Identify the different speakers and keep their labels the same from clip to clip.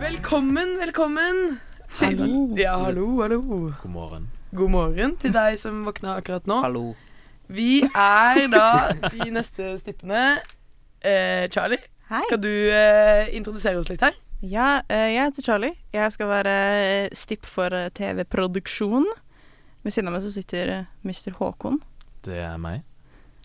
Speaker 1: Velkommen, velkommen til
Speaker 2: Hallo.
Speaker 1: Ja, hallo, hallo.
Speaker 2: God morgen.
Speaker 1: God morgen til deg som våkna akkurat nå.
Speaker 2: Hallo.
Speaker 1: Vi er da de neste stippene. Eh, Charlie,
Speaker 3: Hei.
Speaker 1: skal du eh, introdusere oss litt her?
Speaker 3: Ja, eh, jeg heter Charlie. Jeg skal være eh, stipp for eh, TV-produksjon. Ved siden av meg så sitter eh, Mr. Håkon.
Speaker 2: Det er meg,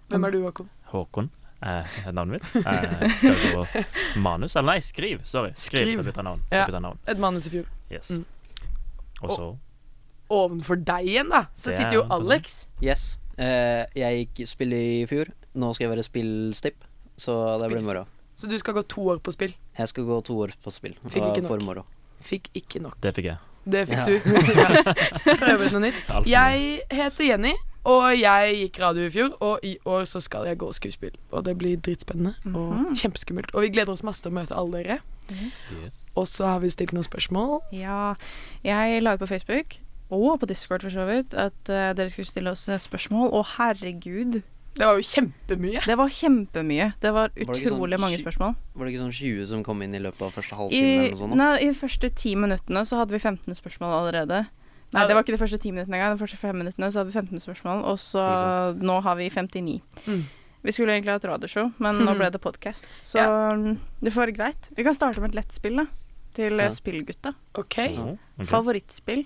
Speaker 1: Hvem
Speaker 2: Mm.
Speaker 1: er du, Håkon?
Speaker 2: Håkon. Eh, er navnet mitt. Eh, skal jeg gå på manus? Eller nei, skriv. Sorry. Skriv.
Speaker 1: Skriv.
Speaker 2: Jeg bytter navn.
Speaker 1: Ja.
Speaker 2: Jeg bytter navn.
Speaker 1: Et manus i fjor.
Speaker 2: Yes.
Speaker 1: Mm.
Speaker 2: Og så
Speaker 1: Ovenfor deg igjen, da, så
Speaker 2: Det er
Speaker 1: sitter jo
Speaker 2: en person.
Speaker 1: Alex.
Speaker 4: Yes. Eh, jeg gikk spill i fjor. Nå skal jeg være spillstipp, så det blir
Speaker 1: Spillstipp.
Speaker 4: moro.
Speaker 1: Så du skal gå to år på spill.
Speaker 4: Jeg skal gå to år på spill.
Speaker 1: Fikk
Speaker 4: og
Speaker 1: ikke nok.
Speaker 4: For moro.
Speaker 1: Fikk ikke nok.
Speaker 2: Det fikk jeg.
Speaker 1: Det fikk
Speaker 4: Ja.
Speaker 1: du. Ja. Prøve ut noe nytt.
Speaker 2: Alt for
Speaker 1: Jeg heter Jenny, og jeg gikk radio i fjor. Og i år så skal jeg gå skuespill. Og det blir dritspennende og kjempeskummelt. Og vi gleder oss masse til å møte alle dere.
Speaker 2: Yes.
Speaker 1: Og så har vi stilt noen spørsmål.
Speaker 3: Ja, jeg la ut på Facebook og på Discord for så vidt at eh, dere skulle stille oss eh, spørsmål. Å, herregud.
Speaker 1: Det var jo kjempemye.
Speaker 3: Det var kjempemye. Det var
Speaker 4: det ikke sånn
Speaker 3: utrolig mange
Speaker 4: tjue-
Speaker 3: spørsmål.
Speaker 4: Var det ikke sånn 20 som kom inn i løpet av første
Speaker 3: I,
Speaker 4: halvtime eller noe sånt? da?
Speaker 3: nei, I de første ti minuttene så hadde vi 15 spørsmål allerede. Nei,
Speaker 1: Ja,
Speaker 3: det var ikke de første ti minuttene engang. De første fem minuttene så hadde vi 15 spørsmål, og så nå har vi 59.
Speaker 1: Mm.
Speaker 3: Vi skulle egentlig ha et radioshow, men nå ble det podkast. Så mm, det får være greit. Vi kan starte med et lett spill, da. Til eh,
Speaker 4: Ja.
Speaker 3: spillgutta.
Speaker 1: OK.
Speaker 2: Oh, ok.
Speaker 3: Favorittspill.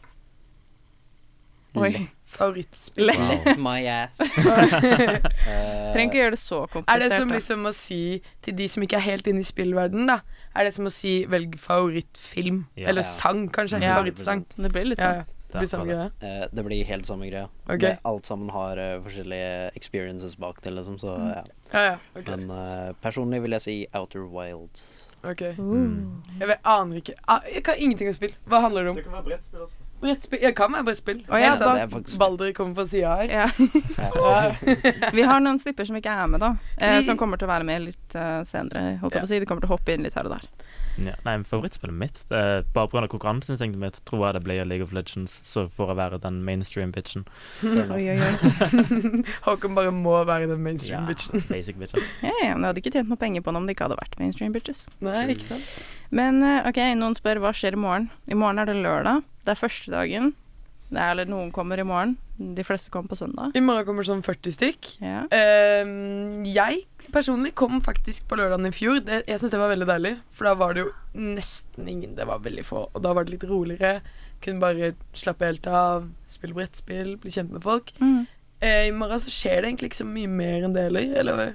Speaker 3: Oi.
Speaker 4: Lett.
Speaker 1: Favorittspill.
Speaker 2: Wow.
Speaker 4: Let my ass. Eh,
Speaker 3: Trenger ikke gjøre det så
Speaker 1: Er
Speaker 3: komplisert.
Speaker 1: det som
Speaker 3: da.
Speaker 1: liksom å si til de som ikke er helt inne i spillverden da Er det som å si velg favorittfilm?
Speaker 2: Ja.
Speaker 1: Eller sang, kanskje.
Speaker 3: Ja.
Speaker 1: Favorittsang.
Speaker 3: Det blir litt
Speaker 1: Ja,
Speaker 3: sånn.
Speaker 1: ja. Det blir samme greie.
Speaker 4: eh, det blir helt samme greia.
Speaker 1: Ok.
Speaker 4: Det- Alt sammen har eh, forskjellige experiences bak det, liksom, så ja.
Speaker 1: Ja, ja. ok.
Speaker 4: Men eh, personlig vil jeg si Outer Wilds.
Speaker 1: Ok.
Speaker 3: sånn.
Speaker 2: Mm.
Speaker 1: Jeg vet, aner ikke. Ah, Jeg kan ingenting om spill. Hva handler det om?
Speaker 5: Det kan være brettspill også.
Speaker 1: Brettspill? Jeg kan være brettspill.
Speaker 3: Å, ja,
Speaker 1: Helt sant.
Speaker 4: det er faktisk-
Speaker 1: Balder kommer fra sida her.
Speaker 3: Ja.
Speaker 1: Ja.
Speaker 3: Vi har noen snipper som ikke er med, da. Eh,
Speaker 1: Vi-
Speaker 3: som kommer til å være med litt eh, senere. Holdt jeg på å si. De kommer til å hoppe inn litt her og der.
Speaker 2: Ja. Nei, men favorittspillet mitt det er Bare pga. konkurranseinstinktet mitt tror jeg det blir League of Legends, så får jeg være den mainstream bitchen.
Speaker 3: Oi, oi, oi.
Speaker 1: Håkon bare må være den
Speaker 2: Ja,
Speaker 1: mainstream bitchen.
Speaker 2: basic bitches.
Speaker 3: Ja, ja, men jeg hadde ikke tjent noe penger på den om det ikke hadde vært mainstream bitches.
Speaker 1: Nei, ikke sant?
Speaker 3: Men eh, ok, noen spør hva skjer i morgen. I morgen er det lørdag. Det er første dagen. Det er, eller noen kommer i morgen. De fleste kommer på søndag.
Speaker 1: I morgen kommer sånn 40 stykk.
Speaker 3: Ja.
Speaker 1: Ehm, jeg personlig kom faktisk på lørdagen i fjor. Det, jeg syns det var veldig deilig, for da var det jo nesten ingen. Det var veldig få. Og da var det litt roligere. Kunne bare slappe helt av, spille brettspill, bli kjent med folk.
Speaker 3: Mm.
Speaker 1: Eh, I morgen så skjer det egentlig ikke så mye mer enn det heller. Eller
Speaker 3: Nei.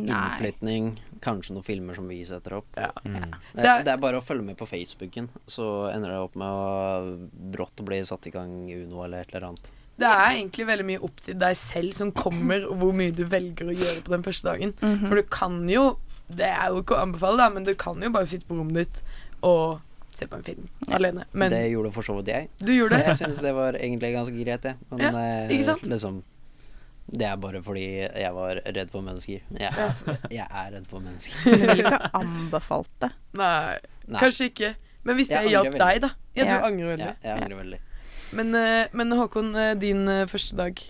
Speaker 4: Innflytning, kanskje noen filmer som vi setter opp.
Speaker 1: Ja.
Speaker 2: Mm.
Speaker 4: Det,
Speaker 1: Det er-
Speaker 4: det er bare å følge med på Facebooken, så ender det opp med å brått bli satt i gang Uno eller et eller annet.
Speaker 1: Det er egentlig veldig mye opp til deg selv som kommer, og hvor mye du velger å gjøre på den første dagen.
Speaker 3: Mhm.
Speaker 1: For du kan jo Det er jo ikke å anbefale, da, men du kan jo bare sitte på rommet ditt og se på en film alene. Men
Speaker 4: det gjorde for så vidt jeg.
Speaker 1: du gjorde det.
Speaker 4: Jeg syns det var egentlig ganske greit, jeg. Men
Speaker 1: Ja,
Speaker 4: eh,
Speaker 1: ikke sant?
Speaker 4: liksom Det er bare fordi jeg var redd for mennesker. Jeg er, jeg er redd for mennesker.
Speaker 3: Men vi vil ikke anbefalt det.
Speaker 1: Nei,
Speaker 4: Nei.
Speaker 1: kanskje ikke. Men hvis
Speaker 4: Jeg
Speaker 1: det
Speaker 4: angrer
Speaker 1: hjalp deg,
Speaker 4: veldig.
Speaker 1: da. Ja, du
Speaker 3: Ja.
Speaker 1: angrer veldig.
Speaker 4: Ja, jeg angrer veldig.
Speaker 1: Men, eh, men Håkon, eh, din eh, første dag,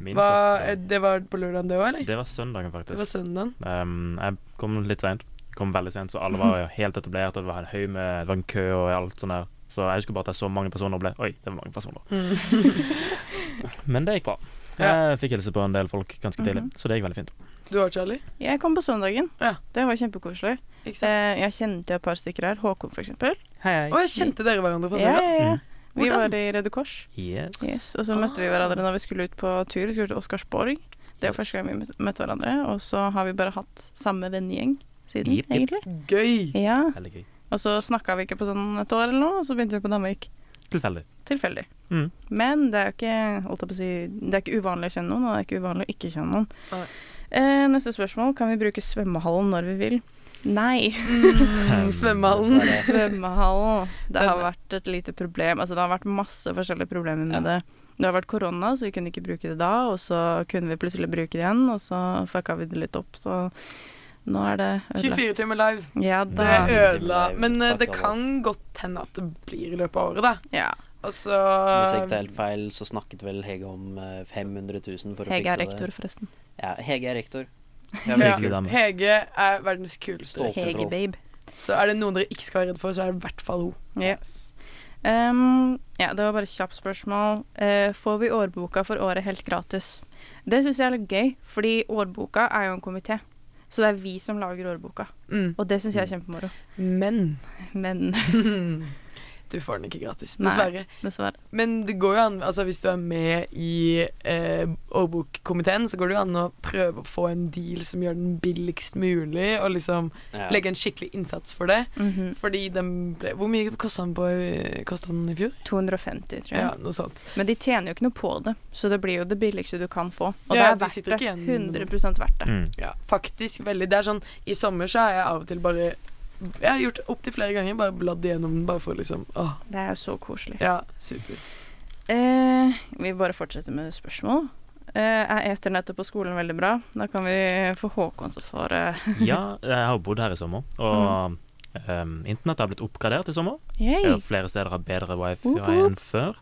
Speaker 2: Min
Speaker 1: var,
Speaker 2: første-
Speaker 1: eh, det var på lørdagen det òg, eller?
Speaker 2: Det var
Speaker 1: Det
Speaker 2: søndagen, faktisk.
Speaker 1: var søndagen.
Speaker 2: Um, jeg kom litt seint. Kom veldig sent, så alle var jo helt etablert. Og det var en haug med Det var en kø og alt sånt der. Så jeg husker bare at jeg så mange personer og ble Oi, det var mange personer. Men det gikk bra.
Speaker 1: Ja.
Speaker 2: Jeg fikk hilse på en del folk ganske tidlig, så det gikk veldig fint.
Speaker 1: Du òg, Charlie?
Speaker 3: Jeg kom på søndagen.
Speaker 1: Ja.
Speaker 3: Det var kjempekoselig.
Speaker 1: Ikke sant?
Speaker 3: Eh, jeg kjente et par stykker her. Håkon, for eksempel.
Speaker 2: Hei,
Speaker 1: Å, jeg kjente dere hverandre fra
Speaker 3: Ja,
Speaker 1: før?
Speaker 3: ja, ja.
Speaker 2: Mm.
Speaker 3: Vi
Speaker 1: Hvordan?
Speaker 3: var i Røde Kors.
Speaker 2: Yes.
Speaker 3: Yes. Og så møtte vi hverandre når vi skulle ut på tur. Vi skulle til Oscarsborg. Det var
Speaker 2: Yes.
Speaker 3: første gang vi møtte- møtte hverandre. Og så har vi bare hatt samme vennegjeng siden,
Speaker 2: Jipp, jipp.
Speaker 3: egentlig.
Speaker 1: Gøy.
Speaker 3: Ja.
Speaker 2: Veldig gøy.
Speaker 3: Og så snakka vi ikke på sånn et år eller noe, og så begynte vi på Danmark.
Speaker 2: Tilfeldig.
Speaker 3: Tilfeldig.
Speaker 2: Mm.
Speaker 3: Men det er jo ikke, holdt jeg på å si, det er ikke uvanlig å kjenne noen, og det er ikke uvanlig å ikke kjenne noen.
Speaker 1: Nei.
Speaker 3: Eh, neste spørsmål. Kan vi bruke svømmehallen når vi vil? Nei.
Speaker 1: Mm, svømmehallen.
Speaker 4: Dessverre.
Speaker 3: Svømmehallen. Det har
Speaker 1: Den-
Speaker 3: vært et lite problem. Altså, det har vært masse forskjellige problemer med det. Det har vært korona, så vi kunne ikke bruke det da, og så kunne vi plutselig bruke det igjen, og så fucka vi det litt opp, så nå er det ødelagt.
Speaker 1: 24 timer live.
Speaker 3: Ja
Speaker 1: Det
Speaker 3: da.
Speaker 1: er ødela.
Speaker 4: Nei,
Speaker 1: Men eh,
Speaker 4: fuck
Speaker 1: det
Speaker 4: all.
Speaker 1: kan godt hende at det blir i løpet av året, da. Altså,
Speaker 3: Ja.
Speaker 1: Og så
Speaker 4: Hvis jeg ikke tar helt feil, så snakket vel Hege om eh, 500 000 for å
Speaker 3: Hege
Speaker 4: fikse
Speaker 3: er rektor,
Speaker 4: det.
Speaker 3: forresten.
Speaker 4: Ja, Hege er rektor. Det er veldig
Speaker 1: ja,
Speaker 2: Hyggelig dame.
Speaker 1: Hege er verdens kuleste.
Speaker 4: Stolt.
Speaker 3: Hege babe.
Speaker 1: Så er det noen dere ikke skal være redd for, så er det i hvert fall hun.
Speaker 3: Yes. Ehm, ja, det var bare et kjapt spørsmål. Eh, får vi årboka for året helt gratis? Det syns jeg er litt gøy, fordi årboka er jo en komité. Så det er vi som lager årboka,
Speaker 1: Mm.
Speaker 3: og det syns jeg er kjempemoro.
Speaker 1: Men
Speaker 3: Men
Speaker 1: du får den ikke gratis,
Speaker 3: Nei.
Speaker 1: dessverre.
Speaker 3: dessverre.
Speaker 1: Men det går jo an, altså hvis du er med i eh, årbokkomiteen, så går det jo an å prøve å få en deal som gjør den billigst mulig, og liksom
Speaker 4: Ja.
Speaker 1: legge en skikkelig innsats for det.
Speaker 3: Mhm.
Speaker 1: Fordi den ble Hvor mye kosta den, på, eh, kostet den i fjor?
Speaker 3: 250, tror jeg.
Speaker 1: Ja, noe sånt.
Speaker 3: Men de tjener jo ikke noe på det, så det blir jo det billigste du kan få. Og
Speaker 1: Ja,
Speaker 3: det er
Speaker 1: de
Speaker 3: verdt
Speaker 1: sitter
Speaker 3: det.
Speaker 1: ikke igjen med noe.
Speaker 3: 100 verdt det.
Speaker 2: Mm.
Speaker 1: Ja, faktisk veldig. Det er sånn I sommer så har jeg av og til bare Jeg har gjort opptil flere ganger, bare bladd igjennom den bare for liksom Åh,
Speaker 3: Det er jo så koselig.
Speaker 1: ja, super.
Speaker 3: Eh, vi bare fortsetter med spørsmål. Eh, er eternettet på skolen veldig bra? Da kan vi få Håkon til å svare.
Speaker 2: Ja, jeg har bodd her i sommer, og ehm, internettet har blitt oppgradert i sommer.
Speaker 3: Yay!
Speaker 2: Eh, Flere steder har bedre wifi
Speaker 3: Woop, woop.
Speaker 2: enn før,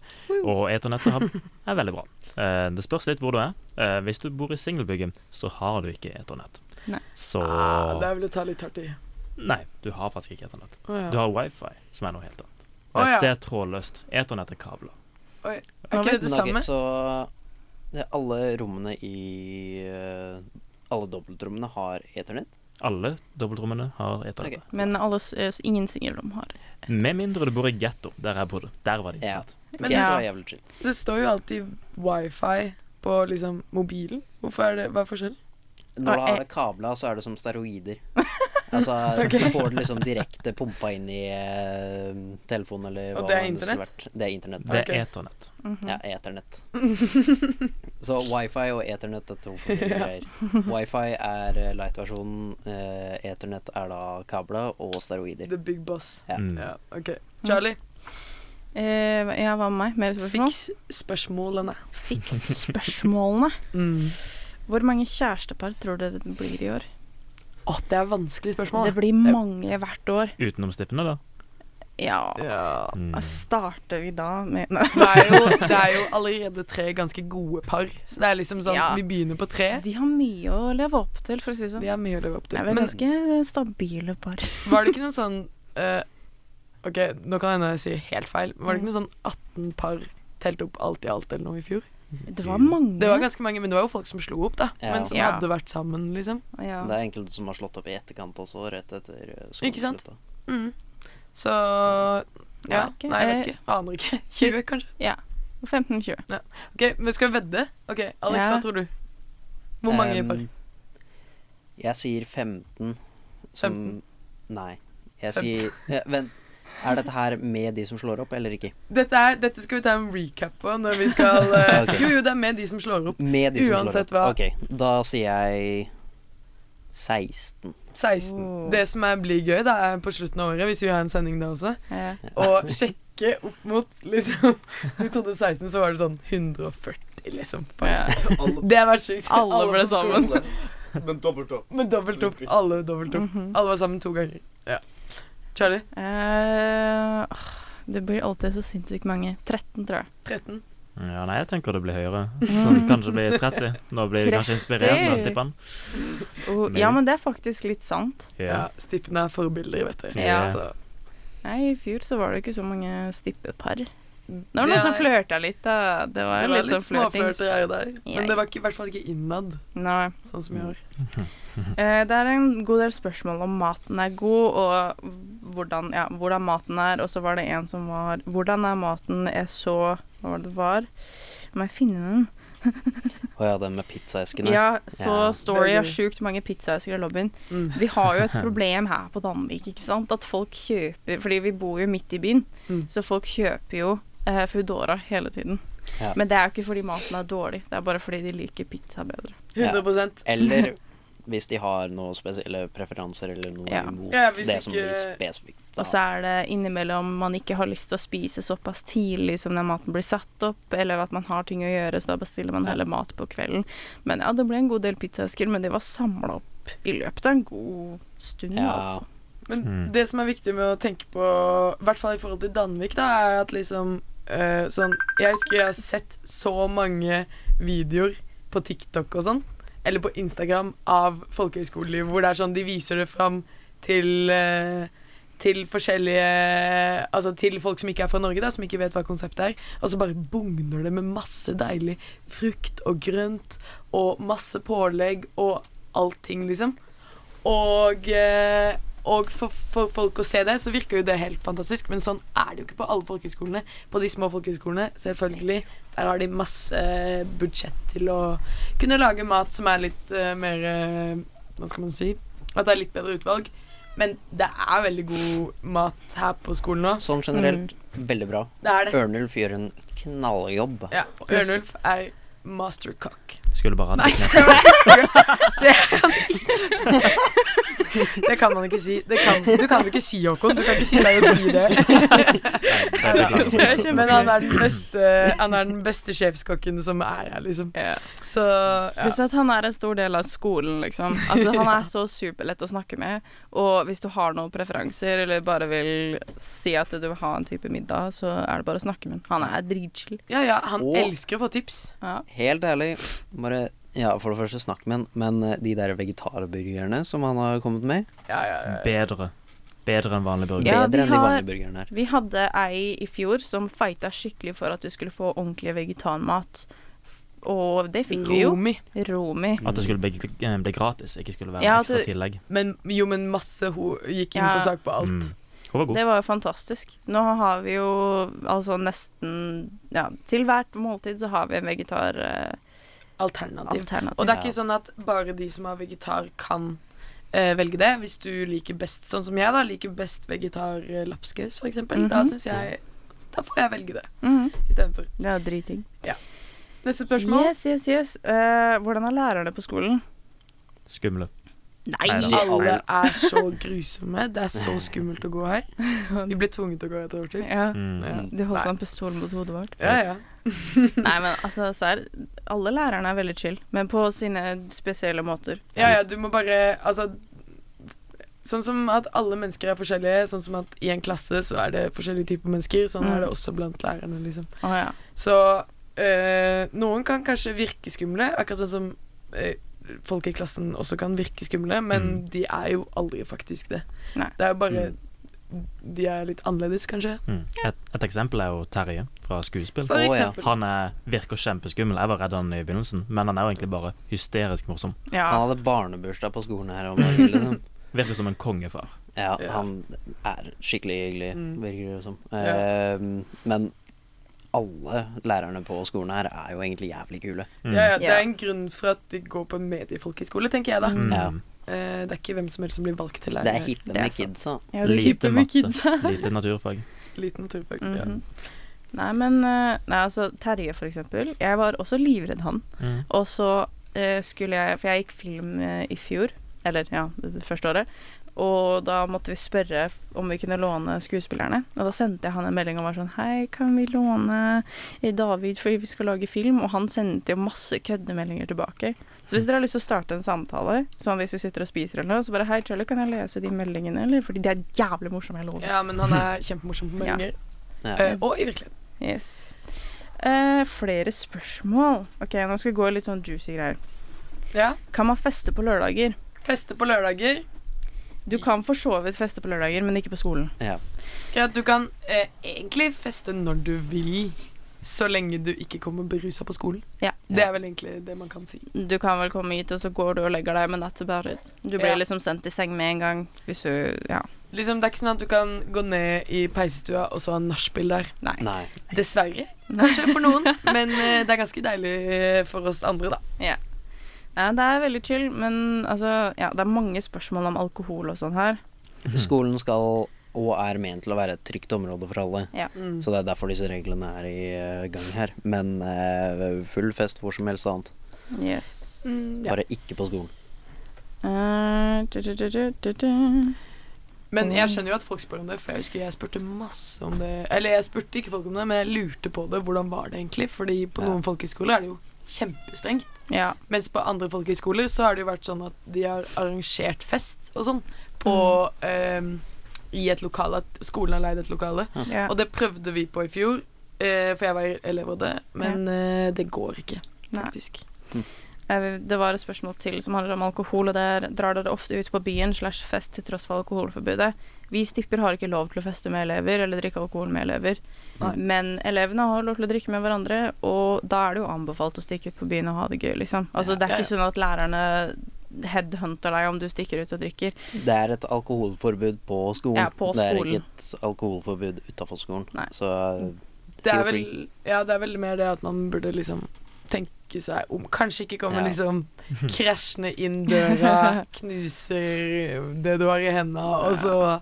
Speaker 2: og eternettet har- er veldig bra. Eh, Det spørs litt hvor du er. Eh, Hvis du bor i singelbygget, så har du ikke eternett.
Speaker 3: Nei.
Speaker 2: Så
Speaker 1: Ah, det er vel å ta litt hardt i.
Speaker 2: Nei, du har faktisk ikke eternett.
Speaker 1: Å ja.
Speaker 2: Du har wifi, som er noe helt annet.
Speaker 1: Å, ja.
Speaker 2: Det er trådløst. Eternett er kabler.
Speaker 1: Er ikke det det
Speaker 4: Men ok,
Speaker 1: samme?
Speaker 4: Så det er alle rommene i eh, Alle dobbeltrommene har eternett?
Speaker 2: Alle dobbeltrommene har
Speaker 4: Ok.
Speaker 2: eternett.
Speaker 3: Men alle, s- eh, ingen singelrom har.
Speaker 2: Med mindre du bor i getto, der jeg bodde. Der var det
Speaker 4: Ja.
Speaker 2: internett.
Speaker 1: Men
Speaker 4: det
Speaker 1: det,
Speaker 4: var jævlig chill.
Speaker 1: det står jo alltid wifi på liksom mobilen. Hvorfor er det, Hva er forskjellen?
Speaker 4: Når du
Speaker 3: Og
Speaker 1: eh,
Speaker 4: har
Speaker 3: e-
Speaker 4: det kabla, så er det som steroider. Altså, Du får det liksom direkte pumpa inn i eh, telefonen eller
Speaker 1: Og
Speaker 4: hva
Speaker 1: det er
Speaker 4: enn skulle
Speaker 1: internett?
Speaker 4: vært. Det er internett.
Speaker 1: Ok.
Speaker 2: Det er eternett.
Speaker 3: Mhm.
Speaker 4: Ja, eternett. Så wifi og eternett er to forskjellige greier. Wifi er eh, light-versjonen, eh, eternett er da kabla og steroider.
Speaker 1: The big boss.
Speaker 4: Ja.
Speaker 2: Mm.
Speaker 1: Ja, ok. Charlie,
Speaker 3: Eh, ja, hva med meg? Mer spørsmål?
Speaker 1: fiks spørsmålene.
Speaker 3: Fiks spørsmålene.
Speaker 1: Mm.
Speaker 3: Hvor mange kjærestepar tror dere det blir i år?
Speaker 1: Å, det er vanskelig spørsmål.
Speaker 3: Det blir mange hvert år.
Speaker 2: Utenomstippende, da.
Speaker 3: Ja
Speaker 1: Ja.
Speaker 2: Mm.
Speaker 3: da Starter vi da med Nei.
Speaker 1: Det er, jo, det er jo allerede tre ganske gode par. Så det er liksom sånn
Speaker 3: Ja.
Speaker 1: Vi begynner på tre.
Speaker 3: De har mye å leve opp til, for å si det sånn.
Speaker 1: Det er mye å leve opp
Speaker 3: Det
Speaker 1: til.
Speaker 3: er vel
Speaker 1: Men
Speaker 3: ganske stabile par.
Speaker 1: var det ikke noen sånn eh, Ok, nå kan jeg hende jeg sier helt feil, men var det ikke
Speaker 3: Mm.
Speaker 1: noen sånn 18 par telt opp alt i alt eller noe i fjor?
Speaker 3: Det var mange.
Speaker 1: Det var ganske mange, men det var jo folk som slo opp, da.
Speaker 4: Ja.
Speaker 1: Men som
Speaker 3: Mm. Ja.
Speaker 1: hadde vært sammen, liksom.
Speaker 3: ja.
Speaker 4: Det er enkelte som har slått opp i etterkant også, rett etter eh,
Speaker 1: Ikke sant?
Speaker 4: skoleslutt. da.
Speaker 1: Mm. Så Ja.
Speaker 3: Vet ikke.
Speaker 1: Nei, jeg vet ikke. Aner ikke. 20, kanskje.
Speaker 3: 15-20.
Speaker 1: Ok, Men skal vi vedde? Ok, Alex,
Speaker 3: Ja.
Speaker 1: hva tror du? Hvor mange
Speaker 4: Em,
Speaker 1: par?
Speaker 4: Jeg sier 15 som
Speaker 1: 15?
Speaker 4: Nei. Jeg sier ja, Vent. Er dette her med de som slår opp, eller ikke?
Speaker 1: Dette, er, dette skal vi ta en recap på når vi skal eh,
Speaker 4: Ok.
Speaker 1: Jo, jo, det er med de som slår opp.
Speaker 4: Med de
Speaker 1: Uansett
Speaker 4: som slår
Speaker 1: hva.
Speaker 4: opp. Ok, da sier jeg 16.
Speaker 1: 16.
Speaker 3: Oh.
Speaker 1: Det som er, blir gøy, da, er på slutten av året, hvis vi har en sending da også,
Speaker 3: Ja.
Speaker 1: og sjekke opp mot liksom Du trodde 16, så var det sånn 140, liksom.
Speaker 3: Ja.
Speaker 1: Det har vært sjukt.
Speaker 3: Alle ble
Speaker 1: på skolen.
Speaker 3: sammen.
Speaker 5: Men dobbelt opp.
Speaker 1: Med dobbelt opp. Alle dobbelt opp.
Speaker 3: Mhm.
Speaker 1: Alle var sammen to ganger. Ja. Charlie?
Speaker 3: Eh, åh, det blir alltid så sinnssykt mange. 13, tror jeg.
Speaker 1: 13.
Speaker 2: Mm. Ja, nei, jeg tenker det blir høyere. Sånn kanskje det blir 30. Nå blir vi kanskje inspirert av Stippan.
Speaker 3: Oh, ja, men det er faktisk litt sant.
Speaker 1: Ja.
Speaker 2: Ja.
Speaker 1: Stippen er forbilder, vet du. Altså,
Speaker 2: Ja.
Speaker 3: altså.
Speaker 1: Så,
Speaker 3: Nei, I fjor så var det ikke så mange stippepar. Det
Speaker 1: Ja,
Speaker 3: var noen som flørta litt, da. Det var,
Speaker 1: det var litt,
Speaker 3: litt sånn flørtings.
Speaker 1: småflørter her og der.
Speaker 3: Ja.
Speaker 1: Men det var ikke, i hvert fall ikke innad,
Speaker 3: Nei.
Speaker 1: sånn som i år.
Speaker 3: Eh, det er en god del spørsmål om maten er god, og hvordan, ja, hvordan maten er. Og så var det en som var Hvordan er maten? Jeg så Hva var det det var? Må jeg finne den?
Speaker 4: Å ja, den med pizzaeskene.
Speaker 3: Ja, så
Speaker 4: Ja.
Speaker 1: Det
Speaker 3: Story
Speaker 1: er
Speaker 3: har
Speaker 1: gøy.
Speaker 3: sjukt mange pizzaesker i lobbyen.
Speaker 1: Mm.
Speaker 3: Vi har jo et problem her på Danvik, ikke sant. At folk kjøper Fordi vi bor jo midt i byen,
Speaker 1: Mm.
Speaker 3: så folk kjøper jo eh, Foodora hele tiden.
Speaker 4: Ja.
Speaker 3: Men det er jo ikke fordi maten er dårlig, det er bare fordi de liker pizza bedre.
Speaker 1: 100
Speaker 4: Eller hvis de har noen spesielle preferanser eller noe
Speaker 3: Ja.
Speaker 4: imot
Speaker 1: Ja, hvis
Speaker 4: det som
Speaker 1: ikke-
Speaker 4: blir spesifikt. da.
Speaker 3: Og så er det innimellom man ikke har lyst til å spise såpass tidlig som den maten blir satt opp, eller at man har ting å gjøre, så da bestiller man heller mat på kvelden. Men ja, det ble en god del pizzaesker, men de var samla opp i løpet av en god stund,
Speaker 4: Ja.
Speaker 3: altså.
Speaker 1: Men
Speaker 2: Mm.
Speaker 1: det som er viktig med å tenke på, i hvert fall i forhold til Danvik, da, er at liksom eh, sånn Jeg husker jeg har sett så mange videoer på TikTok og sånn, eller på Instagram, av folkehøyskoleliv hvor det er sånn de viser det fram til eh, til forskjellige Altså til folk som ikke er fra Norge, da, som ikke vet hva konseptet er. Og så bare bugner det med masse deilig frukt og grønt og masse pålegg og allting, liksom. Og, eh, og for, for folk å se det, så virker jo det helt fantastisk, men sånn er det jo ikke på alle folkehøyskolene. På de små folkehøyskolene, selvfølgelig, der har de masse eh, budsjett til å kunne lage mat som er litt eh, mer eh, Hva skal man si? At det er litt bedre utvalg. Men det er veldig god mat her på skolen nå.
Speaker 4: Sånn generelt,
Speaker 1: Mm.
Speaker 4: veldig bra.
Speaker 1: Det er det.
Speaker 4: Ørnulf gjør en knalljobb.
Speaker 1: Ja, og Ørnulf er mastercock.
Speaker 2: Skulle bare hatt
Speaker 1: Nei,
Speaker 2: det
Speaker 1: det
Speaker 2: knep.
Speaker 1: var det kan Det kan man ikke si. Det kan, du kan ikke si, Håkon. Du kan ikke si deg å si det.
Speaker 2: Nei, det er
Speaker 3: Det er
Speaker 2: beklager.
Speaker 1: Men han er den beste, han er den beste sjefskokken som er her, liksom.
Speaker 3: Ja.
Speaker 1: Så ja.
Speaker 3: Pluss at han er en stor del av skolen, liksom. Altså, han er så superlett å snakke med. Og hvis du har noen preferanser, eller bare vil si at du vil ha en type middag, så er det bare å snakke med han. Han er dritchill.
Speaker 1: ja, ja, han
Speaker 4: Og-
Speaker 1: elsker å få tips.
Speaker 3: Ja.
Speaker 4: Helt ærlig, bare Ja, for det første, snakk med han, men eh, de der vegetarburgerne som han har kommet med,
Speaker 1: Ja, ja, ja.
Speaker 2: Eh, Bedre. Bedre enn vanlig burger.
Speaker 3: Ja, de
Speaker 4: bedre enn de
Speaker 3: har-
Speaker 4: vanlige burgerne her.
Speaker 3: Vi hadde ei i fjor som fighta skikkelig for at vi skulle få ordentlig vegetarmat. Og det fikk vi jo.
Speaker 1: Romi.
Speaker 3: Romi.
Speaker 2: At det skulle bli, eh, bli gratis, ikke skulle være
Speaker 3: Ja,
Speaker 2: ekstra
Speaker 3: altså-
Speaker 2: tillegg.
Speaker 1: Men jo, men masse hun gikk inn
Speaker 3: Ja.
Speaker 1: for sak på alt.
Speaker 2: Mm. Hun var god.
Speaker 3: Det var jo fantastisk. Nå har vi jo altså nesten Ja, til hvert måltid så har vi en vegetaralternativ.
Speaker 1: Alternativ.
Speaker 3: alternativ.
Speaker 1: Og det er ikke sånn at bare de som har vegetar, kan eh, velge det. Hvis du liker best, sånn som jeg, da, liker best vegetar-lapskaus, for eksempel, da
Speaker 3: Mhm.
Speaker 1: syns jeg Da får jeg velge det
Speaker 3: Mhm.
Speaker 1: istedenfor.
Speaker 3: Det er driting.
Speaker 1: Neste spørsmål.
Speaker 3: Yes, yes, yes. Eh, hvordan er lærerne på skolen?
Speaker 2: Skumle.
Speaker 3: Nei!
Speaker 4: Neida. Ja,
Speaker 1: Alle er så grusomme. Det er så skummelt å gå her. Vi ble tvunget til å gå et år til.
Speaker 3: Ja,
Speaker 2: Mm.
Speaker 1: Ja.
Speaker 3: de holdt
Speaker 1: Nei.
Speaker 3: en pistol mot hodet vårt.
Speaker 1: Ja, ja.
Speaker 3: Nei, men altså, serr. Alle lærerne er veldig chill, men på sine spesielle måter.
Speaker 1: Ja, ja, du må bare Altså Sånn som at alle mennesker er forskjellige. Sånn som at i en klasse så er det forskjellige typer mennesker. Sånn
Speaker 3: Mm.
Speaker 1: er det også blant lærerne, liksom.
Speaker 3: Å ja.
Speaker 1: Så eh, noen kan kanskje virke skumle, akkurat sånn som eh, folk i klassen også kan virke skumle, men
Speaker 2: Mm.
Speaker 1: de er jo aldri faktisk det.
Speaker 3: Nei.
Speaker 1: Det er jo bare De er litt annerledes, kanskje.
Speaker 2: Mm. Et, et eksempel er jo Terje fra skuespill.
Speaker 1: For
Speaker 4: Å, ja.
Speaker 1: eksempel.
Speaker 2: Han er, virker kjempeskummel. Jeg var redd han i begynnelsen, men han er jo egentlig bare hysterisk morsom.
Speaker 3: ja.
Speaker 4: Han hadde barnebursdag på skolen her om dagen. Liksom.
Speaker 2: Virker som en kongefar.
Speaker 4: Ja,
Speaker 1: Ja.
Speaker 4: han er skikkelig hyggelig,
Speaker 1: Mm.
Speaker 4: virker det som.
Speaker 1: Ja.
Speaker 4: Ehm, men alle lærerne på skolen her er jo egentlig jævlig kule.
Speaker 2: Mm.
Speaker 1: Ja, ja, det
Speaker 3: Ja.
Speaker 1: er en grunn for at de går på mediefolkehøyskole, tenker jeg da.
Speaker 2: Mm.
Speaker 4: Ja.
Speaker 1: Eh, det er ikke hvem som helst som blir valgt til
Speaker 4: Det er
Speaker 1: lærer.
Speaker 4: hippe
Speaker 3: Det er
Speaker 4: med
Speaker 3: sant.
Speaker 4: kidsa.
Speaker 3: ja det er
Speaker 2: Lite
Speaker 3: hippe med
Speaker 2: matte,
Speaker 3: kidsa.
Speaker 2: lite naturfag.
Speaker 1: Liten turfag.
Speaker 3: Mhm. Nei, men eh, Nei, altså, Terje, for eksempel. Jeg var også livredd han.
Speaker 2: Mm.
Speaker 3: Og så eh, skulle jeg For jeg gikk film eh, i fjor. Eller ja, det det første året. Og da måtte vi spørre f- om vi kunne låne skuespillerne. Og da sendte jeg han en melding og var sånn Hei, kan vi låne eh, David fordi vi skal lage film? Og han sendte jo masse køddemeldinger tilbake. Så hvis dere har lyst til å starte en samtale, sånn hvis vi sitter og spiser eller noe, så bare Hei, Charlie, kan jeg lese de meldingene, eller? Fordi de er jævlig morsomme, jeg
Speaker 1: Ja.
Speaker 3: lover.
Speaker 1: ja, men han er kjempemorsom på meldinger.
Speaker 4: Ja.
Speaker 1: Eh, og i virkeligheten.
Speaker 3: Yes. Eh, flere spørsmål. OK, nå skal vi gå i litt sånn juicy greier.
Speaker 1: Ja.
Speaker 3: Kan man feste på lørdager?
Speaker 1: Feste på lørdager.
Speaker 3: Du kan for så vidt feste på lørdager, men ikke på skolen.
Speaker 1: Greit, du kan eh, egentlig feste når du vil, så lenge du ikke kommer berusa på skolen.
Speaker 3: Ja.
Speaker 1: Det er vel egentlig det man kan si.
Speaker 3: Du kan vel komme hit, og så går du og legger deg, men that's about it. Du blir
Speaker 1: Ja.
Speaker 3: liksom sendt i seng med en gang hvis du Ja.
Speaker 1: Liksom, det er ikke sånn at du kan gå ned i peisestua og så ha nachspiel der.
Speaker 3: Nei.
Speaker 4: Nei.
Speaker 1: Dessverre, kanskje for noen, men eh, det er ganske deilig eh, for oss andre, da.
Speaker 3: Nei, det er veldig chill, men altså Ja, det er mange spørsmål om alkohol og sånn her.
Speaker 4: Skolen skal og er ment til å være et trygt område for alle.
Speaker 1: Mm.
Speaker 4: Så det er derfor disse reglene er i eh, gang her. Men eh, full fest hvor som helst annet.
Speaker 3: Yes.
Speaker 1: Mm, ja.
Speaker 4: Bare ikke på skolen.
Speaker 3: Eh, tu, tu, tu, tu, tu, tu.
Speaker 1: Men jeg skjønner jo at folk spør om det, for jeg husker jeg spurte masse om det Eller jeg spurte ikke folk om det, men jeg lurte på det. Hvordan var det egentlig? Fordi på
Speaker 4: Ja.
Speaker 1: noen folkehøyskoler er det jo kjempestrengt.
Speaker 3: Ja.
Speaker 1: Mens på andre folkehøyskoler så har det jo vært sånn at de har arrangert fest og sånn på
Speaker 3: Mm.
Speaker 1: ehm, I et lokale. At skolen har leid et lokale.
Speaker 3: ja.
Speaker 1: Og det prøvde vi på i fjor, eh, for jeg var elevrådet. Men eh, det går ikke,
Speaker 3: Nei.
Speaker 1: faktisk.
Speaker 3: Jeg vil- Eh, Det var et spørsmål til som handler om alkohol, og der drar dere ofte ut på byen slash fest til tross for alkoholforbudet. Vi stipper har ikke lov til å feste med elever eller drikke alkohol med elever,
Speaker 1: Nei.
Speaker 3: men elevene har lov til å drikke med hverandre, og da er det jo anbefalt å stikke ut på byen og ha det gøy, liksom. Altså, det er
Speaker 1: Ja,
Speaker 3: ikke sånn at lærerne headhunter deg om du stikker ut og drikker.
Speaker 4: Det er et alkoholforbud på skolen.
Speaker 3: Ja, på
Speaker 4: Det er
Speaker 3: skolen.
Speaker 4: ikke et alkoholforbud utafor skolen.
Speaker 3: Nei.
Speaker 4: Så
Speaker 1: Det er
Speaker 4: Feel
Speaker 1: vel Ja, det er vel mer det at man burde liksom tenke seg om. Kanskje ikke komme
Speaker 4: Ja.
Speaker 1: liksom krasjende inn døra, knuser det du har i henda, og så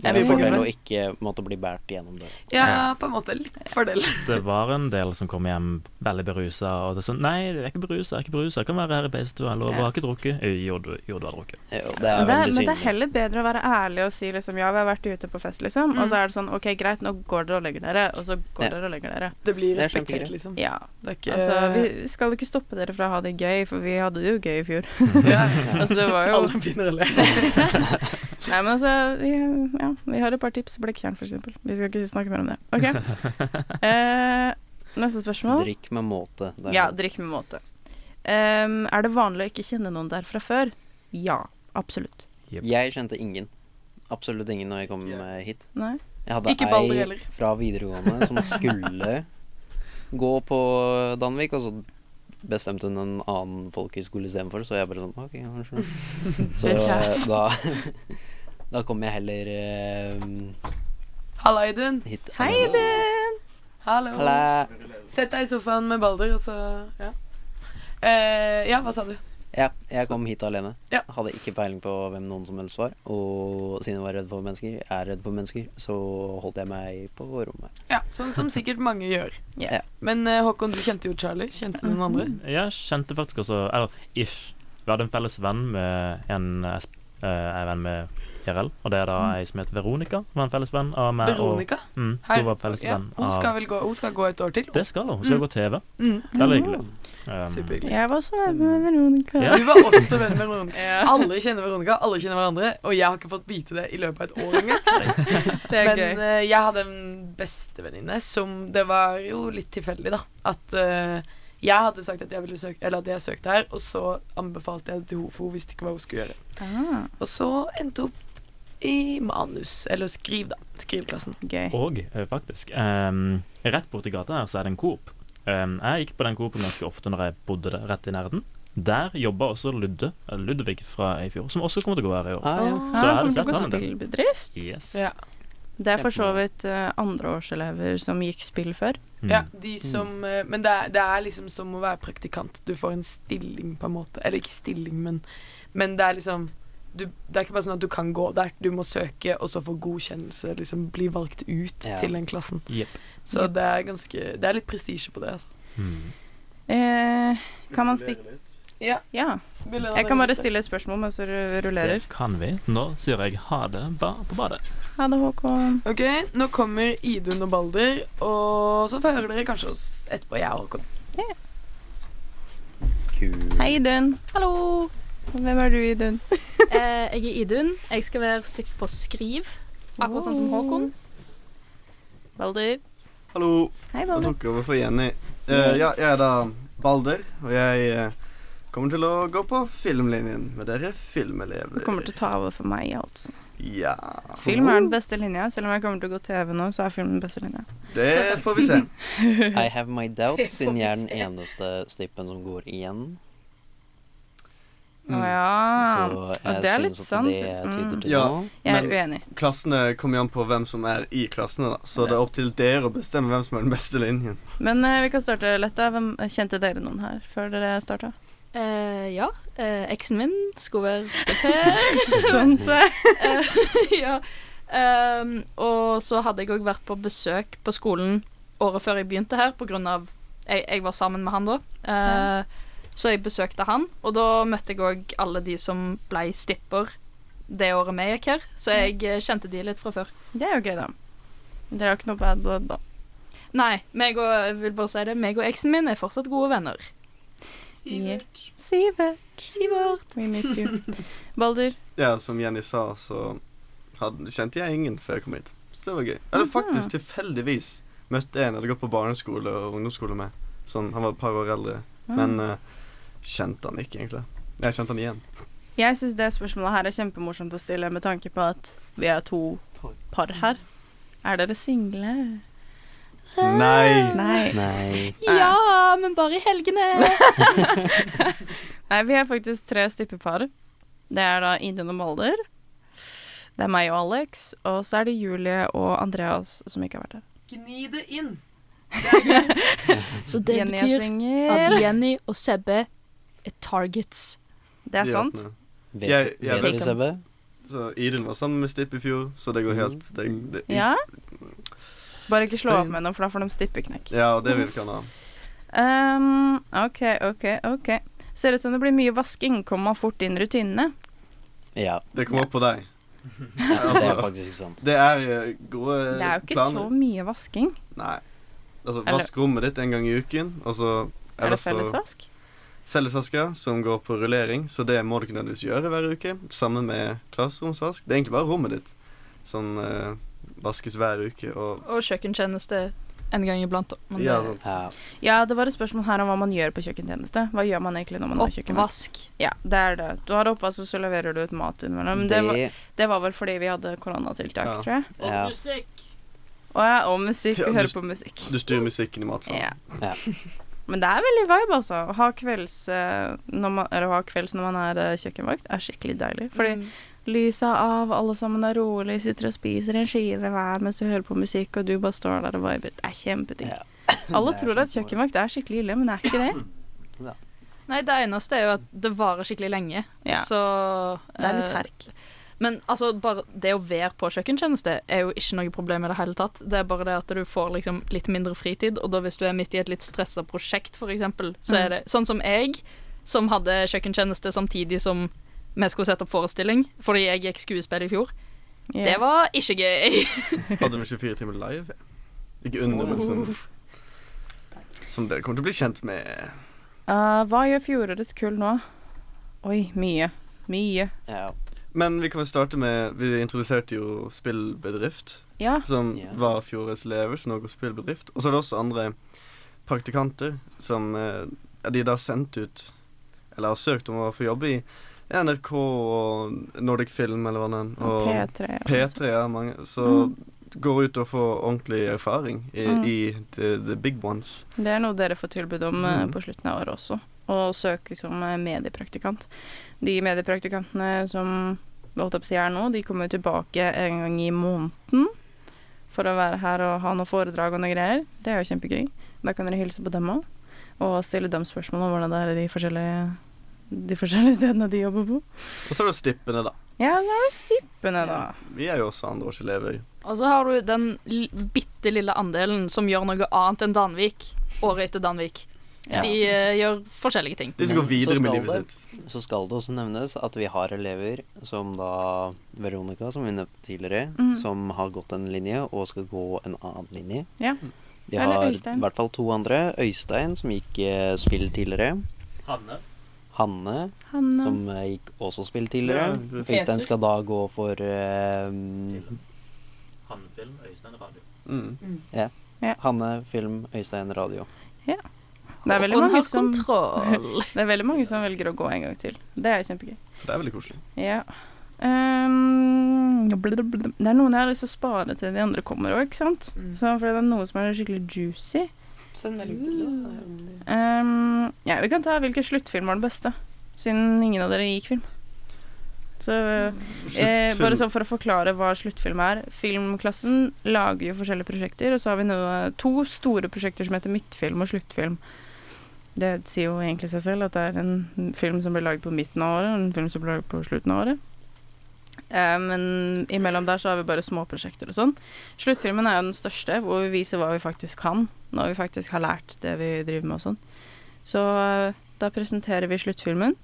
Speaker 4: det
Speaker 1: Ja,
Speaker 4: er
Speaker 1: vi
Speaker 4: en
Speaker 1: får
Speaker 4: fordel
Speaker 1: glemme.
Speaker 4: å ikke måtte bli båret gjennom det.
Speaker 1: Ja, på en måte litt fordel.
Speaker 2: Det var en del som kom hjem veldig berusa. Og det er sånn Nei, jeg er ikke berusa, jeg er ikke berusa. Jeg kan være her i beistua. Lover, jeg har ikke drukket. Eh, Jo, du, jo, du har drukket.
Speaker 4: Jo, det er
Speaker 3: Men det, er-
Speaker 4: veldig
Speaker 3: men det er
Speaker 4: synlig.
Speaker 3: heller bedre å være ærlig og si liksom ja, vi har vært ute på fest, liksom. Og så er det sånn OK, greit, nå går dere og legger dere, og så går
Speaker 4: Mm. Ja.
Speaker 3: dere og legger dere.
Speaker 1: Det blir
Speaker 4: Det er kjempegøy.
Speaker 1: respektert, liksom.
Speaker 3: Ja.
Speaker 1: Det er ikke
Speaker 3: Altså, vi skal ikke stoppe dere fra å ha det gøy, for vi hadde det jo gøy i fjor.
Speaker 1: ja,
Speaker 3: altså, det var jo
Speaker 1: Alle begynner å le.
Speaker 3: Nei, men altså, vi, ja, vi har et par tips. Blekkjern, for eksempel. Vi skal ikke snakke mer om det. OK. Eh, neste spørsmål.
Speaker 4: Drikk med måte. Det er
Speaker 3: Ja,
Speaker 4: sånn.
Speaker 3: drikk med måte. Ehm, er det vanlig å ikke kjenne noen der fra før? Ja. Absolutt.
Speaker 4: Jeg kjente ingen. Absolutt ingen når jeg kom eh, hit.
Speaker 3: Nei?
Speaker 4: Jeg hadde
Speaker 1: Ikke Balder
Speaker 4: ei
Speaker 1: heller.
Speaker 4: fra videregående som skulle gå på Danvik, og så bestemte hun en annen folkehøyskole istedenfor, så jeg bare sånn OK, jeg skjønner. Så eh,
Speaker 3: Beklager.
Speaker 4: da, da kom jeg heller eh,
Speaker 1: Halla, Idun.
Speaker 4: hit.
Speaker 3: Hei,
Speaker 4: alene.
Speaker 3: Idun!
Speaker 1: Hallo.
Speaker 4: Halla.
Speaker 1: Sett deg i sofaen med Balder, og så Ja. Eh, ja, hva sa du?
Speaker 4: Ja, jeg kom hit alene.
Speaker 1: Ja.
Speaker 4: Hadde ikke peiling på hvem noen som helst var. Og siden jeg var redd for mennesker, er redd for mennesker, så holdt jeg meg på rommet.
Speaker 1: Ja, Sånn som sikkert mange gjør.
Speaker 3: Ja. Mm.
Speaker 1: Men eh, Håkon, du kjente jo Charlie. Kjente du noen andre?
Speaker 2: Jeg kjente faktisk også Eller ish. Vi hadde en felles venn med en eh, sp- eh, en venn med IRL, og det er da ei som heter Veronica. Var en felles venn av meg
Speaker 1: Mm. Veronica?
Speaker 2: og mm,
Speaker 1: Hei.
Speaker 2: Hun var felles
Speaker 1: Ja,
Speaker 2: venn
Speaker 1: hun skal
Speaker 2: av
Speaker 1: vel gå, hun skal gå et år til.
Speaker 2: Det skal hun. Hun skal gå TV.
Speaker 1: Mm.
Speaker 2: Veldig hyggelig. Um,
Speaker 1: Superhyggelig.
Speaker 3: Jeg var også venn med Veronica.
Speaker 2: Ja.
Speaker 1: Du var også venn med Veronica.
Speaker 3: Ja.
Speaker 1: Alle kjenner Veronica, alle kjenner hverandre, og jeg har ikke fått vite det i løpet av et år engang.
Speaker 3: Det er
Speaker 1: Men
Speaker 3: gøy.
Speaker 1: eh, jeg hadde en bestevenninne som Det var jo litt tilfeldig, da. At eh, jeg hadde sagt at jeg ville søke, eller at jeg søkte her, og så anbefalte jeg det til henne, for hun visste ikke hva hun skulle gjøre.
Speaker 3: Ah,
Speaker 1: Og så endte hun opp i manus, eller skriv, da. Skriveklassen.
Speaker 3: gøy.
Speaker 2: Og eh, faktisk, ehm, rett borti gata her så er det en Coop. Ehm, jeg gikk på den Coopen ganske ofte når jeg bodde der, rett i nærheten. Der jobba også Ludde, eh, Ludvig fra i fjor, som også kommer til å gå her i år.
Speaker 4: Ah, ja.
Speaker 1: Åh.
Speaker 2: Så er
Speaker 3: Ah,
Speaker 2: det
Speaker 3: kommer til
Speaker 2: sett
Speaker 3: å gå
Speaker 2: han en del.
Speaker 3: spillbedrift.
Speaker 2: Yes.
Speaker 1: Ja.
Speaker 3: Det er for så
Speaker 4: Kjempebra.
Speaker 3: vidt eh, andreårselever som gikk spill før.
Speaker 2: Mm.
Speaker 1: Ja, de som eh, Men det er, det er liksom som å være praktikant. Du får en stilling, på en måte. Eller ikke stilling, men, men det er liksom du, Det er ikke bare sånn at du kan gå der. Du må søke, og så få godkjennelse. Liksom bli valgt ut
Speaker 4: Ja.
Speaker 1: til den klassen.
Speaker 2: Jepp.
Speaker 1: Så det er ganske Det er litt prestisje på det, altså.
Speaker 2: Mm.
Speaker 3: Eh, kan man stikke
Speaker 1: Ja.
Speaker 3: Ja. Jeg kan bare stille et spørsmål mens du rullerer.
Speaker 2: Det kan vi. Nå sier jeg ha det ba på badet.
Speaker 3: Ha det, Håkon.
Speaker 1: Ok, nå kommer Idun og Balder, og så får jeg høre dere kanskje oss etterpå, jeg og Håkon.
Speaker 4: Kul.
Speaker 3: Hei, Idun. Hallo. Hvem er du, Idun?
Speaker 5: Eh, jeg er Idun. Jeg skal være stikk på skriv, akkurat sånn som
Speaker 3: Oh.
Speaker 5: Håkon.
Speaker 3: Balder.
Speaker 6: Hallo,
Speaker 3: Hei,
Speaker 6: jeg
Speaker 3: Balder.
Speaker 6: tok over for Jenny. Eh, ja, jeg er da Balder, og jeg eh, kommer til å gå på filmlinjen med dere
Speaker 3: Du
Speaker 6: filmelever.
Speaker 3: kommer til å ta over for meg, altså.
Speaker 6: Ja,
Speaker 3: Film er den beste linja. Selv om jeg kommer til å gå TV nå, så er film den beste linja.
Speaker 6: det får vi se.
Speaker 4: I have my doubts,
Speaker 5: Det får
Speaker 4: siden
Speaker 5: vi
Speaker 4: jeg er den
Speaker 5: se.
Speaker 4: eneste stippen som går igjen.
Speaker 3: Å Ah, ja.
Speaker 4: Så
Speaker 3: ja,
Speaker 4: jeg
Speaker 3: det er litt
Speaker 4: synes at
Speaker 3: sant.
Speaker 4: det
Speaker 3: Mm.
Speaker 4: tyder til
Speaker 6: Ja,
Speaker 4: noe.
Speaker 3: Jeg er
Speaker 6: men-
Speaker 3: uenig.
Speaker 6: Klassene kommer jo an på hvem som er i klassene, da.
Speaker 3: Det
Speaker 6: Så
Speaker 3: er
Speaker 6: det er opp til dere å bestemme hvem som er den beste linjen.
Speaker 3: Men eh, vi kan starte lett. da. Hvem Kjente dere noen her før dere starta?
Speaker 5: Eh, ja. Eh, eksen min skulle være stikk her.
Speaker 3: Sånt. eh.
Speaker 5: ja. Ehm, og så hadde jeg òg vært på besøk på skolen året før jeg begynte her, pga. Jeg, jeg var sammen med han da. Eh, Så jeg besøkte han, og da møtte jeg òg alle de som ble stipper det året vi gikk her. Så jeg eh, kjente de litt fra før.
Speaker 3: Det er jo gøy, da. Dere har ikke noe bad blood, da.
Speaker 5: Nei, meg og, jeg vil bare si det, meg og eksen min er fortsatt gode venner.
Speaker 3: Sivert.
Speaker 5: Sivert.
Speaker 3: We miss you. Balder.
Speaker 6: Ja, som Jenny sa, så hadde, kjente jeg ingen før jeg kom hit. Så det var gøy. Eller
Speaker 3: Mhm.
Speaker 6: faktisk tilfeldigvis
Speaker 3: Ah.
Speaker 6: møtte en jeg hadde gått på barneskole og ungdomsskole med. Sånn, Han var et par år eldre. Men eh, kjente han ikke, egentlig. Jeg kjente han igjen.
Speaker 3: Jeg syns det spørsmålet her er kjempemorsomt å stille med tanke på at vi er to par her. Er dere single?
Speaker 6: Nei.
Speaker 3: Nei.
Speaker 4: Nei.
Speaker 5: Ja, men bare i helgene.
Speaker 3: Nei, vi er faktisk tre styppepar. Det er da Idun og Molder. Det er meg og Alex, og så er det Julie og Andreas som ikke har vært her.
Speaker 1: Gni det inn.
Speaker 5: Så det
Speaker 3: Jenny er
Speaker 5: betyr
Speaker 3: singel.
Speaker 5: at Jenny og Sebbe er targets.
Speaker 3: Det er
Speaker 6: De
Speaker 3: sant.
Speaker 6: åpne.
Speaker 4: Vet,
Speaker 6: Jeg- jeg
Speaker 4: vet
Speaker 5: vet-
Speaker 4: du, Sebbe?
Speaker 6: Så Idun var sammen med Stipp i fjor, så det går helt det, det,
Speaker 3: Mm. Ja. Bare ikke slå opp med dem, for da får de stippeknekk.
Speaker 6: ja, og det vil ikke han ha.
Speaker 3: Um, OK, OK, OK. Ser ut som det blir mye vasking. Kommer man fort inn rutinene?
Speaker 4: Ja,
Speaker 6: Det kommer opp på deg.
Speaker 4: det er
Speaker 6: Altså,
Speaker 4: faktisk sant.
Speaker 6: det er eh, gode planer.
Speaker 3: Det er jo ikke så mye vasking.
Speaker 6: Nei. Altså,
Speaker 3: Eller-
Speaker 6: vask rommet ditt en gang i uken, og så
Speaker 3: Er det
Speaker 6: ellers så-
Speaker 3: fellesvask?
Speaker 6: Fellesvasker som går på rullering, så det må du ikke nødvendigvis gjøre hver uke. Sammen med klasseromsvask. Det er egentlig bare rommet ditt som eh, vaskes hver uke. Og
Speaker 5: Og kjøkkentjeneste en gang iblant. da. Men
Speaker 6: ja, sånn.
Speaker 5: det-
Speaker 6: sånt.
Speaker 4: Ja.
Speaker 3: Ja, det var et spørsmål her om hva man gjør på kjøkkentjeneste. Hva gjør man egentlig når man har kjøkken?
Speaker 5: Oppvask.
Speaker 3: Ja, det er det. Du har oppvask, og så leverer du ut mat innimellom. Det, var-
Speaker 4: det
Speaker 3: det var vel fordi vi hadde koronatiltak,
Speaker 6: Ja.
Speaker 3: tror jeg.
Speaker 4: ja.
Speaker 3: Å ja, og musikk.
Speaker 6: Ja,
Speaker 3: Vi
Speaker 6: du-
Speaker 3: hører på musikk.
Speaker 6: Du styrer musikken i sånn. matsalen.
Speaker 3: Ja.
Speaker 4: Ja.
Speaker 3: Men det er veldig vibe, altså. Å ha kvelds, eh, når man, eller, å ha kvelds når man er eh, kjøkkenvakt, er skikkelig deilig. Fordi
Speaker 5: Mm.
Speaker 3: lyset er av, alle sammen er rolig, sitter og spiser en skive hver mens du hører på musikk, og du bare står der og viber. Det er kjempedigg.
Speaker 4: Ja.
Speaker 3: Alle
Speaker 4: Det er
Speaker 3: tror at
Speaker 4: kjempebra.
Speaker 3: kjøkkenvakt er skikkelig ille, men det er ikke det.
Speaker 5: Nei, det eneste er jo at det varer skikkelig lenge.
Speaker 3: Ja.
Speaker 5: Så
Speaker 3: Det er litt
Speaker 5: eh,
Speaker 3: herk.
Speaker 5: Men altså, bare det å være på kjøkkentjeneste er jo ikke noe problem i det hele tatt. Det er bare det at du får liksom litt mindre fritid, og da hvis du er midt i et litt stressa prosjekt, for eksempel, så
Speaker 3: Mm.
Speaker 5: er det sånn som jeg, som hadde kjøkkentjeneste samtidig som vi skulle sette opp forestilling, fordi jeg gikk skuespill i fjor.
Speaker 3: Ja.
Speaker 5: Eh, Det var ikke gøy.
Speaker 6: Hadde vi 24 timer live? Ikke under, men som, som dere kommer til å bli kjent med.
Speaker 3: Eh, hva gjør fjorårets kull nå? Oi, mye. Mye.
Speaker 4: Ja.
Speaker 6: Men vi kan vel starte med Vi introduserte jo Spillbedrift,
Speaker 3: Ja.
Speaker 6: som
Speaker 4: Ja.
Speaker 6: var fjorårets elever, som nå går spillbedrift. Og så er det også andre praktikanter som eh, de da har sendt ut, eller har søkt om å få jobbe i NRK og Nordic Film eller hva det er.
Speaker 3: Og
Speaker 6: Og
Speaker 3: P3.
Speaker 6: P3 er mange. Så går ut og får ordentlig erfaring i,
Speaker 3: Mm.
Speaker 6: i the, the big ones.
Speaker 3: Det er noe dere får tilbud om eh,
Speaker 6: Mm.
Speaker 3: på slutten av året også. Å søke som eh, mediepraktikant. De mediepraktikantene som holdt opp å si her nå, de kommer jo tilbake en gang i måneden for å være her og ha noe foredrag og noe greier. Det er jo kjempegøy. Da kan dere hilse på dem òg, og stille dem spørsmål om hvordan det er i de forskjellige, de forskjellige stedene de jobber på.
Speaker 6: Og så er det stippene, da.
Speaker 3: Ja, så er det stippene, da.
Speaker 6: Vi er jo også andreårselever.
Speaker 5: Og så har du den l bitte lille andelen som gjør noe annet enn Danvik året etter Danvik.
Speaker 3: Ja.
Speaker 5: De eh, gjør forskjellige ting.
Speaker 6: De som
Speaker 4: Men
Speaker 6: går
Speaker 4: så
Speaker 6: videre med
Speaker 4: skal
Speaker 6: livet
Speaker 4: det-
Speaker 6: sitt.
Speaker 4: Så skal det også nevnes at vi har elever som da Veronica, som vi nevnte tidligere,
Speaker 3: Mhm.
Speaker 4: som har gått en linje og skal gå en annen linje.
Speaker 3: Ja.
Speaker 4: De
Speaker 3: Eller
Speaker 4: har
Speaker 3: Øystein.
Speaker 4: i hvert fall to andre. Øystein, som gikk eh, spill tidligere.
Speaker 2: Hanne.
Speaker 4: Hanne,
Speaker 3: Han, eh,
Speaker 4: som eh, gikk også spill tidligere.
Speaker 6: Ja,
Speaker 4: Øystein skal da gå for eh,
Speaker 2: Hannefilm, Øystein Radio.
Speaker 6: Mm.
Speaker 4: Hanne, film, Øystein, radio.
Speaker 3: det, er veldig
Speaker 5: Håkon
Speaker 3: mange
Speaker 5: har
Speaker 3: som,
Speaker 5: kontroll.
Speaker 3: det er veldig mange som velger å gå en gang til. Det er kjempegøy.
Speaker 6: For det er veldig koselig.
Speaker 3: Ja. Ehm, blub, blub. det er noen jeg har lyst til å spare til de andre kommer òg, ikke sant?
Speaker 1: Mm.
Speaker 3: Så, for det er noe som er skikkelig juicy.
Speaker 1: Send melding til det.
Speaker 3: Ehm, ja, vi kan ta hvilken sluttfilm var den beste, siden ingen av dere gikk film. Så eh, Bare sånn for å forklare hva sluttfilm er. Filmklassen lager jo forskjellige prosjekter, og så har vi noe, to store prosjekter som heter midtfilm og sluttfilm. Det sier jo egentlig seg selv at det er en film som blir laget på midten av året, og en film som blir laget på slutten av året. Eh, men imellom der så har vi bare småprosjekter og sånn. Sluttfilmen er jo den største, hvor vi viser hva vi faktisk kan, når vi faktisk har lært det vi driver med og sånn. Så eh, da presenterer vi sluttfilmen.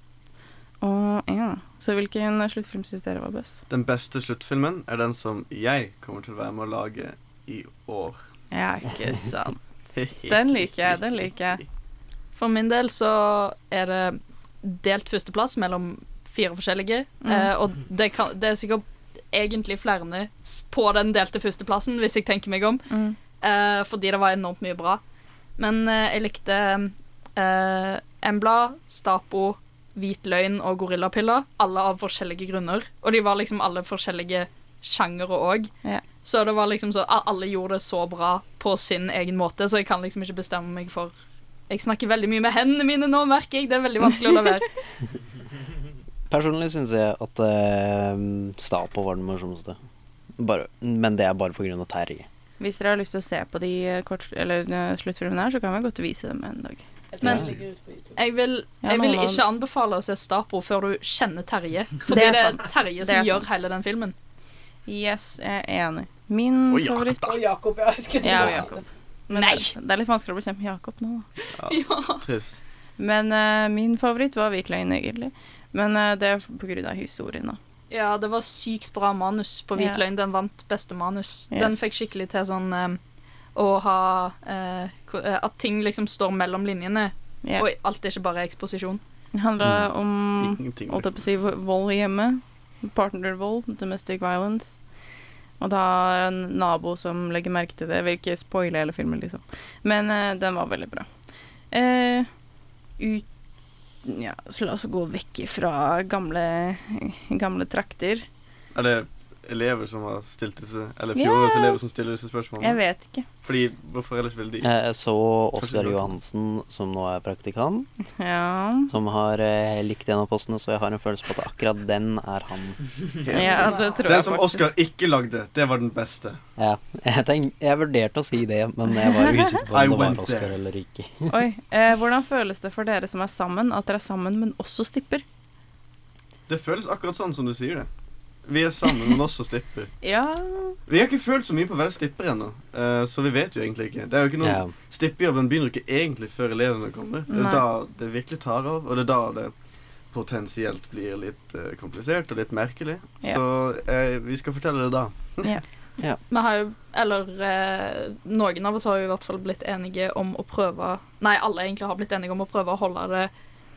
Speaker 3: Og ja Så hvilken sluttfilm syns dere var best?
Speaker 6: Den beste sluttfilmen er den som jeg kommer til å være med å lage i år.
Speaker 3: Ja, ikke sant. Den liker jeg, den liker jeg.
Speaker 5: For min del så er det delt førsteplass mellom fire forskjellige.
Speaker 3: Mm.
Speaker 5: Eh, og det, kan, det er sikkert egentlig flere s- på den delte førsteplassen, hvis jeg tenker meg om.
Speaker 3: Mm.
Speaker 5: Eh, fordi det var enormt mye bra. Men eh, jeg likte eh, Embla, Stapo, Hvit løgn og Gorillapiller. Alle av forskjellige grunner. Og de var liksom alle forskjellige sjangere òg.
Speaker 3: Ja.
Speaker 5: Så det var liksom så, a- alle gjorde det så bra på sin egen måte, så jeg kan liksom ikke bestemme meg for Jeg snakker veldig mye med hendene mine nå, merker jeg. Det er veldig vanskelig å la være.
Speaker 4: Personlig syns jeg at eh, Stapo var den morsomste. Bare, men det er bare pga. Terje.
Speaker 3: Hvis dere har lyst til å se på de eh, kort, eller, eh, sluttfilmene her, så kan vi godt vise dem en dag.
Speaker 5: Men jeg vil,
Speaker 3: Ja,
Speaker 5: jeg vil
Speaker 3: noen av-
Speaker 5: ikke anbefale å se Stapo før du kjenner Terje. For
Speaker 3: Det
Speaker 5: det
Speaker 3: er
Speaker 5: er
Speaker 3: sant.
Speaker 5: Terje
Speaker 3: Det
Speaker 5: som
Speaker 3: er
Speaker 5: gjør
Speaker 3: sant.
Speaker 5: hele den filmen.
Speaker 3: Yes, jeg er enig. Min
Speaker 6: Og Jakob,
Speaker 3: favoritt
Speaker 6: da.
Speaker 1: Og Jakob, ja. Jeg skulle til
Speaker 3: Ja,
Speaker 1: å
Speaker 3: og
Speaker 1: si
Speaker 3: Jakob. Men
Speaker 5: Nei.
Speaker 3: Det, det er litt vanskelig å bestemme Jakob nå. da.
Speaker 5: Ja.
Speaker 6: Trist.
Speaker 3: Men eh, min favoritt var Hvit løgn, egentlig. Men eh, det er på grunn av historien, da.
Speaker 5: ja, det var sykt bra manus på Hvit
Speaker 3: Ja.
Speaker 5: løgn. Den vant beste manus. Den
Speaker 3: Yes.
Speaker 5: fikk skikkelig til sånn eh, å ha eh, ko- eh, At ting liksom står mellom linjene,
Speaker 3: Ja.
Speaker 5: og alt er ikke bare eksposisjon.
Speaker 3: Det handla om
Speaker 6: Ingenting.
Speaker 3: holdt jeg på å si, vo- vold i hjemmet. Partnervold, domestic violence. Og da en nabo som legger merke til det. Jeg vil ikke spoile hele filmen, liksom. Men eh, den var veldig bra. Eh, ut Ja, så la oss gå vekk fra gamle, gamle trakter.
Speaker 6: Er det elever som har stilt disse Eller
Speaker 3: Ja.
Speaker 6: fjorårets elever som stiller disse
Speaker 3: Jeg
Speaker 6: spørsmålene?
Speaker 3: vet ikke.
Speaker 6: Fordi hvorfor ellers ville de
Speaker 4: Eh, Jeg så Oskar Johansen, som nå er praktikant,
Speaker 3: Ja.
Speaker 4: som har eh, likt en av postene, så jeg har en følelse på at akkurat den er han.
Speaker 3: ja det tror
Speaker 6: Den
Speaker 3: jeg
Speaker 6: som
Speaker 3: faktisk.
Speaker 6: Oscar ikke lagde, det var den beste.
Speaker 4: Ja, jeg, tenk, jeg vurderte å si det, men jeg var usikker på
Speaker 6: I
Speaker 4: om det
Speaker 6: went
Speaker 4: var Oskar
Speaker 6: there.
Speaker 4: eller ikke.
Speaker 3: Oi. Eh, hvordan føles det for dere som er sammen, at dere er sammen, men også stipper?
Speaker 6: Det føles akkurat sånn som du sier det. Vi er sammen, men også stipper.
Speaker 3: Ja
Speaker 6: Vi har ikke følt så mye på å være stipper ennå, eh, så vi vet jo egentlig ikke. Det er jo ikke noen
Speaker 4: Ja.
Speaker 6: Stippejobben begynner ikke egentlig før elevene kommer. Det
Speaker 3: Nei.
Speaker 6: er da det virkelig tar av, og det er da det potensielt blir litt eh, komplisert og litt merkelig.
Speaker 3: Ja.
Speaker 6: Så eh, vi skal fortelle det da.
Speaker 5: Vi har jo, eller eh, noen av oss har jo i hvert fall blitt enige om å prøve Nei, alle egentlig har blitt enige om å prøve å holde det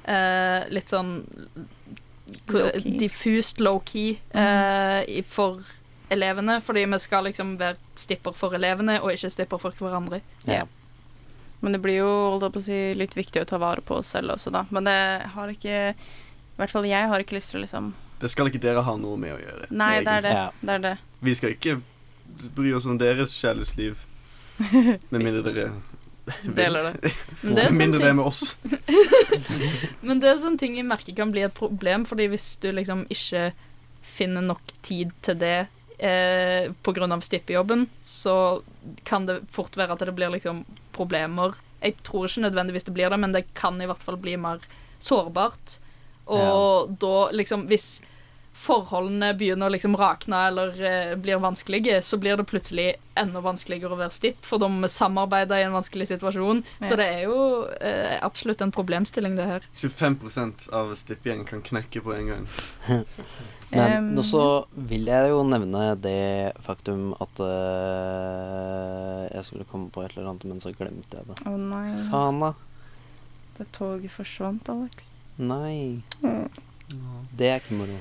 Speaker 5: eh, litt sånn
Speaker 3: Low-key.
Speaker 5: diffust low-key
Speaker 3: Mhm.
Speaker 5: eh, i- for elevene. Fordi vi skal liksom være stipper for elevene, og ikke stipper for hverandre.
Speaker 4: Ja.
Speaker 3: Men det blir jo holdt jeg på å si, litt viktig å ta vare på oss selv også, da. Men det har ikke I hvert fall jeg har ikke lyst til å liksom
Speaker 6: Det skal ikke dere ha noe med å gjøre.
Speaker 3: Nei, det er det.
Speaker 4: Ja.
Speaker 3: Det er det.
Speaker 6: egentlig. Vi skal ikke bry oss om deres kjærlighetsliv. Med mindre dere
Speaker 3: Deler det.
Speaker 5: Men det
Speaker 6: Med
Speaker 5: er sånn
Speaker 6: mindre det er
Speaker 5: ting,
Speaker 6: med oss.
Speaker 5: men det er sånn ting jeg merker kan bli et problem, fordi hvis du liksom ikke finner nok tid til det eh, på grunn av stippejobben, så kan det fort være at det blir liksom problemer. Jeg tror ikke nødvendigvis det blir det, men det kan i hvert fall bli mer sårbart. Og da liksom Hvis forholdene begynner å liksom rakne eller eh, blir vanskelige, så blir det plutselig enda vanskeligere å være stipp, for de samarbeider i en vanskelig situasjon.
Speaker 3: Ja.
Speaker 5: Så det er jo eh, absolutt en problemstilling, det her.
Speaker 6: 25 av stippegjengen kan knekke på en gang.
Speaker 4: Men
Speaker 3: Um,
Speaker 4: nå så vil jeg jo nevne det faktum at eh, jeg skulle komme på et eller annet, men så glemte jeg det.
Speaker 3: Å nei.
Speaker 4: Faen, da.
Speaker 3: Det toget forsvant, Alex.
Speaker 4: Nei.
Speaker 3: Mm.
Speaker 4: Det er ikke moro.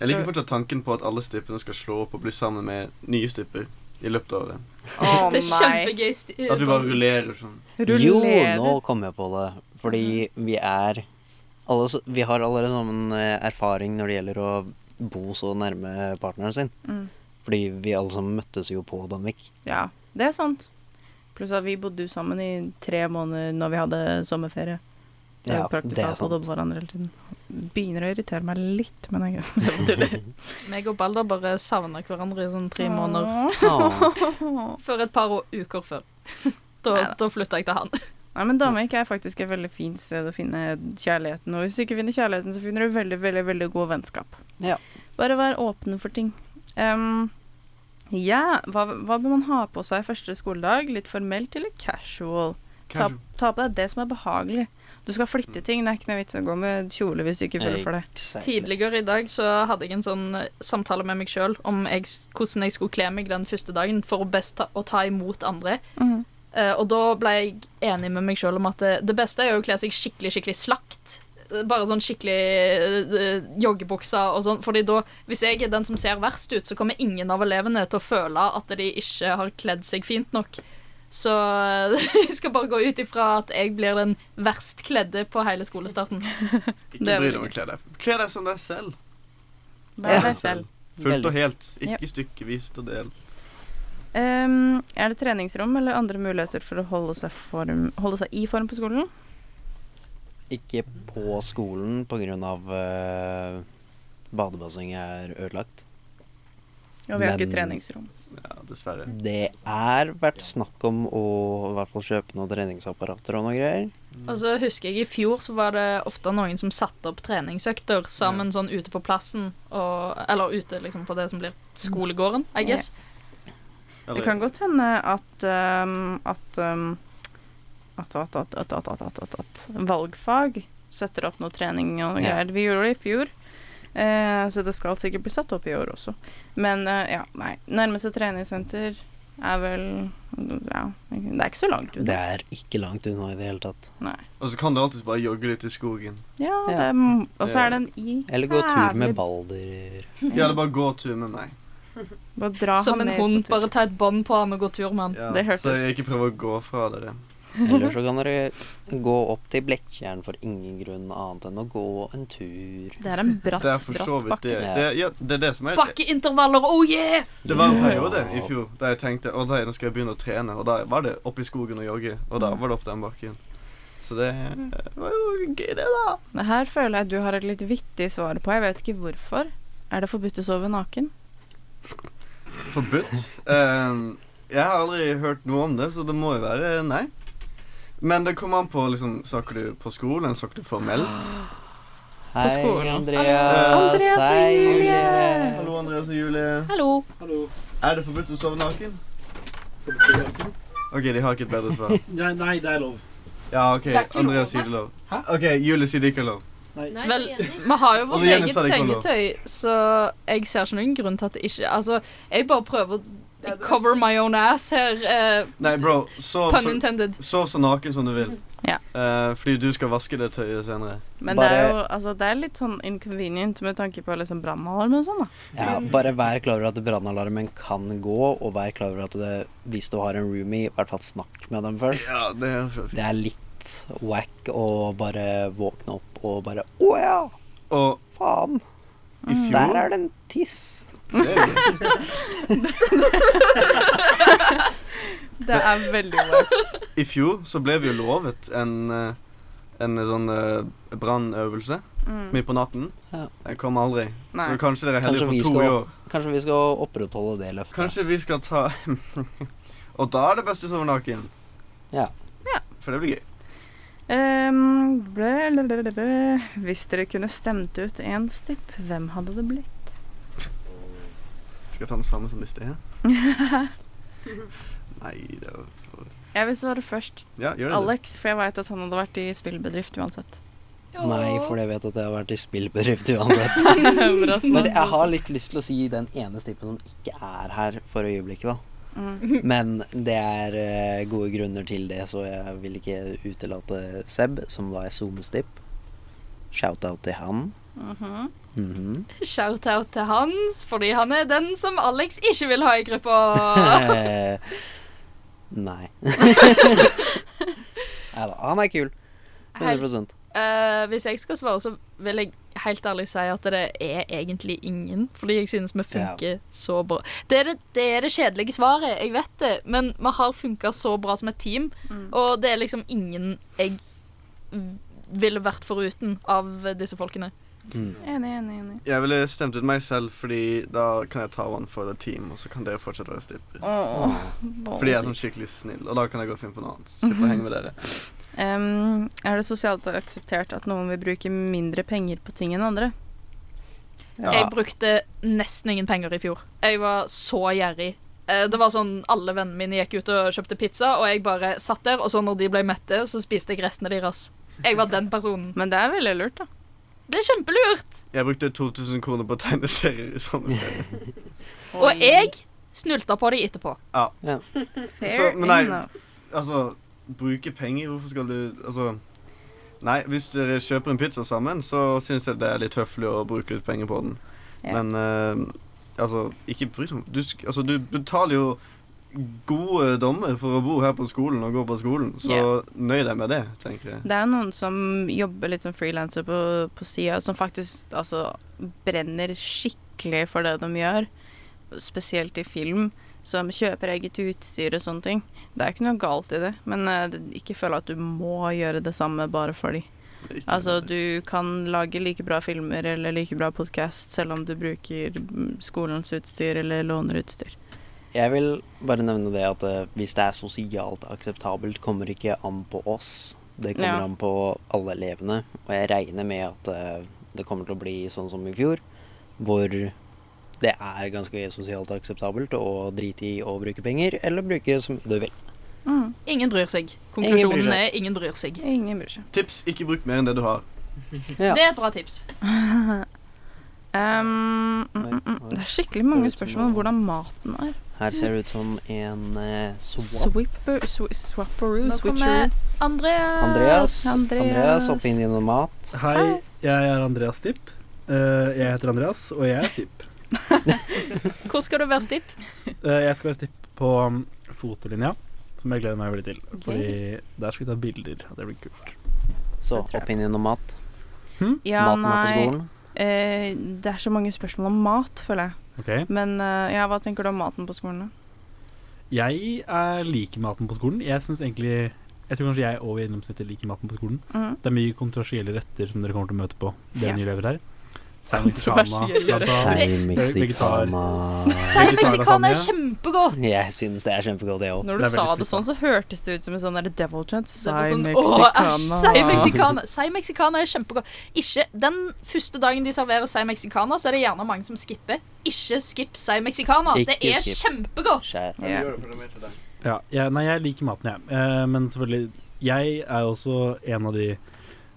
Speaker 6: Jeg liker fortsatt tanken på at alle stippene skal slå opp og bli sammen med nye stipper i løpet av året.
Speaker 3: Å
Speaker 5: det er
Speaker 3: nei.
Speaker 5: kjempegøy. sti-
Speaker 6: At du bare rullerer sånn.
Speaker 4: Jo,
Speaker 3: Rullerer.
Speaker 4: nå kom jeg på det. Fordi vi er alle, s- Vi har allerede sammen eh, erfaring når det gjelder å bo så nærme partneren sin.
Speaker 3: Mm.
Speaker 4: Fordi vi alle sammen møttes jo på Danvik.
Speaker 3: Ja, det er sant. Pluss at vi bodde jo sammen i tre måneder når vi hadde sommerferie. Det er
Speaker 4: Ja,
Speaker 3: jo praktisk
Speaker 4: det er
Speaker 3: talt å holde
Speaker 4: sant.
Speaker 3: på hverandre hele tiden. Begynner å irritere meg litt, men jeg det var tull.
Speaker 5: Meg og Balder bare savna hverandre i sånn tre måneder.
Speaker 4: Åh.
Speaker 5: Før et par å- uker før. Da,
Speaker 3: Neida.
Speaker 5: da flytta jeg til han.
Speaker 3: Nei, men Danmark er faktisk et veldig fint sted å finne kjærligheten. Og hvis du ikke finner kjærligheten, så finner du veldig, veldig, veldig god vennskap.
Speaker 4: Ja.
Speaker 3: Bare vær åpen for ting. Ehm, ja, hva, hva bør man ha på seg første skoledag? Litt formelt eller casual? Ta,
Speaker 6: Casual.
Speaker 3: ta på deg det som er behagelig. Du skal flytte ting. Det er ikke noe vits å gå med kjole hvis du ikke føler for det.
Speaker 5: Tidligere i dag så hadde jeg en sånn samtale med meg sjøl om jeg, hvordan jeg skulle kle meg den første dagen for å best ta, å ta imot andre.
Speaker 3: Mhm.
Speaker 5: Eh, og da ble jeg enig med meg sjøl om at eh, det, det beste er jo å kle seg skikkelig, skikkelig slakt. Eh, Bare sånn skikkelig eh, joggebukser og sånn. Fordi da, hvis jeg er den som ser verst ut, så kommer ingen av elevene til å føle at de ikke har kledd seg fint nok. Så eh, jeg skal bare gå ut ifra at jeg blir den verst kledde på hele skolestarten.
Speaker 6: Ikke
Speaker 3: Det er
Speaker 6: bry
Speaker 3: veldig
Speaker 6: deg om å kle deg. Kle deg som deg selv.
Speaker 3: Vær
Speaker 6: Ja.
Speaker 3: deg selv.
Speaker 6: Fullt og helt.
Speaker 3: Ja.
Speaker 6: Ikke stykkevis og del.
Speaker 3: Ehm, er det treningsrom eller andre muligheter for å holde seg, form, holde seg i form på skolen?
Speaker 4: Ikke på skolen pga. Uh, badebassenget er ødelagt.
Speaker 3: Og vi har ikke
Speaker 4: Men-
Speaker 3: treningsrom.
Speaker 6: Ja, dessverre.
Speaker 4: Det er vært snakk om å i hvert fall kjøpe noen treningsapparater og noe greier.
Speaker 5: Og så husker jeg i fjor så var det ofte noen som satte opp treningsøkter sammen sånn ute på plassen. Og, eller ute liksom på det som blir
Speaker 6: Mm.
Speaker 5: skolegården, I guess.
Speaker 3: Det kan godt hende at ehm, at, ehm, at, at, at, at, at, at, at, at, at valgfag setter opp noe trening og noe
Speaker 4: Ja.
Speaker 3: greier. Vi gjorde det i fjor, eh, så det skal sikkert bli satt opp i år også. Men eh, ja, nei. Nærmeste treningssenter er vel Ja, det er ikke så langt
Speaker 4: Det
Speaker 3: unna.
Speaker 4: er ikke langt unna i det hele tatt.
Speaker 6: Og så kan du alltids bare jogge litt i skogen.
Speaker 3: Ja,
Speaker 4: Ja.
Speaker 3: det er- og så er det en i
Speaker 4: Eller gå tur med Balder.
Speaker 6: Ja, eller bare gå tur med meg.
Speaker 3: Bare dra
Speaker 5: Som
Speaker 3: han
Speaker 5: en
Speaker 3: med på
Speaker 5: hund.
Speaker 3: tur.
Speaker 5: Bare ta et bånd på han og gå tur med han.
Speaker 6: Ja,
Speaker 3: Det hørtes-
Speaker 6: Så jeg ikke prøver å gå fra dere.
Speaker 4: Eller så kan dere gå opp til Blekkjern for ingen grunn annet enn å gå en tur.
Speaker 3: Det er en bratt,
Speaker 6: Det er for så
Speaker 3: bratt
Speaker 6: vidt
Speaker 3: bakke.
Speaker 6: det.
Speaker 4: bakke.
Speaker 6: Det, ja, det er det som er
Speaker 5: Bakkeintervaller, oh yeah!
Speaker 6: Det var en periode i fjor da jeg tenkte å nei, nå skal jeg begynne å trene. Og da var det oppe i skogen og jogge.
Speaker 3: Mm.
Speaker 6: Og da var det opp den bakken. Så det var jo gøy, det, da.
Speaker 3: Det her føler jeg du har et litt vittig svar på. Jeg vet ikke hvorfor. Er det forbudt å sove naken?
Speaker 6: Forbudt. Ehm, jeg har aldri hørt noe om det, så det må jo være nei. Men det kommer an på liksom, Snakker du på skolen? Snakker du formelt?
Speaker 3: Ah.
Speaker 4: Hei,
Speaker 3: skolen.
Speaker 4: Andreas.
Speaker 3: Andreas og
Speaker 4: Hei,
Speaker 3: Julie.
Speaker 6: Hallo, Andreas og Julie.
Speaker 5: Hallo.
Speaker 7: Hallo.
Speaker 6: Er det forbudt å sove naken? OK, de har ikke et bedre svar.
Speaker 7: Nei, nei, det er lov.
Speaker 6: Ja, OK.
Speaker 5: Det er ikke lov,
Speaker 6: Andreas sier det lov. OK, Julie sier det ikke er lov.
Speaker 5: Vel, vi har jo
Speaker 6: Og
Speaker 5: vårt
Speaker 6: det gjennes
Speaker 5: eget
Speaker 6: er det ikke lov.
Speaker 5: sengetøy, så jeg ser ikke noen grunn til at det ikke Altså, jeg bare prøver å cover my own ass her. eh,
Speaker 6: Nei, bro. Sov
Speaker 5: pun
Speaker 6: så,
Speaker 5: intended.
Speaker 6: sov så naken som du vil.
Speaker 3: Ja.
Speaker 6: Eh, fordi du skal vaske det tøyet senere.
Speaker 3: Men
Speaker 4: Bare-
Speaker 3: det er jo altså, det er litt sånn inconvenient med tanke på liksom brannalarm og sånn, da.
Speaker 4: Ja, bare vær klar over at brannalarmen kan gå, og vær klar over at det, hvis du har en roomie, i hvert fall snakk med dem først.
Speaker 6: Ja, det er fint.
Speaker 4: Det er litt wack å bare våkne opp og bare Å ja,
Speaker 6: Og
Speaker 4: faen!
Speaker 6: i
Speaker 4: Mm, Der
Speaker 6: fjor
Speaker 4: er det en tiss!
Speaker 6: det er jo-
Speaker 3: Det er veldig weird.
Speaker 6: I fjor så ble vi jo lovet en, eh, en sånn eh, brannøvelse
Speaker 3: Mm.
Speaker 6: midt på natten.
Speaker 4: Ja.
Speaker 6: Den kom aldri.
Speaker 3: Nei.
Speaker 6: Så kanskje dere er
Speaker 4: Kanskje
Speaker 6: heldige
Speaker 4: vi
Speaker 6: for to
Speaker 4: skal-
Speaker 6: i år.
Speaker 4: Kanskje vi skal opprettholde det løftet.
Speaker 6: Kanskje vi skal ta Og da er det best å sove naken.
Speaker 4: Ja.
Speaker 3: Ja.
Speaker 6: For det blir gøy.
Speaker 3: Ehm, ble- ble- ble- ble- ble. Hvis dere kunne stemt ut én stipp, hvem hadde det blitt?
Speaker 6: Skal jeg ta den samme som i sted? Nei, det er jo for
Speaker 3: Jeg vil svare først.
Speaker 6: Ja, gjør det.
Speaker 3: Alex, for jeg veit at han hadde vært i spillbedrift uansett.
Speaker 4: Nei, for jeg vet at jeg har vært i spillbedrift uansett.
Speaker 3: Bra
Speaker 4: Men
Speaker 3: svar.
Speaker 4: jeg har litt lyst til å si den ene stippen som ikke er her for øyeblikket, da.
Speaker 3: Mm.
Speaker 4: Men det er eh, gode grunner til det, så jeg vil ikke utelate Seb, som var i SoMe-stipp. Shout-out til han.
Speaker 3: Mhm.
Speaker 4: Mhm.
Speaker 5: Shout-out til Hans, fordi han er den som Alex ikke vil ha i gruppa.
Speaker 4: Eh, Nei. Nei da. Han er kul. 100
Speaker 5: Eh, hvis jeg skal svare, så vil jeg helt ærlig si at det er egentlig ingen. Fordi jeg synes vi funker så bra. Det er det, det er det kjedelige svaret, jeg vet det, men vi har funka så bra som et team.
Speaker 3: Mm.
Speaker 5: Og det er liksom ingen jeg ville vært foruten av disse folkene.
Speaker 4: Mm.
Speaker 3: Enig, enig, enig.
Speaker 6: Jeg ville stemt ut meg selv, fordi da kan jeg ta one for the team, og så kan dere fortsatt være stipper.
Speaker 3: Åh,
Speaker 6: Fordi jeg er sånn skikkelig snill, og da kan jeg gå og finne på noe annet. Slippe å henge med dere.
Speaker 3: Ehm, er det sosialt akseptert at noen vil bruke mindre penger på ting enn andre?
Speaker 5: Jeg brukte nesten ingen penger i fjor. Jeg var så gjerrig. Eh, Det var sånn, Alle vennene mine gikk ut og kjøpte pizza, og jeg bare satt der. Og så når de ble mette, så spiste jeg restene deres. Jeg var den personen.
Speaker 3: Men det er veldig lurt, da.
Speaker 5: Det er kjempelurt.
Speaker 6: Jeg brukte 2000 kroner på tegneserier i sånne ferier.
Speaker 5: Og jeg snulta på de etterpå.
Speaker 6: Så, men nei. Altså, bruke penger, hvorfor skal du Altså Nei, hvis dere kjøper en pizza sammen, så syns jeg det er litt høflig å bruke litt penger på den.
Speaker 3: Ja.
Speaker 6: Men eh, altså, ikke bruk dem. Du, sk- altså, du betaler jo gode dommer for å bo her på skolen og gå på skolen, så
Speaker 3: Ja.
Speaker 6: nøy deg med det, tenker jeg.
Speaker 3: Det er noen som jobber litt som frilanser på, på sida, som faktisk altså, brenner skikkelig for det de gjør. Spesielt i film, som kjøper eget utstyr og sånne ting. Det er ikke noe galt i det, men eh, det- ikke føl at du må gjøre det samme bare for de.
Speaker 6: Ikke
Speaker 3: Altså,
Speaker 6: nødvendig.
Speaker 3: du kan lage like bra filmer eller like bra podkast selv om du bruker mm, skolens utstyr eller låner utstyr.
Speaker 4: Jeg vil bare nevne det at eh, hvis det er sosialt akseptabelt, kommer ikke an på oss. Det kommer
Speaker 3: Ja.
Speaker 4: an på alle elevene. Og jeg regner med at eh, det kommer til å bli sånn som i fjor, hvor det er ganske sosialt akseptabelt å drite i å bruke penger, eller bruke som du vil.
Speaker 3: Mm.
Speaker 5: Ingen bryr seg.
Speaker 4: Ingen bryr seg.
Speaker 5: Konklusjonen er ingen bryr seg.
Speaker 3: Ingen bryr seg.
Speaker 6: Tips ikke bruk mer enn det du har.
Speaker 4: Ja.
Speaker 5: Det er et bra tips.
Speaker 3: Um, mm,
Speaker 4: Nei,
Speaker 3: mm, mm.
Speaker 4: nei.
Speaker 3: Det er skikkelig mange
Speaker 4: Høres ut som
Speaker 3: spørsmål om
Speaker 4: noe-
Speaker 3: hvordan maten er.
Speaker 4: Her ser det ut som en eh, swap.
Speaker 3: Swipper, sw swapperoo,
Speaker 5: Nå
Speaker 3: switcheroo.
Speaker 5: kommer Andrea.
Speaker 4: Andreas,
Speaker 3: Andreas.
Speaker 4: Andreas opp inn i noe mat.
Speaker 7: Hei, jeg er Andreas Stipp. Eh, jeg heter Andreas, og jeg er Stipp.
Speaker 5: Hvor skal du være stipp?
Speaker 7: Eh, jeg skal være Stipp på um, fotolinja, som jeg gleder meg veldig til. Fordi der skal vi ta bilder, og det blir kult.
Speaker 4: Så
Speaker 3: Det tror jeg.
Speaker 4: opp inn i noe mat.
Speaker 3: Ja,
Speaker 4: Maten er på
Speaker 3: nei
Speaker 4: skolen.
Speaker 3: eh, Det er så mange spørsmål om mat, føler jeg.
Speaker 7: Ok.
Speaker 3: Men eh, ja, hva tenker du om maten på skolen? da?
Speaker 7: Jeg eh, liker maten på skolen. Jeg synes egentlig Jeg tror kanskje jeg over gjennomsnittet liker maten på skolen.
Speaker 3: Mm.
Speaker 7: Det er mye kontroversielle retter som dere kommer til å møte på, dere
Speaker 3: Ja.
Speaker 7: nye elever her. Salmon
Speaker 3: Kontroversielle
Speaker 7: drama, altså-
Speaker 4: Hei,
Speaker 5: Det-
Speaker 7: vegetar.
Speaker 4: Mexicana.
Speaker 5: Si mexicana er
Speaker 7: lasagne.
Speaker 5: kjempegodt.
Speaker 4: Jeg syns det er kjempegodt, jeg òg.
Speaker 3: Når du
Speaker 7: Det er
Speaker 3: sa
Speaker 7: veldig
Speaker 3: det sånn, så hørtes det ut som en sånn der devil chant.
Speaker 5: Det var
Speaker 3: Sai
Speaker 5: sånn, Åh, æsj, si
Speaker 3: mexicana.
Speaker 5: mexicana. Si mexicana er kjempegodt. Ikke Den første dagen de serverer si mexicana, så er det gjerne mange som skipper. Ikke skipp si mexicana. Det
Speaker 4: Ikke
Speaker 5: er
Speaker 4: skip.
Speaker 5: kjempegodt.
Speaker 3: Ja.
Speaker 7: Ja, jeg, nei, jeg liker maten, jeg. Eh, men selvfølgelig Jeg er også en av de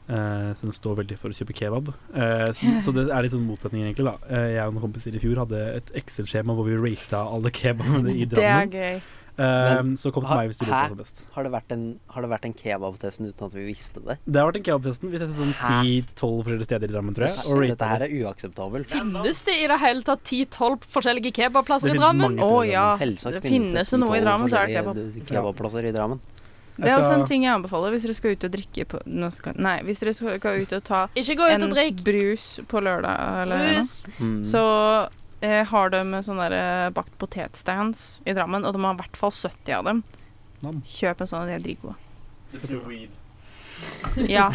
Speaker 7: eh, som står veldig for å kjøpe kebab. Eh, så, så det er litt sånn motsetninger, egentlig. da eh, Jeg og noen kompiser i fjor hadde et Excel-skjema hvor vi rata alle kebabene i
Speaker 3: Det er
Speaker 7: Drammen.
Speaker 3: gøy.
Speaker 7: Eh, så kom til meg hvis du lurer
Speaker 4: Hæ?
Speaker 7: på hva som er best.
Speaker 4: Har det vært en, har det vært en kebabtesten sånn uten at vi visste det?
Speaker 7: Det har vært en kebabtesten. Vi testet sånn
Speaker 4: Hæ?
Speaker 7: 10-12 forskjellige steder i Drammen, tror jeg. Og
Speaker 4: Dette her
Speaker 7: ratet det.
Speaker 4: er uakseptabelt.
Speaker 5: Finnes det i det hele tatt 10-12 forskjellige kebabplasser i
Speaker 7: Det finnes
Speaker 5: Drammen?
Speaker 7: mange
Speaker 3: Å
Speaker 7: flere
Speaker 3: ja.
Speaker 4: Selvsagt
Speaker 3: Det finnes det noe i
Speaker 4: 10-12
Speaker 3: Drammen, så er det kebab.
Speaker 4: forskjellige kebabplasser i Drammen.
Speaker 3: Det er også
Speaker 7: skal-
Speaker 3: en ting jeg anbefaler hvis dere skal ut og drikke på nå skal, Nei, hvis dere skal skal ut og ta
Speaker 5: Ikke gå ut
Speaker 3: en
Speaker 5: og drikk.
Speaker 3: brus på lørdag eller noe.
Speaker 5: Brus.
Speaker 4: Mm.
Speaker 3: Så eh, har de sånne der, eh, bakt potetstands i Drammen, og de har i hvert fall 70 av dem.
Speaker 7: Nam.
Speaker 3: Kjøp en sånn, de er dritgode.
Speaker 6: weed.
Speaker 3: Ja.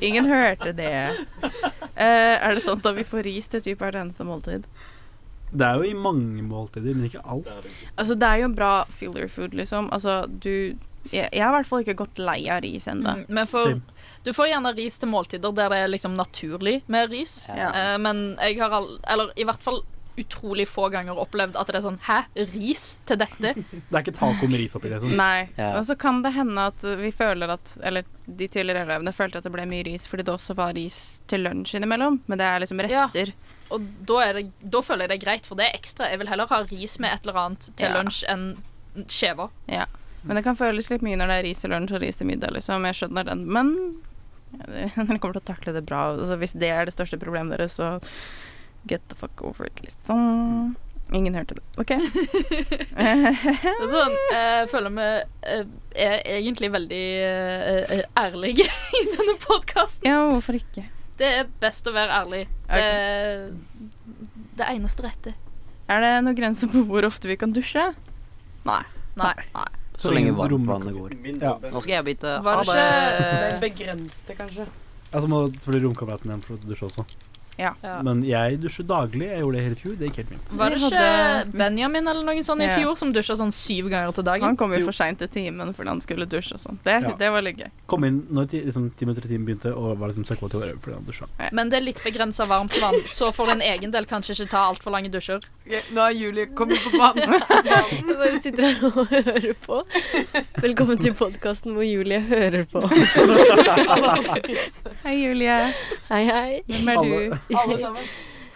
Speaker 3: Ingen hørte det. Eh, er det sant at vi får ris til typ hvert eneste måltid?
Speaker 7: Det er jo i mange måltider, men ikke alt.
Speaker 3: Altså, det er jo en bra filler food, liksom. Altså, du Jeg, jeg har i hvert fall ikke gått lei av ris ennå.
Speaker 5: Mm, Men for,
Speaker 7: Same.
Speaker 5: du får gjerne ris til måltider der det er liksom naturlig med ris.
Speaker 4: Ja.
Speaker 5: Eh, men jeg har all, eller i hvert fall utrolig få ganger opplevd at det er sånn Hæ, ris til dette?
Speaker 7: Det er ikke taco med ris oppi det. Sånn.
Speaker 3: Nei.
Speaker 4: Ja.
Speaker 3: Og så kan det hende at vi føler at Eller de tidligere elevene følte at det ble mye ris fordi det også var ris til lunsj innimellom, men det er liksom rester.
Speaker 5: Og da, er det, da føler jeg det er greit, for det er ekstra. Jeg vil heller ha ris med et eller annet til
Speaker 3: Ja.
Speaker 5: lunsj enn skjeva.
Speaker 3: Men det kan føles litt mye når det er ris til lunsj og ris til middag, liksom. Jeg skjønner den. Men ja, det- dere kommer til å takle det bra. Altså, hvis det er det største problemet deres, så get the fuck over it, liksom. Ingen hørte det. OK.
Speaker 5: Mm. Det er Sånn, jeg føler vi eh, er egentlig veldig eh, eh, ærlige i denne podkasten.
Speaker 3: ja, hvorfor ikke?
Speaker 5: Det er best å være ærlig. Det er det eneste rette.
Speaker 3: Er det noen grense på hvor ofte vi kan dusje? Nei.
Speaker 5: Nei.
Speaker 4: Så lenge
Speaker 7: rommet-
Speaker 4: varmtvannet går.
Speaker 7: Ja.
Speaker 4: Nå skal jeg bytte.
Speaker 5: Var det
Speaker 3: Eh,
Speaker 5: ikke
Speaker 1: Begrenste, kanskje.
Speaker 7: Altså må selvfølgelig romkameraten igjen for å dusje også.
Speaker 5: ja.
Speaker 7: Men jeg dusjer daglig. Jeg gjorde det hele fjor. Det gikk helt fint.
Speaker 5: Var det
Speaker 3: Vi
Speaker 5: ikke
Speaker 3: hadde- Mm.
Speaker 5: Benjamin eller noen sånn i
Speaker 3: Ja.
Speaker 5: fjor som dusja sånn syv ganger til
Speaker 3: Han
Speaker 5: dagen?
Speaker 3: kom jo for seint til timen fordi han skulle dusje og sånn. Det,
Speaker 7: Ja.
Speaker 3: det var litt gøy.
Speaker 7: Kom inn når ti, liksom, ti minutter til timen begynte, og var liksom søkka til å være over fordi han dusja.
Speaker 5: Men det er litt begrensa varmt vann, så for din egen del kanskje ikke ta altfor lange dusjer.
Speaker 1: Ok, nå er Julie kommet på banen.
Speaker 8: Jeg bare sitter her og hører på. Velkommen til podkasten hvor Julie hører på.
Speaker 3: Hei, Julie.
Speaker 8: Hei, hei.
Speaker 3: Hvem er du?
Speaker 1: Alle sammen.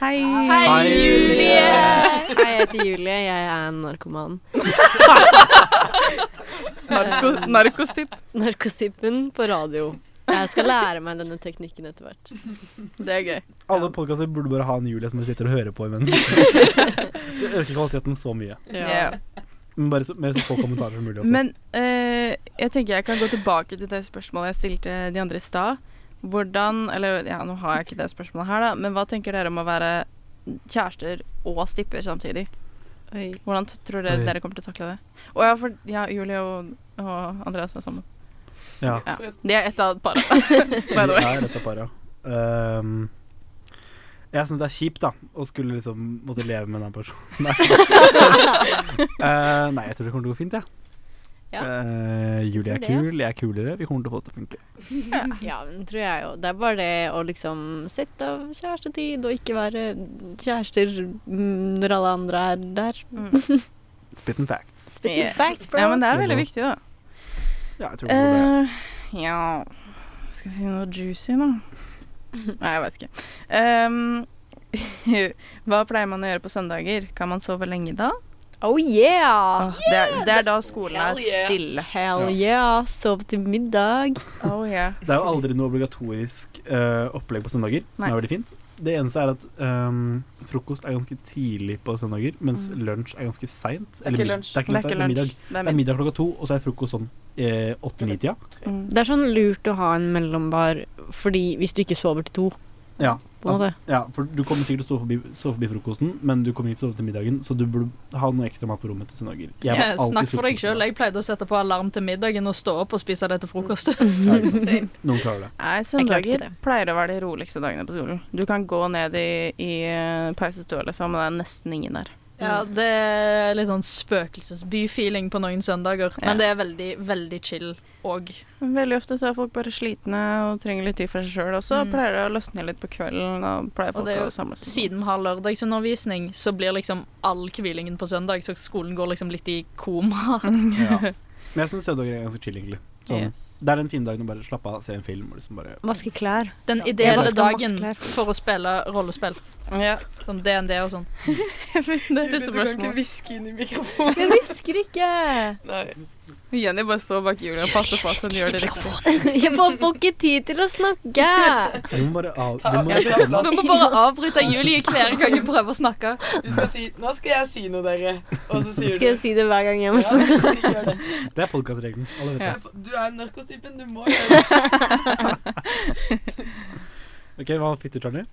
Speaker 3: Hei.
Speaker 5: Hei, Julie!
Speaker 8: Hei, jeg heter Julie. Jeg er en narkoman.
Speaker 3: Narko, narkostipp.
Speaker 8: Narkostippen på radio. Jeg skal lære meg denne teknikken etter hvert.
Speaker 3: Det er gøy.
Speaker 7: Alle podkaster burde bare ha en Julie som sitter og hører på imens. det øker kvaliteten så mye.
Speaker 3: Ja.
Speaker 7: Men bare så, med så få kommentarer som mulig også.
Speaker 3: Men eh, jeg tenker jeg kan gå tilbake til det spørsmålet jeg stilte de andre i stad. Hvordan Eller ja, nå har jeg ikke det spørsmålet her, da, men hva tenker dere om å være kjærester og stipper samtidig?
Speaker 8: Oi.
Speaker 3: Hvordan t- tror dere
Speaker 7: Oi.
Speaker 3: dere kommer til å takle det? Og ja, for ja, Julie og, og Andreas er sammen.
Speaker 7: ja.
Speaker 3: Ja. De er ett av paret.
Speaker 7: Vi
Speaker 3: By the way.
Speaker 7: er dette paret, ja. Ehm, jeg syns det er kjipt, da, å skulle liksom måtte leve med den personen. Nei. Eh, nei, jeg tror det kommer til å gå fint, jeg.
Speaker 8: Ja.
Speaker 7: Eh, Julie er
Speaker 8: Jeg tror det.
Speaker 7: kul, jeg er kulere. Vi kommer til å få det til å funke.
Speaker 8: Ja, men tror jeg jo. Det er bare det å liksom sette av kjærestetid og ikke være kjærester mm, når alle andre er der.
Speaker 3: Mm.
Speaker 7: Spit and fact.
Speaker 8: Spitting
Speaker 3: Ja.
Speaker 8: facts, bro.
Speaker 3: Ja, men det er veldig viktig, da.
Speaker 7: Ja, jeg tror det går bra.
Speaker 3: Eh, ja Skal vi finne noe juicy, da? Nei, jeg vet ikke. Ehm, hva pleier man å gjøre på søndager? Kan man sove lenge da?
Speaker 8: Oh yeah!
Speaker 3: Åh, det, er, det er da skolen er
Speaker 5: Hell yeah.
Speaker 3: stille.
Speaker 8: Hell yeah! Sov til middag.
Speaker 3: Oh yeah.
Speaker 7: Det er jo aldri noe obligatorisk eh, opplegg på søndager, som
Speaker 3: Nei.
Speaker 7: er veldig fint. Det eneste er at ehm, frokost er ganske tidlig på søndager, mens lunsj er ganske seint.
Speaker 1: er ikke lunsj.
Speaker 7: Det er ikke lunsj, det er middag.
Speaker 3: Det er
Speaker 7: Det er
Speaker 3: middag.
Speaker 7: middag klokka to, og så er frokost sånn åtte-ni-tida.
Speaker 3: Mm.
Speaker 8: Det er sånn lurt å ha en mellombar fordi hvis du ikke sover til to,
Speaker 7: Ja, altså,
Speaker 8: på en måte.
Speaker 7: ja, for du kommer sikkert til å stå forbi, sove forbi frokosten, men du kommer ikke til å sove til middagen, så du burde ha noe ekstra mat på rommet til søndager. Jeg var
Speaker 5: Ja,
Speaker 7: alltid
Speaker 5: Eh, Snakk for deg
Speaker 7: sulten på
Speaker 5: sjøl. Jeg pleide å sette på alarm til middagen og stå opp og spise det til frokost.
Speaker 7: søndag. Noen klarer det.
Speaker 3: Nei,
Speaker 8: klarte ikke
Speaker 3: søndager
Speaker 8: det.
Speaker 3: pleier å være de roligste dagene på skolen. Du kan gå ned i, i eh, pausestua, liksom, men det er nesten ingen der.
Speaker 5: Ja, det er litt sånn spøkelsesby-feeling på noen søndager.
Speaker 3: Ja.
Speaker 5: Men det er veldig, veldig chill òg.
Speaker 3: Veldig ofte så er folk bare slitne og trenger litt tid for seg sjøl også.
Speaker 5: Mm.
Speaker 3: Pleier det å løsne litt på kvelden, og pleier
Speaker 5: Og
Speaker 3: folk
Speaker 5: det er jo
Speaker 3: å samles.
Speaker 5: Siden vi har lørdagsundervisning, så blir liksom all hvilingen på søndag, så skolen går liksom litt i koma.
Speaker 7: Ja. Men jeg syns søndager er ganske chill, egentlig. Sånn.
Speaker 3: Yes.
Speaker 7: Det er den fine dagen å bare slappe av, se en film og liksom bare
Speaker 8: Vaske klær.
Speaker 5: Den
Speaker 8: Jeg
Speaker 5: ideelle
Speaker 8: vasker
Speaker 5: dagen
Speaker 8: maskler.
Speaker 5: for å spille rollespill.
Speaker 3: Ja.
Speaker 5: Sånn DND og sånn.
Speaker 3: det er et
Speaker 1: du kan ikke
Speaker 3: spørsmål.
Speaker 1: hviske inn i mikrofonen.
Speaker 8: Jeg hvisker ikke!
Speaker 1: Nei.
Speaker 3: Jenny bare står bak hjulet og passer på at hun gjør det riktig.
Speaker 8: Jeg bare får ikke tid til å snakke!
Speaker 7: Du må bare av...
Speaker 1: Ta-
Speaker 7: Du må
Speaker 1: jeg tar plass.
Speaker 5: Du må bare avbryte Julie hver gang jeg prøver å snakke.
Speaker 1: Du skal si 'Nå skal jeg si noe, dere', og så sier
Speaker 8: Skal jeg
Speaker 1: du
Speaker 8: si det hver gang jeg må
Speaker 1: Ja,
Speaker 8: snakke?
Speaker 1: så gjør det.
Speaker 7: Det er podkastregelen. Alle vet det.
Speaker 1: Du er narkostipen, du må gjøre det.
Speaker 7: Ok, Hva var fittetørner?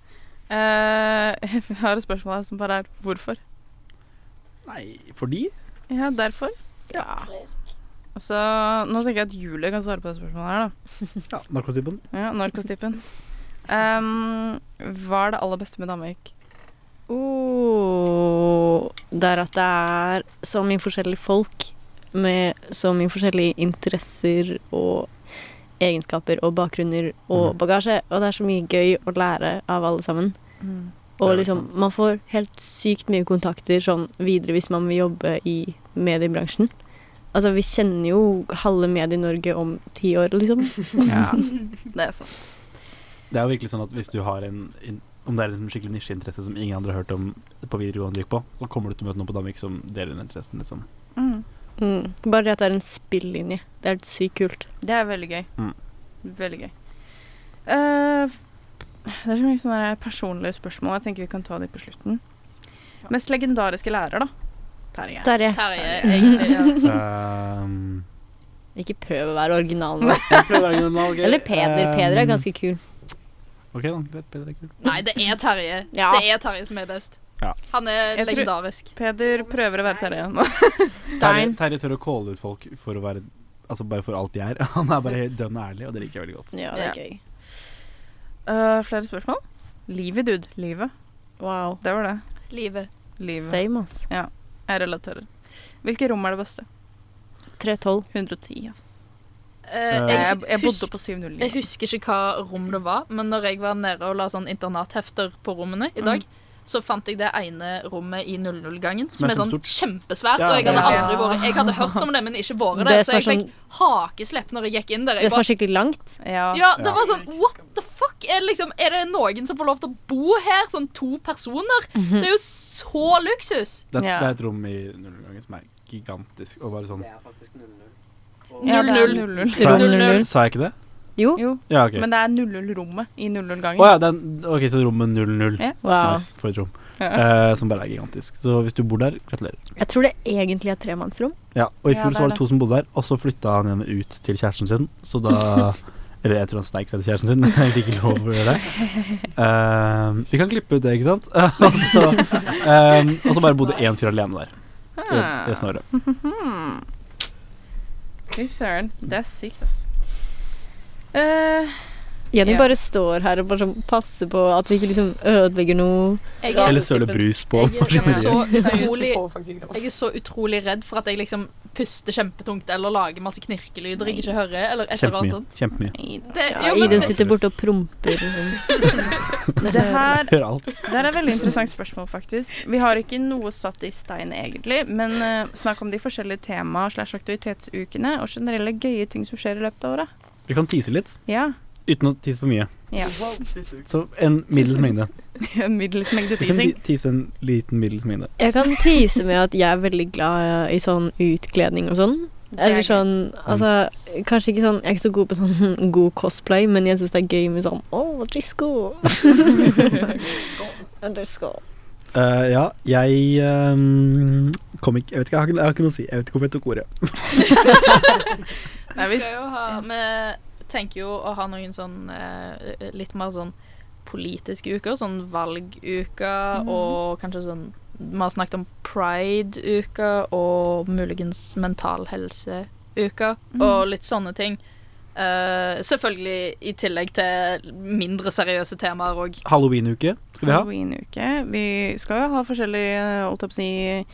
Speaker 3: Eh, jeg har et spørsmål her som bare er hvorfor.
Speaker 7: Nei, fordi
Speaker 3: Ja, derfor.
Speaker 8: Ja.
Speaker 3: Og så, nå tenker jeg at Julie kan svare på det spørsmålet her, da.
Speaker 7: ja, narkotypen.
Speaker 3: Ja, narkostippen. Ehm, hva er det aller beste med Danmark?
Speaker 8: Oh, det er at det er så mye forskjellige folk med så mye forskjellige interesser og egenskaper og bakgrunner og
Speaker 7: Mhm.
Speaker 8: bagasje. Og det er så mye gøy å lære av alle sammen.
Speaker 5: Mm.
Speaker 7: Det er
Speaker 8: Og
Speaker 7: helt
Speaker 8: liksom, man får helt sykt mye kontakter sånn videre hvis man vil jobbe i mediebransjen. Altså, vi kjenner jo halve Medie-Norge om ti år, liksom.
Speaker 3: Det er sant.
Speaker 7: Det er jo virkelig sånn at hvis du har en, en om det er liksom skikkelig nisjeinteresse som ingen andre har hørt om på videregående du gikk på, så kommer du til å møte noen på Danmark som deler den interessen, liksom.
Speaker 3: Mm.
Speaker 8: Mm. Bare det at det er en spillinje. Det er helt sykt kult.
Speaker 3: Det er veldig gøy.
Speaker 7: Mm.
Speaker 3: Veldig gøy. Eh, f- det er så mye sånne her personlige spørsmål. Jeg tenker vi kan ta de på slutten. Mest legendariske lærer, da? Terje.
Speaker 8: Terje,
Speaker 5: Terje, egentlig. Ja.
Speaker 7: Um,
Speaker 8: ikke prøv å være original nå.
Speaker 7: jeg prøver å være original, ok.
Speaker 8: Eller Peder. Peder er
Speaker 7: Um,
Speaker 8: ganske kul.
Speaker 7: Ok, da. Greit, Peder er kul.
Speaker 5: Nei, det er Terje.
Speaker 8: Ja.
Speaker 5: Det er Terje som er best.
Speaker 7: Ja.
Speaker 5: Han er
Speaker 3: Jeg tror-
Speaker 5: legendarisk.
Speaker 3: Peder prøver å være Terje nå.
Speaker 7: Terje,
Speaker 8: Stein.
Speaker 7: Terje tør å calle ut folk for å være Altså bare for alt de er. Han er bare helt dønn ærlig, og det liker jeg veldig godt.
Speaker 8: Ja, det er gøy.
Speaker 3: Eh, flere spørsmål? Livet, dude. Livet.
Speaker 8: Wow.
Speaker 3: Det var det.
Speaker 5: Livet.
Speaker 3: Livet.
Speaker 8: Same, ass.
Speaker 3: Jeg relaterer. Hvilke rom er det beste?
Speaker 8: 312.
Speaker 3: 110, ass.
Speaker 5: Eh,
Speaker 7: Eh,
Speaker 3: Jeg, jeg,
Speaker 5: husker-
Speaker 3: bodde på 709.
Speaker 5: Jeg husker ikke hva rom det var, men når jeg var nede og la sånn internathefter på rommene
Speaker 8: Mm.
Speaker 5: i dag, så fant jeg det ene rommet i 00-gangen, som er sånn
Speaker 7: kjempestort.
Speaker 5: kjempesvært.
Speaker 7: Ja,
Speaker 5: Og jeg hadde
Speaker 3: ja.
Speaker 5: aldri vært Jeg hadde hørt om det, men ikke vært
Speaker 8: Det
Speaker 5: der.
Speaker 8: som
Speaker 5: Så
Speaker 8: er
Speaker 5: altså,
Speaker 8: sånn-
Speaker 5: jeg fikk hakeslepp når jeg gikk inn der.
Speaker 8: Det
Speaker 5: Jeg
Speaker 8: som er
Speaker 5: bare,
Speaker 8: skikkelig langt.
Speaker 3: Ja.
Speaker 5: ja, det
Speaker 7: Ja.
Speaker 5: var sånn What the fuck? Er det, liksom, er det noen som får lov til å bo her? Sånn to personer? Det er jo så luksus!
Speaker 7: Det, er-
Speaker 3: Ja.
Speaker 7: det er et rom i nullgangen som er gigantisk, og bare sånn
Speaker 4: Det er faktisk 0-0.
Speaker 3: Ja, det er
Speaker 5: 00.
Speaker 3: 00.
Speaker 7: Sa
Speaker 8: Rom
Speaker 7: jeg,
Speaker 5: 00.
Speaker 7: sa jeg ikke det?
Speaker 8: Jo.
Speaker 3: Jo,
Speaker 7: Ja, ok.
Speaker 3: men det er 00-rommet i 00-gangen.
Speaker 7: Å ja, det er en- ok, så rommet 00.
Speaker 3: Ja.
Speaker 8: Wow.
Speaker 7: Nice, for et rom.
Speaker 3: Ja.
Speaker 7: Eh, som bare er gigantisk. Så hvis du bor der, gratulerer.
Speaker 8: Jeg tror det egentlig er tremannsrom.
Speaker 7: Ja, og i
Speaker 3: Ja,
Speaker 7: fjor
Speaker 3: det
Speaker 7: så var
Speaker 3: er
Speaker 7: det to som bodde der, og så flytta han ene ut til kjæresten sin, så da Eller jeg tror han sneik seg til kjæresten sin, men jeg fikk ikke lov å gjøre det. Ehm, vi kan klippe ut det, ikke sant? og, så, ehm, og så bare bodde én fyr alene der
Speaker 3: Ah.
Speaker 7: i resten av året.
Speaker 3: Hmm. Fy søren. Det er sykt, ass. Eh,
Speaker 8: Jenny
Speaker 3: Ja.
Speaker 8: bare står her og bare sånn passer på at vi ikke liksom ødelegger noe.
Speaker 5: Jeg
Speaker 1: Ja.
Speaker 5: er,
Speaker 7: Eller søle brus på
Speaker 5: Jeg er- jeg er
Speaker 7: maskineriet.
Speaker 5: så
Speaker 1: Seriøst,
Speaker 5: utrolig
Speaker 1: du får faktisk ikke det.
Speaker 5: Jeg er så utrolig redd for at jeg liksom puster kjempetungt eller lager masse knirkelyder jeg ikke hører. Eller et eller annet
Speaker 3: sånn.
Speaker 7: Kjempemye.
Speaker 5: sånt.
Speaker 7: Kjempemye.
Speaker 5: Det, ja,
Speaker 8: Ja,
Speaker 5: men,
Speaker 8: Idun
Speaker 5: det,
Speaker 8: sitter borte og promper. Liksom.
Speaker 3: det her
Speaker 7: Hør alt.
Speaker 3: Det er et veldig interessant spørsmål, faktisk. Vi har ikke noe satt i stein, egentlig, men eh, snakk om de forskjellige tema- slash aktivitetsukene og generelle gøye ting som skjer i løpet av året.
Speaker 7: Vi kan tise litt,
Speaker 3: Ja.
Speaker 7: uten å tise for mye.
Speaker 3: ja.
Speaker 7: Så en middels mengde.
Speaker 3: En middels mengde
Speaker 7: Vi kan ti-
Speaker 3: teasing.
Speaker 7: tise en liten middels mengde.
Speaker 8: Jeg kan tease med at jeg er veldig glad i sånn utkledning og sånn. Eller sånn Altså, kanskje ikke sånn Jeg er ikke så god på sånn god cosplay, men jeg syns det er gøy med sånn Å, disco. disco.
Speaker 7: Eh, ja, jeg ehm, kom ikke Jeg vet ikke, jeg har ikke, jeg har ikke noe å si. Jeg vet ikke hvorfor jeg tok ordet.
Speaker 5: vi skal jo ha Vi tenker jo å ha noen sånn eh, litt mer sånn politiske uker. Sånn valguker og kanskje sånn Vi har snakket om pride-uka og muligens mental helse-uka og litt sånne ting. Eh, selvfølgelig i tillegg til mindre seriøse temaer òg.
Speaker 7: Halloween-uke skal vi ha.
Speaker 3: Halloween-uke. Vi skal jo ha forskjellige eh, holdt jeg på å si,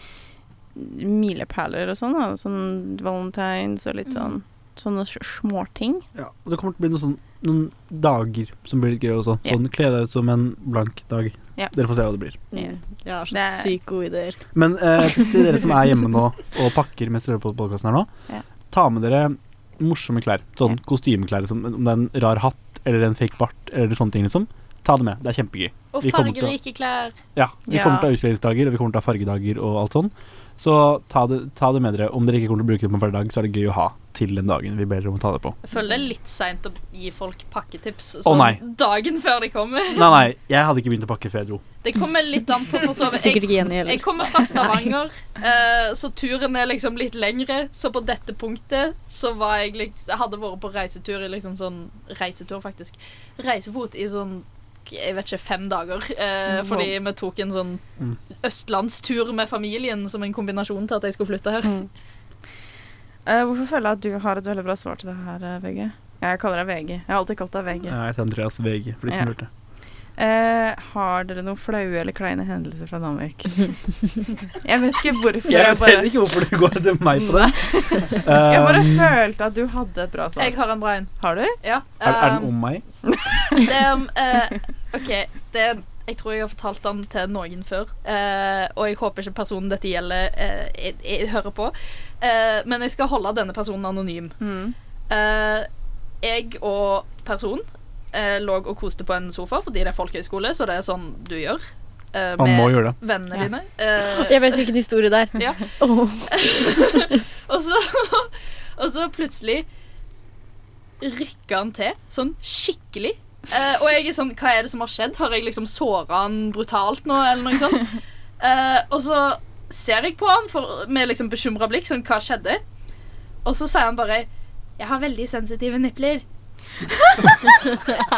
Speaker 3: milepæler og sånn. Da. Sånn valentines og litt sånn sånne s- småting.
Speaker 7: Ja, og det kommer til å bli noen, sånn, noen dager som blir litt gøy også.
Speaker 3: Ja.
Speaker 7: Sånn, Kle deg ut som en blank dag.
Speaker 3: Ja.
Speaker 7: Dere får se hva det blir.
Speaker 8: Mm. Jeg har så
Speaker 3: Det er-
Speaker 8: sykt gode ideer.
Speaker 7: Men eh, til dere som er hjemme nå og pakker mens dere hører på podkasten her nå,
Speaker 3: Ja.
Speaker 7: ta med dere morsomme klær. Sånn kostymeklær, liksom, om det er en rar hatt eller en fake bart eller sånne ting, liksom. Ta det med. Det er kjempegøy.
Speaker 5: Og
Speaker 7: Vi kommer til å-
Speaker 5: fargerike klær.
Speaker 7: Ja, vi
Speaker 3: Ja.
Speaker 7: kommer til å ha utkledningsdager, og vi kommer til å ha fargedager og alt sånn. Så ta det, ta det med dere. Om dere ikke kommer til å bruke det på en hverdag, så er det gøy å ha til den dagen vi ber dere om å ta det på.
Speaker 5: Jeg føler det er litt seint å gi folk pakketips
Speaker 7: Å,
Speaker 5: sånn
Speaker 7: nei.
Speaker 5: dagen før de kommer.
Speaker 7: Nei, nei, jeg hadde ikke begynt å pakke før jeg dro.
Speaker 5: Det kommer litt an på for så vidt. Jeg,
Speaker 8: Sikkert ikke Jenny
Speaker 5: jeg
Speaker 8: heller.
Speaker 5: kommer fra Stavanger, eh, så turen er liksom litt lengre. Så på dette punktet så var jeg liksom Jeg hadde vært på reisetur i liksom sånn Reisetur, faktisk. Reisefot i sånn jeg vet ikke, fem dager. Eh, fordi vi tok en sånn
Speaker 7: Mm.
Speaker 5: østlandstur med familien som en kombinasjon til at jeg skulle flytte her.
Speaker 3: Eh, hvorfor føler jeg at du har et veldig bra svar til det her, eh, VG? Jeg kaller deg VG. Jeg har alltid kalt deg VG.
Speaker 7: Eh, Jeg heter Andreas VG, for de som
Speaker 3: Ja.
Speaker 7: lurte.
Speaker 3: Eh, har dere noen flaue eller kleine hendelser fra Danmark? jeg vet ikke hvorfor.
Speaker 7: Jeg
Speaker 3: Jeg
Speaker 7: vet
Speaker 3: bare,
Speaker 7: heller ikke hvorfor du går etter meg på det.
Speaker 3: jeg bare
Speaker 7: Um,
Speaker 3: følte at du hadde et bra
Speaker 5: Jeg
Speaker 3: svar.
Speaker 5: har en bra en.
Speaker 3: Har du?
Speaker 5: Ja.
Speaker 7: er, er den
Speaker 5: eh,
Speaker 7: om meg?
Speaker 5: Det er om eh, OK, det er jeg tror jeg har fortalt den til noen før, eh, og jeg håper ikke personen dette gjelder, eh, jeg, jeg hører på. Eh, men jeg skal holde denne personen anonym.
Speaker 3: Mm.
Speaker 5: Eh, jeg og personen eh, lå og koste på en sofa fordi det er folkehøyskole, så det er sånn du gjør eh,
Speaker 7: Man må
Speaker 5: med
Speaker 7: gjøre det.
Speaker 5: vennene dine. Eh,
Speaker 8: Jeg vet hvilken historie det er.
Speaker 5: Ja.
Speaker 8: Åh.
Speaker 5: og, så, og så plutselig rykker han til, sånn skikkelig. Eh, og jeg er sånn Hva er det som har skjedd? Har jeg liksom såra han brutalt nå, eller noe sånt? Eh, og så ser jeg på han for, med liksom bekymra blikk, sånn Hva skjedde? Og så sier han bare Jeg har veldig sensitive nipler.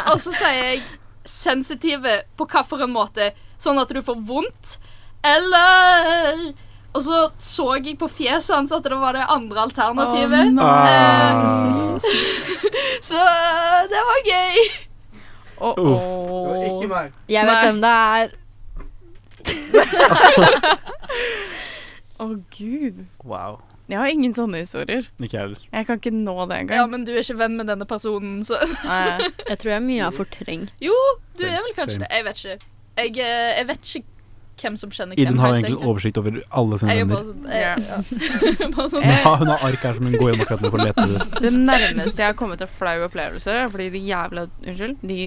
Speaker 5: og så sier jeg sensitive på hvilken måte? Sånn at du får vondt? Eller og så så jeg på fjeset hans at det var det andre alternativet.
Speaker 3: Å,
Speaker 7: Ah.
Speaker 5: Så øh, det var gøy.
Speaker 3: Å,
Speaker 6: Det var
Speaker 3: å.
Speaker 6: ikke meg.
Speaker 8: Jeg vet
Speaker 3: Nei.
Speaker 8: hvem det er.
Speaker 3: Å, gud.
Speaker 7: Wow.
Speaker 3: Jeg har ingen sånne historier.
Speaker 7: Ikke jeg heller.
Speaker 3: Jeg kan ikke nå det
Speaker 5: Ja,
Speaker 3: engang.
Speaker 5: men du er ikke venn med denne personen, så
Speaker 3: Nei.
Speaker 8: Jeg tror jeg mye har fortrengt.
Speaker 5: Jo, du er vel kanskje
Speaker 7: Same.
Speaker 5: det. Jeg vet ikke. Jeg, øh, jeg vet ikke hvem som kjenner hvem.
Speaker 7: Idun har
Speaker 5: helt
Speaker 7: egentlig oversikt over alle sine
Speaker 5: Jeg er
Speaker 7: venner.
Speaker 5: bare, jeg, ja. bare sånn
Speaker 7: Hun har, hun har ark her som hun går gjennom akkurat nå for å lete etter.
Speaker 3: Det nærmeste jeg har kommet til flau opplevelser, er fordi de jævla Unnskyld. De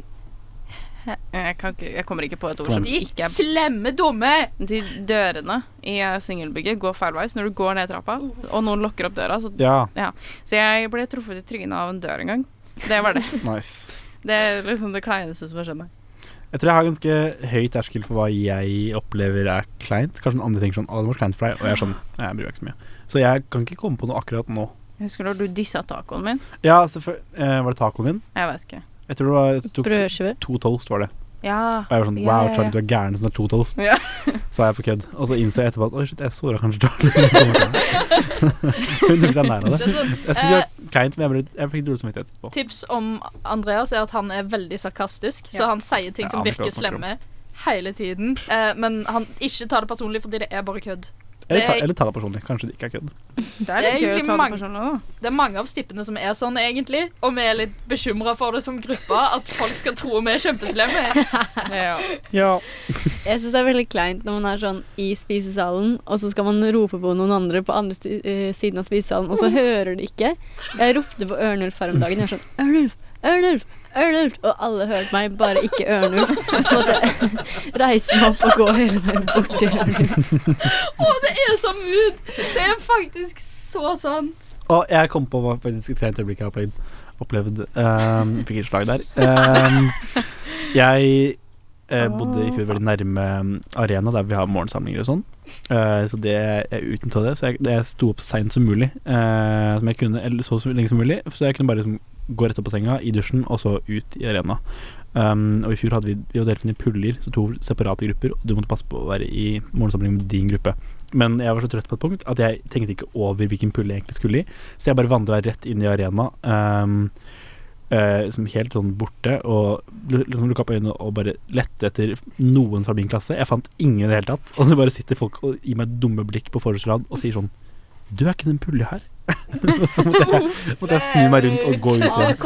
Speaker 3: jeg, kan ikke, jeg kommer ikke på et ord som
Speaker 7: Kom
Speaker 5: De
Speaker 3: ikke er
Speaker 5: slemme dumme.
Speaker 3: De dørene i eh, singelbygget går feil vei, så når du Mhm. går ned trappa, og noen lukker opp døra, så
Speaker 7: Ja.
Speaker 3: Så jeg ble truffet i trynet av en dør en gang. Det var det.
Speaker 7: Nice.
Speaker 3: Det er liksom det kleineste som har skjedd meg.
Speaker 7: Jeg tror jeg har ganske høy terskel for hva jeg opplever er kleint. Kanskje noen andre tenker sånn 'Å, det var kleint for deg', og jeg er sånn «Nei, Jeg bryr meg ikke så mye. Så jeg kan ikke komme på noe akkurat nå.
Speaker 3: Jeg husker når du dissa tacoen min.
Speaker 7: Ja, selvfø- eh, Var det tacoen din?
Speaker 3: Jeg vet ikke.
Speaker 7: Jeg tror det var jeg tok
Speaker 8: Brødskive.
Speaker 7: to toast, var det.
Speaker 3: Ja.
Speaker 7: Og jeg var sånn
Speaker 3: Ja,
Speaker 7: Wow,
Speaker 3: ja, ja.
Speaker 7: Charlie, du er gæren som har to toast.
Speaker 3: Ja.
Speaker 7: Sa jeg på kødd. Og så innså jeg etterpå at oi, shit, jeg såra kanskje Charlie. Hun tok seg nær av det.
Speaker 5: Det er sånn,
Speaker 7: Jeg synes det
Speaker 3: Eh.
Speaker 7: var kleint, men jeg, ble, jeg fikk dårlig samvittighet etterpå.
Speaker 5: Tips om Andreas er at han er veldig sarkastisk,
Speaker 3: Ja.
Speaker 5: så han sier ting
Speaker 7: Jeg
Speaker 5: som
Speaker 7: aner ikke
Speaker 5: virker
Speaker 7: hva han snakker om.
Speaker 5: slemme hele tiden. Eh, men han ikke tar det personlig fordi det er bare kødd.
Speaker 7: Eller ta,
Speaker 5: Det-
Speaker 7: eller ta det personlig. Kanskje det ikke er kødd.
Speaker 3: Det er litt
Speaker 5: Det er
Speaker 3: gøy å
Speaker 5: egentlig
Speaker 3: ta det
Speaker 5: mange-
Speaker 3: personlig nå.
Speaker 5: Det er mange av stippene som er sånn, egentlig, og vi er litt bekymra for det som gruppe, at folk skal tro vi er kjempeslemme.
Speaker 3: Ja.
Speaker 7: Ja.
Speaker 8: Jeg syns det er veldig kleint når man er sånn i spisesalen, og så skal man rope på noen andre på andre spi eh, siden av spisesalen, og så hører de ikke. Jeg ropte på Ørnulf her om dagen. Jeg var sånn Ørnulf, Ørnulf, Ørnulf. Og alle hørte meg, bare ikke Ørnulf. Så måtte jeg reise meg opp og gå hele veien bort til Ørnulf.
Speaker 5: Å, det er så mood! Det er faktisk så sant.
Speaker 7: Og jeg kom på hva faktisk et kleint øyeblikk jeg har opplevd. opplevd. Ehm, fikk et slag der. Ehm, jeg eh, bodde i fjor veldig nærme mm, arena der vi har morgensamlinger og sånn. Eh, så det jeg utnytta det. Så jeg, det jeg sto opp så seint som mulig, eh, som jeg kunne, eller så, så lenge som mulig. Så jeg kunne bare liksom, gå rett opp på senga, i dusjen, og så ut i arena. Ehm, og i fjor hadde vi, vi hadde delt inn i puller, så to separate grupper. Og du måtte passe på å være i morgensamling med din gruppe. Men jeg var så trøtt på et punkt at jeg tenkte ikke over hvilken pulle jeg egentlig skulle i. Så jeg bare vandra rett inn i arena, ehm, eh, som helt sånn borte, og lu- liksom lukka opp øynene og bare lette etter noen fra min klasse. Jeg fant ingen i det hele tatt. Og så bare sitter folk og gir meg dumme blikk på forreste rad og sier sånn Du er ikke den pulle her? så måtte jeg, måtte jeg snu meg rundt og gå ut igjen.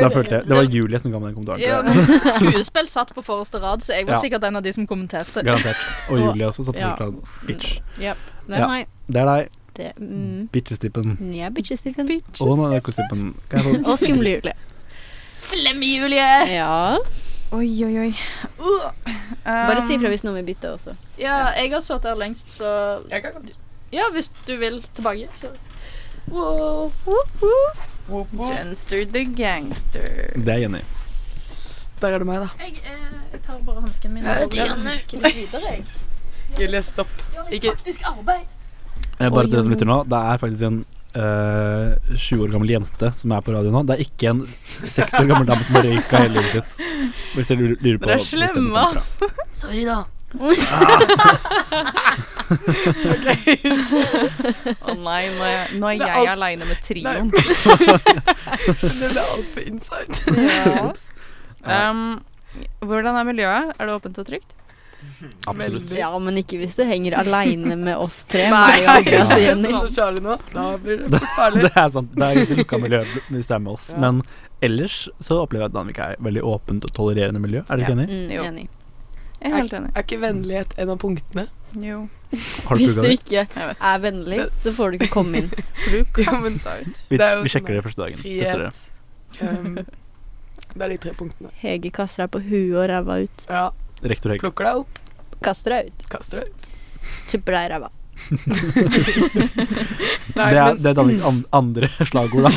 Speaker 7: Da følte jeg Det var Julie som ga meg den
Speaker 5: Ja,
Speaker 7: kommentaren.
Speaker 5: men skuespill satt på forreste rad, så jeg var
Speaker 7: Ja.
Speaker 5: sikkert en av de som kommenterte.
Speaker 7: Garantert. Og Julie også satt på
Speaker 8: Ja.
Speaker 7: forreste rad. Bitch.
Speaker 8: Det er
Speaker 7: Ja.
Speaker 8: meg.
Speaker 7: Det er deg.
Speaker 8: Det, mm,
Speaker 7: Bitchestippen.
Speaker 8: jeg er bitchestiffen.
Speaker 7: Og narkostippen. Kan jeg få
Speaker 8: Og skumle Julie.
Speaker 5: Slemme Julie!
Speaker 8: Ja.
Speaker 3: Oi, oi, oi. Uh.
Speaker 8: Bare si
Speaker 3: Um,
Speaker 8: ifra hvis noen vil bytte også.
Speaker 5: Ja, jeg har sittet her lengst, så
Speaker 1: Jeg kan godt
Speaker 5: Ja, hvis du vil tilbake, så wow.
Speaker 1: Wop, wop.
Speaker 3: Genster the gangster.
Speaker 7: Det er jeg enig i.
Speaker 1: Der er det meg, da.
Speaker 5: Jeg, eh, jeg tar bare hansken min
Speaker 1: Ja,
Speaker 5: og
Speaker 1: det er
Speaker 5: den
Speaker 1: nok.
Speaker 5: litt videre, jeg.
Speaker 1: Julie, stopp.
Speaker 5: Gjør litt
Speaker 1: Ikke-
Speaker 5: faktisk arbeid.
Speaker 7: Eh, Bare til dere som lytter nå, det er faktisk en eh, 20 år gammel jente som er på radio nå. Det er ikke en 60 år gammel dame som har røyka hele livet sitt. Hvis dere lurer- lurer på
Speaker 3: Dere er
Speaker 7: hvor stemmen
Speaker 3: slemme,
Speaker 7: kommer fra.
Speaker 1: Sorry, da.
Speaker 3: Å nei, nå er, nå er
Speaker 1: Det er
Speaker 3: jeg
Speaker 1: alt-
Speaker 3: aleine med
Speaker 1: Nei.
Speaker 3: trioen.
Speaker 1: Det ble altfor inside.
Speaker 3: Ja.
Speaker 7: Ja.
Speaker 3: Um, hvordan er miljøet? Er det åpent og trygt?
Speaker 7: Absolutt.
Speaker 1: Veldig.
Speaker 8: Ja, men ikke hvis det henger aleine med oss tre.
Speaker 3: Nei,
Speaker 8: meg og Andreas og
Speaker 1: jeg
Speaker 8: Jenny.
Speaker 1: sånn som Charlie nå. Da blir det farlig.
Speaker 7: Det er sant. Det er et lukka miljø hvis det er med oss.
Speaker 3: Ja.
Speaker 7: Men ellers så opplever jeg at Danvik er et veldig åpent og tolererende miljø. Er dere ikke enig?
Speaker 8: Mm,
Speaker 3: Jo.
Speaker 8: enig.
Speaker 3: Jeg er helt enig.
Speaker 1: Er ikke vennlighet en av punktene?
Speaker 3: Jo.
Speaker 7: Har du
Speaker 8: Hvis du
Speaker 7: plugga det?
Speaker 8: ikke
Speaker 3: Jeg vet.
Speaker 8: er vennlig, så får du ikke komme inn.
Speaker 1: Ja, men
Speaker 7: Vi,
Speaker 1: Det er jo
Speaker 7: vi sjekker
Speaker 1: sånn
Speaker 7: det første dagen. Tester det.
Speaker 1: frihet um, Det er de tre punktene.
Speaker 8: Hege kaster deg på huet og ræva ut.
Speaker 1: Ja,
Speaker 7: Rektor Hegge.
Speaker 1: plukker deg opp,
Speaker 8: Kaster deg ut.
Speaker 1: kaster deg.
Speaker 8: Tupper deg i ræva.
Speaker 1: Nei,
Speaker 7: det er,
Speaker 1: men
Speaker 7: det er Danviks an andre slagord, da.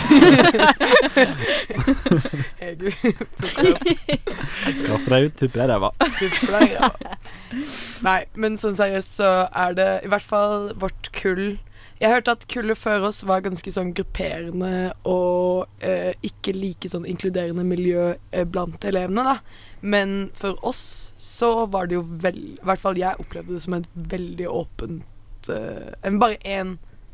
Speaker 1: Hege plukker deg opp,
Speaker 7: Kast deg ut, tupper deg i ræva.
Speaker 1: tupper deg. Ja. Nei, men sånn seriøst så er det i hvert fall vårt kull Jeg hørte at kullet før oss var ganske sånn grupperende og eh, ikke like sånn inkluderende miljø eh, blant elevene, da. Men for oss så var det jo vel I hvert fall jeg opplevde det som et veldig åpent eh, en- Bare én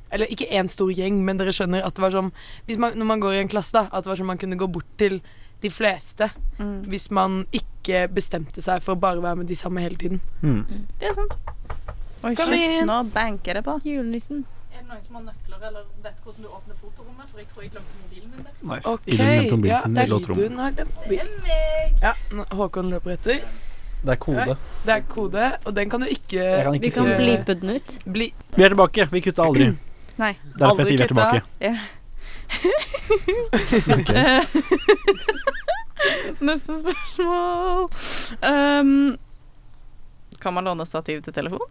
Speaker 1: Eller ikke én stor gjeng, men dere skjønner at det var sånn hvis man, Når man går i en klasse, da, at det var sånn man kunne gå bort til de fleste
Speaker 3: Mm.
Speaker 1: hvis man ikke bestemte seg for å bare være med de samme hele tiden.
Speaker 7: Hmm.
Speaker 3: Det er sant. Oi,
Speaker 1: Kom
Speaker 3: shit,
Speaker 1: inn.
Speaker 3: nå banker det på.
Speaker 8: Julenissen.
Speaker 5: Er det noen som har nøkler eller vet hvordan du åpner fotorommet? For jeg tror jeg glemte mobilen min der.
Speaker 7: Nice. Idun glemte mobilen sin i låtrommet.
Speaker 1: Idun har glemt
Speaker 5: Det
Speaker 1: mobilen.
Speaker 5: er meg.
Speaker 1: Ja, nå- Håkon løper etter.
Speaker 7: Det er kode.
Speaker 1: Det er kode, og den kan du ikke eh,
Speaker 7: kan
Speaker 8: Vi
Speaker 7: ikke
Speaker 8: kan
Speaker 7: si det.
Speaker 8: blipe den ut.
Speaker 1: bli
Speaker 7: Vi er tilbake. Vi kutta aldri.
Speaker 3: Nei.
Speaker 7: Derfor
Speaker 1: Aldri
Speaker 7: jeg sier vi er
Speaker 1: kutta.
Speaker 7: tilbake.
Speaker 3: Ja.
Speaker 7: Ok.
Speaker 3: Neste spørsmål. Um, kan man låne stativ til telefon?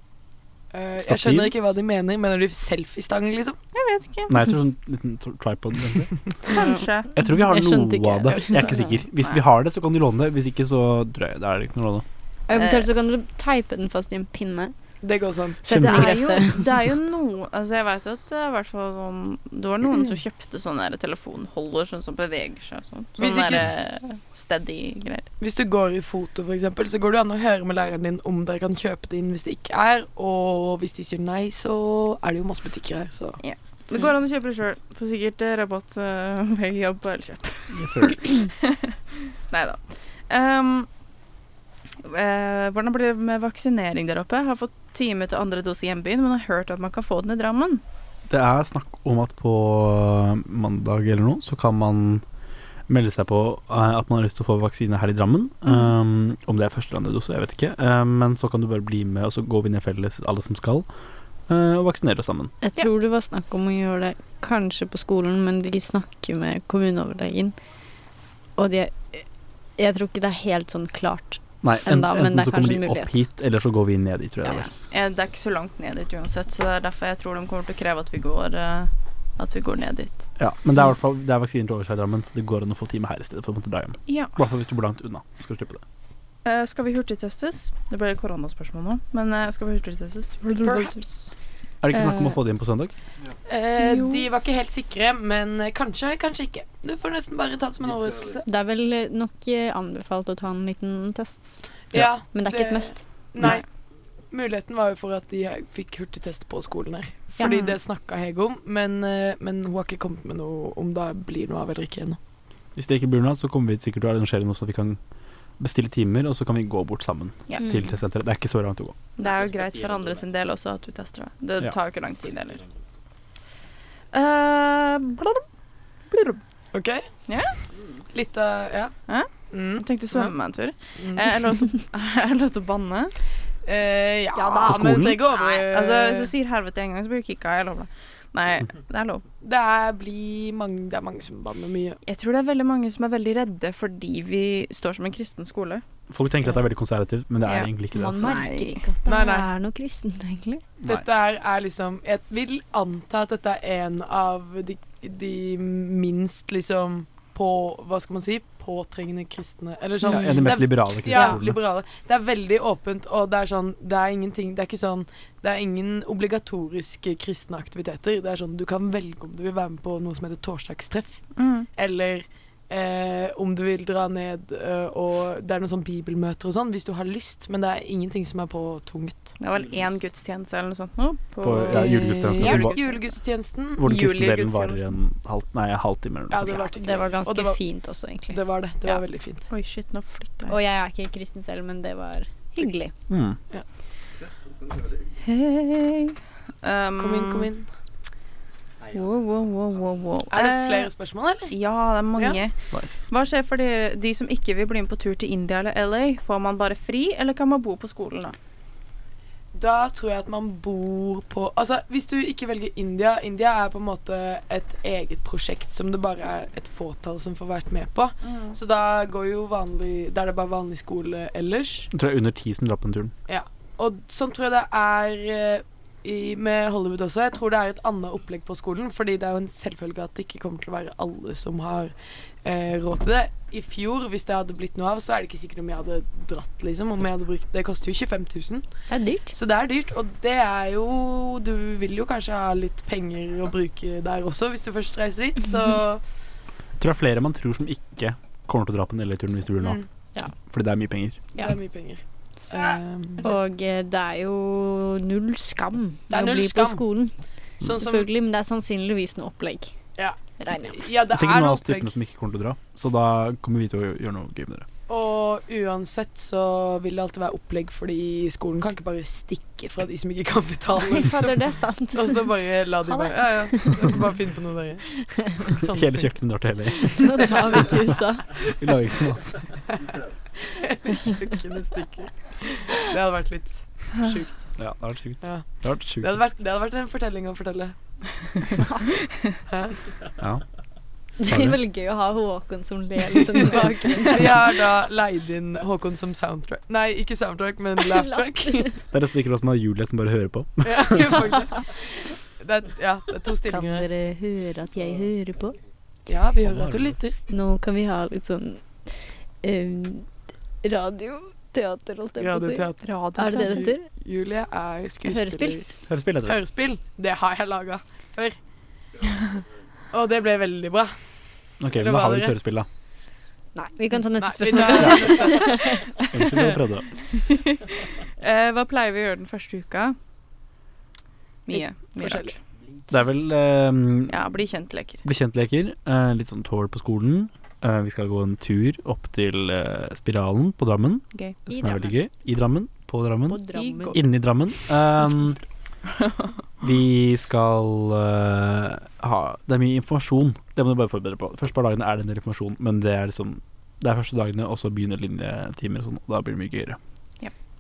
Speaker 1: Eh, jeg
Speaker 7: Stativ?
Speaker 1: skjønner ikke hva de mener. Mener du selfiestang, liksom?
Speaker 3: Jeg vet ikke.
Speaker 7: Nei, jeg tror sånn liten tr- tripod. egentlig.
Speaker 3: Kanskje.
Speaker 7: Jeg tror vi har
Speaker 8: Jeg skjønte
Speaker 7: noe
Speaker 8: ikke.
Speaker 7: av det. Jeg er ikke
Speaker 3: Nei.
Speaker 7: sikker. Hvis vi har det, så kan du låne det. Hvis ikke, så drøy, da er det ikke noe å låne.
Speaker 8: Eventuelt så kan du teipe den fast i en pinne.
Speaker 1: Det går sånn.
Speaker 8: Sette den i
Speaker 3: Det er, jo,
Speaker 8: gresset.
Speaker 3: det er jo noe Altså jeg vet at det er i hvert fall sånn Det var noen som kjøpte sånne der telefonholder sånn som beveger seg og sånn.
Speaker 1: Hvis
Speaker 3: Sånne
Speaker 1: ikke s-
Speaker 3: der, steady greier.
Speaker 1: Hvis du går i foto, for eksempel, så går det an å høre med læreren din om dere kan kjøpe det inn hvis det ikke er, og hvis de sier nei, så er det jo masse butikker her, så
Speaker 3: Det går an å kjøpe det sjøl. Får sikkert eh, rabatt eh, ved jobb på Elkjøp.
Speaker 7: Yes, sir.
Speaker 3: Nei da. Ehm, eh, hvordan blir det med vaksinering der oppe? Jeg har fått time til andre dose i hjembyen, men har hørt at man kan få den i Drammen.
Speaker 7: Det er snakk om at på øh, mandag eller noe, så kan man melde seg på eh, at man har lyst til å få vaksine her i Drammen. Um, om det er første eller andre dose, jeg vet ikke. Eh, men så kan du bare bli med, og så går vi ned felles, alle som skal, eh, og vaksinerer oss sammen.
Speaker 8: Jeg tror det var snakk om å gjøre det kanskje på skolen, men de snakker med kommuneoverlegen. Og de Jeg tror ikke det er helt sånn klart.
Speaker 7: Nei, en,
Speaker 8: Enda, men
Speaker 7: enten
Speaker 8: det er
Speaker 7: så kommer
Speaker 8: kanskje
Speaker 7: de
Speaker 8: en
Speaker 7: opp
Speaker 8: mulighet.
Speaker 7: hit, eller så går vi ned dit, tror jeg. det var.
Speaker 3: Eh, Det er ikke så langt ned dit uansett, så det er derfor jeg tror de kommer til å kreve at vi går, eh, at vi går ned dit.
Speaker 7: Ja, men det er i hvert fall det er vaksiner til overs her i Drammen, så det går an å få time her i stedet for å måtte dra hjem.
Speaker 3: Ja.
Speaker 7: I hvert fall hvis du bor langt unna. Så skal du slippe det.
Speaker 3: Eh, skal vi hurtigtestes? Det ble koronaspørsmål nå, men eh, skal vi hurtigtestes?
Speaker 7: Er det ikke snakk om
Speaker 8: Eh,
Speaker 7: å få det inn på søndag?
Speaker 1: eh,
Speaker 3: Jo.
Speaker 1: De var ikke helt sikre, men eh, kanskje, kanskje ikke. Du får nesten bare ta det som en overraskelse.
Speaker 8: Det er vel nok eh, anbefalt å ta en liten test,
Speaker 1: Ja,
Speaker 8: men det er ikke et must.
Speaker 1: Nei. Muligheten var jo for at de fikk hurtigtest på skolen her. Fordi
Speaker 3: Ja.
Speaker 1: det snakka Hege om, men, eh, men hun har ikke kommet med noe om det blir noe av eller ikke ennå.
Speaker 7: Hvis det ikke blir noe, så kommer vi sikkert til å arrangere noe så vi kan bestille timer, og så kan vi gå bort sammen
Speaker 3: Ja.
Speaker 1: Mm.
Speaker 7: til testsenteret. Det er ikke så langt å gå.
Speaker 3: Det er jo greit for andre sin del også at du tester det. Det
Speaker 7: Ja.
Speaker 3: tar jo ikke lang tid heller. Eh, blurb, blurb.
Speaker 1: OK?
Speaker 3: Ja.
Speaker 1: Litt av Ja.
Speaker 3: Ja.
Speaker 1: Mm.
Speaker 3: Jeg tenkte å svømme meg en tur.
Speaker 1: Mm.
Speaker 3: Eh, Er det lov til- er det lov til å banne?
Speaker 1: Eh, ja,
Speaker 3: Ja da.
Speaker 7: På
Speaker 1: men
Speaker 7: skolen?
Speaker 1: det går
Speaker 3: Nei,
Speaker 1: over.
Speaker 3: altså hvis du sier helvete en gang, så blir du kicka. Jeg lover det. Nei, det er lov.
Speaker 1: det, er, blir mange, det er mange som banner mye.
Speaker 3: Jeg tror det er veldig mange som er veldig redde fordi vi står som en kristen skole.
Speaker 7: Folk tenker at det er veldig konservativt, men det er
Speaker 3: Ja.
Speaker 7: egentlig ikke det.
Speaker 8: Man
Speaker 7: altså.
Speaker 8: merker ikke at det
Speaker 1: Nei, nei.
Speaker 8: er noe kristent, egentlig.
Speaker 7: Nei.
Speaker 1: Dette er, er liksom Jeg vil anta at dette er en av de, de minst liksom på Hva skal man si? Påtrengende kristne. Eller sånn
Speaker 7: Ja, en av de
Speaker 1: det er-
Speaker 7: mest liberale
Speaker 1: Ja,
Speaker 7: kristne skolene.
Speaker 1: liberale. Det er veldig åpent, og det er sånn Det er ingenting Det er ikke sånn Det er ingen obligatoriske kristne aktiviteter. Det er sånn du kan velge om du vil være med på noe som heter torsdagstreff, eller eh, om du vil dra ned eh, og Det er noen sånn bibelmøter og sånn hvis du har lyst, men det er ingenting som er påtvunget.
Speaker 3: Det var vel én gudstjeneste eller noe sånt nå. På,
Speaker 7: På- Ja, julegudstjenesten,
Speaker 1: Eh,
Speaker 7: som
Speaker 1: jul-
Speaker 7: var-
Speaker 1: Julegudstjenesten.
Speaker 7: Hvor den kristne delen varer
Speaker 3: Julegudstjenesten.
Speaker 7: en halv, nei, en halvtime eller
Speaker 1: Ja,
Speaker 7: noe.
Speaker 1: det
Speaker 7: sånt.
Speaker 1: var,
Speaker 8: Det var
Speaker 1: Og
Speaker 8: ganske
Speaker 1: det var-
Speaker 8: fint også, egentlig.
Speaker 1: det var det. Det
Speaker 3: Ja.
Speaker 1: var veldig fint.
Speaker 3: Oi, shit, nå flytta
Speaker 8: Og
Speaker 3: jeg.
Speaker 8: jeg er ikke kristen selv, men det var hyggelig.
Speaker 7: Mm.
Speaker 3: Hei. Um,
Speaker 1: Kom inn, kom inn.
Speaker 3: Wow, wow, wow, wow, wow.
Speaker 1: Er det
Speaker 3: Eh,
Speaker 1: flere spørsmål, eller?
Speaker 3: Ja, det er mange.
Speaker 7: Nice.
Speaker 3: Hva skjer for de, de som ikke vil bli med på tur til India eller LA? Får man bare fri, eller kan man bo på skolen da?
Speaker 1: Da tror jeg at man bor på Altså, hvis du ikke velger India India er på en måte et eget prosjekt som det bare er et fåtall som får vært med på. Så da går jo vanlig Da er det bare vanlig skole ellers.
Speaker 7: Jeg tror det er under ti som drar på den turen.
Speaker 1: Og sånn tror jeg det er eh, i, med Hollywood også. Jeg tror det er et annet opplegg på skolen, fordi det er jo en selvfølge at det ikke kommer til å være alle som har eh, råd til det. I fjor, hvis det hadde blitt noe av, så er det ikke sikkert om jeg hadde dratt, liksom. Om jeg hadde brukt Det koster jo 25 000.
Speaker 8: Det er dyrt.
Speaker 1: Så det er dyrt, og det er jo Du vil jo kanskje ha litt penger å bruke der også, hvis du først reiser dit, så
Speaker 7: Jeg tror det er flere man tror som ikke kommer til å dra på den LA-turen hvis det blir noe.
Speaker 1: mm,
Speaker 7: Fordi det er mye penger.
Speaker 1: Det
Speaker 8: Ja.
Speaker 1: er mye penger. Ehm,
Speaker 8: Og eh, det er jo null skam
Speaker 1: Det er
Speaker 8: med
Speaker 1: null
Speaker 8: å bli
Speaker 1: skam.
Speaker 8: på skolen.
Speaker 1: sånn som
Speaker 8: Selvfølgelig, men det er sannsynligvis noe opplegg.
Speaker 1: Ja.
Speaker 8: Regner jeg med.
Speaker 1: Ja,
Speaker 7: Det
Speaker 1: det
Speaker 7: er
Speaker 1: er
Speaker 7: sikkert noen
Speaker 1: noe
Speaker 7: av oss typene
Speaker 1: opplegg.
Speaker 7: som ikke kommer til å dra, så da kommer vi til å gjøre noe gøy med dere.
Speaker 1: Og uansett så vil det alltid være opplegg, fordi skolen kan ikke bare stikke fra de som ikke kan betale.
Speaker 8: Fy
Speaker 1: Liksom.
Speaker 8: fader, det er sant.
Speaker 1: Og så bare la de
Speaker 8: Ha det.
Speaker 1: bare Ja, ja. dere får Bare finne på noe, dere. Sånn
Speaker 7: Hele
Speaker 1: funker.
Speaker 7: kjøkkenet drar til LA.
Speaker 8: Nå drar vi til USA.
Speaker 7: Vi lager ikke noe mat.
Speaker 1: Hele kjøkkenet stikker. Det hadde vært litt sjukt.
Speaker 7: Ja, det har vært sjukt.
Speaker 1: Ja.
Speaker 7: Det har vært
Speaker 1: Det
Speaker 7: sjukt.
Speaker 1: hadde vært, det hadde vært en fortelling å fortelle.
Speaker 7: Ja.
Speaker 8: Det er veldig gøy å ha Håkon som ledelse i bakgrunnen.
Speaker 1: Vi har da leid inn Håkon som soundtrack Nei, ikke soundtrack, men laugh-track.
Speaker 7: Det er nesten like bra som å ha Juliet som bare hører på.
Speaker 1: ja, faktisk. Det er, ja, det er to
Speaker 8: Kan
Speaker 1: stillinger. her.
Speaker 8: dere høre at jeg hører på?
Speaker 1: Ja, vi hører at du lytter.
Speaker 8: Nå kan vi ha litt sånn um, radioteater, holdt jeg på å si.
Speaker 1: Radioteater.
Speaker 8: Er det det det heter?
Speaker 1: Julie er skuespiller.
Speaker 8: Hørespill?
Speaker 7: Hørespill heter det.
Speaker 1: Hørespill, det har jeg laga før. Og det ble veldig bra.
Speaker 7: Ok,
Speaker 1: Eller
Speaker 7: men da
Speaker 1: hva
Speaker 7: har vi
Speaker 1: dere?
Speaker 7: et hørespill, da.
Speaker 8: Nei, vi kan ta neste
Speaker 1: Nei, vi
Speaker 8: spørsmål.
Speaker 1: tar-
Speaker 7: Unnskyld, jeg prøvde.
Speaker 3: Eh, hva pleier vi å gjøre den første uka? Mye. mye
Speaker 1: forskjellig.
Speaker 3: rart.
Speaker 7: Det er vel eh,
Speaker 3: Ja, bli kjent-leker.
Speaker 7: bli kjent-leker, eh, litt sånn tour på skolen. Eh, vi skal gå en tur opp til eh, Spiralen på Drammen,
Speaker 3: Gøy.
Speaker 7: som
Speaker 8: I
Speaker 7: er
Speaker 8: Drammen.
Speaker 7: veldig gøy. I Drammen. På Drammen.
Speaker 8: Drammen.
Speaker 3: I går.
Speaker 7: Inni Drammen. Um, vi skal eh, ha Det er mye informasjon. Det må du bare forberede på. De første par dagene er det en del informasjon, men det er liksom Det er første dagene, og så begynner linjetimer og sånn, og da blir det mye gøyere.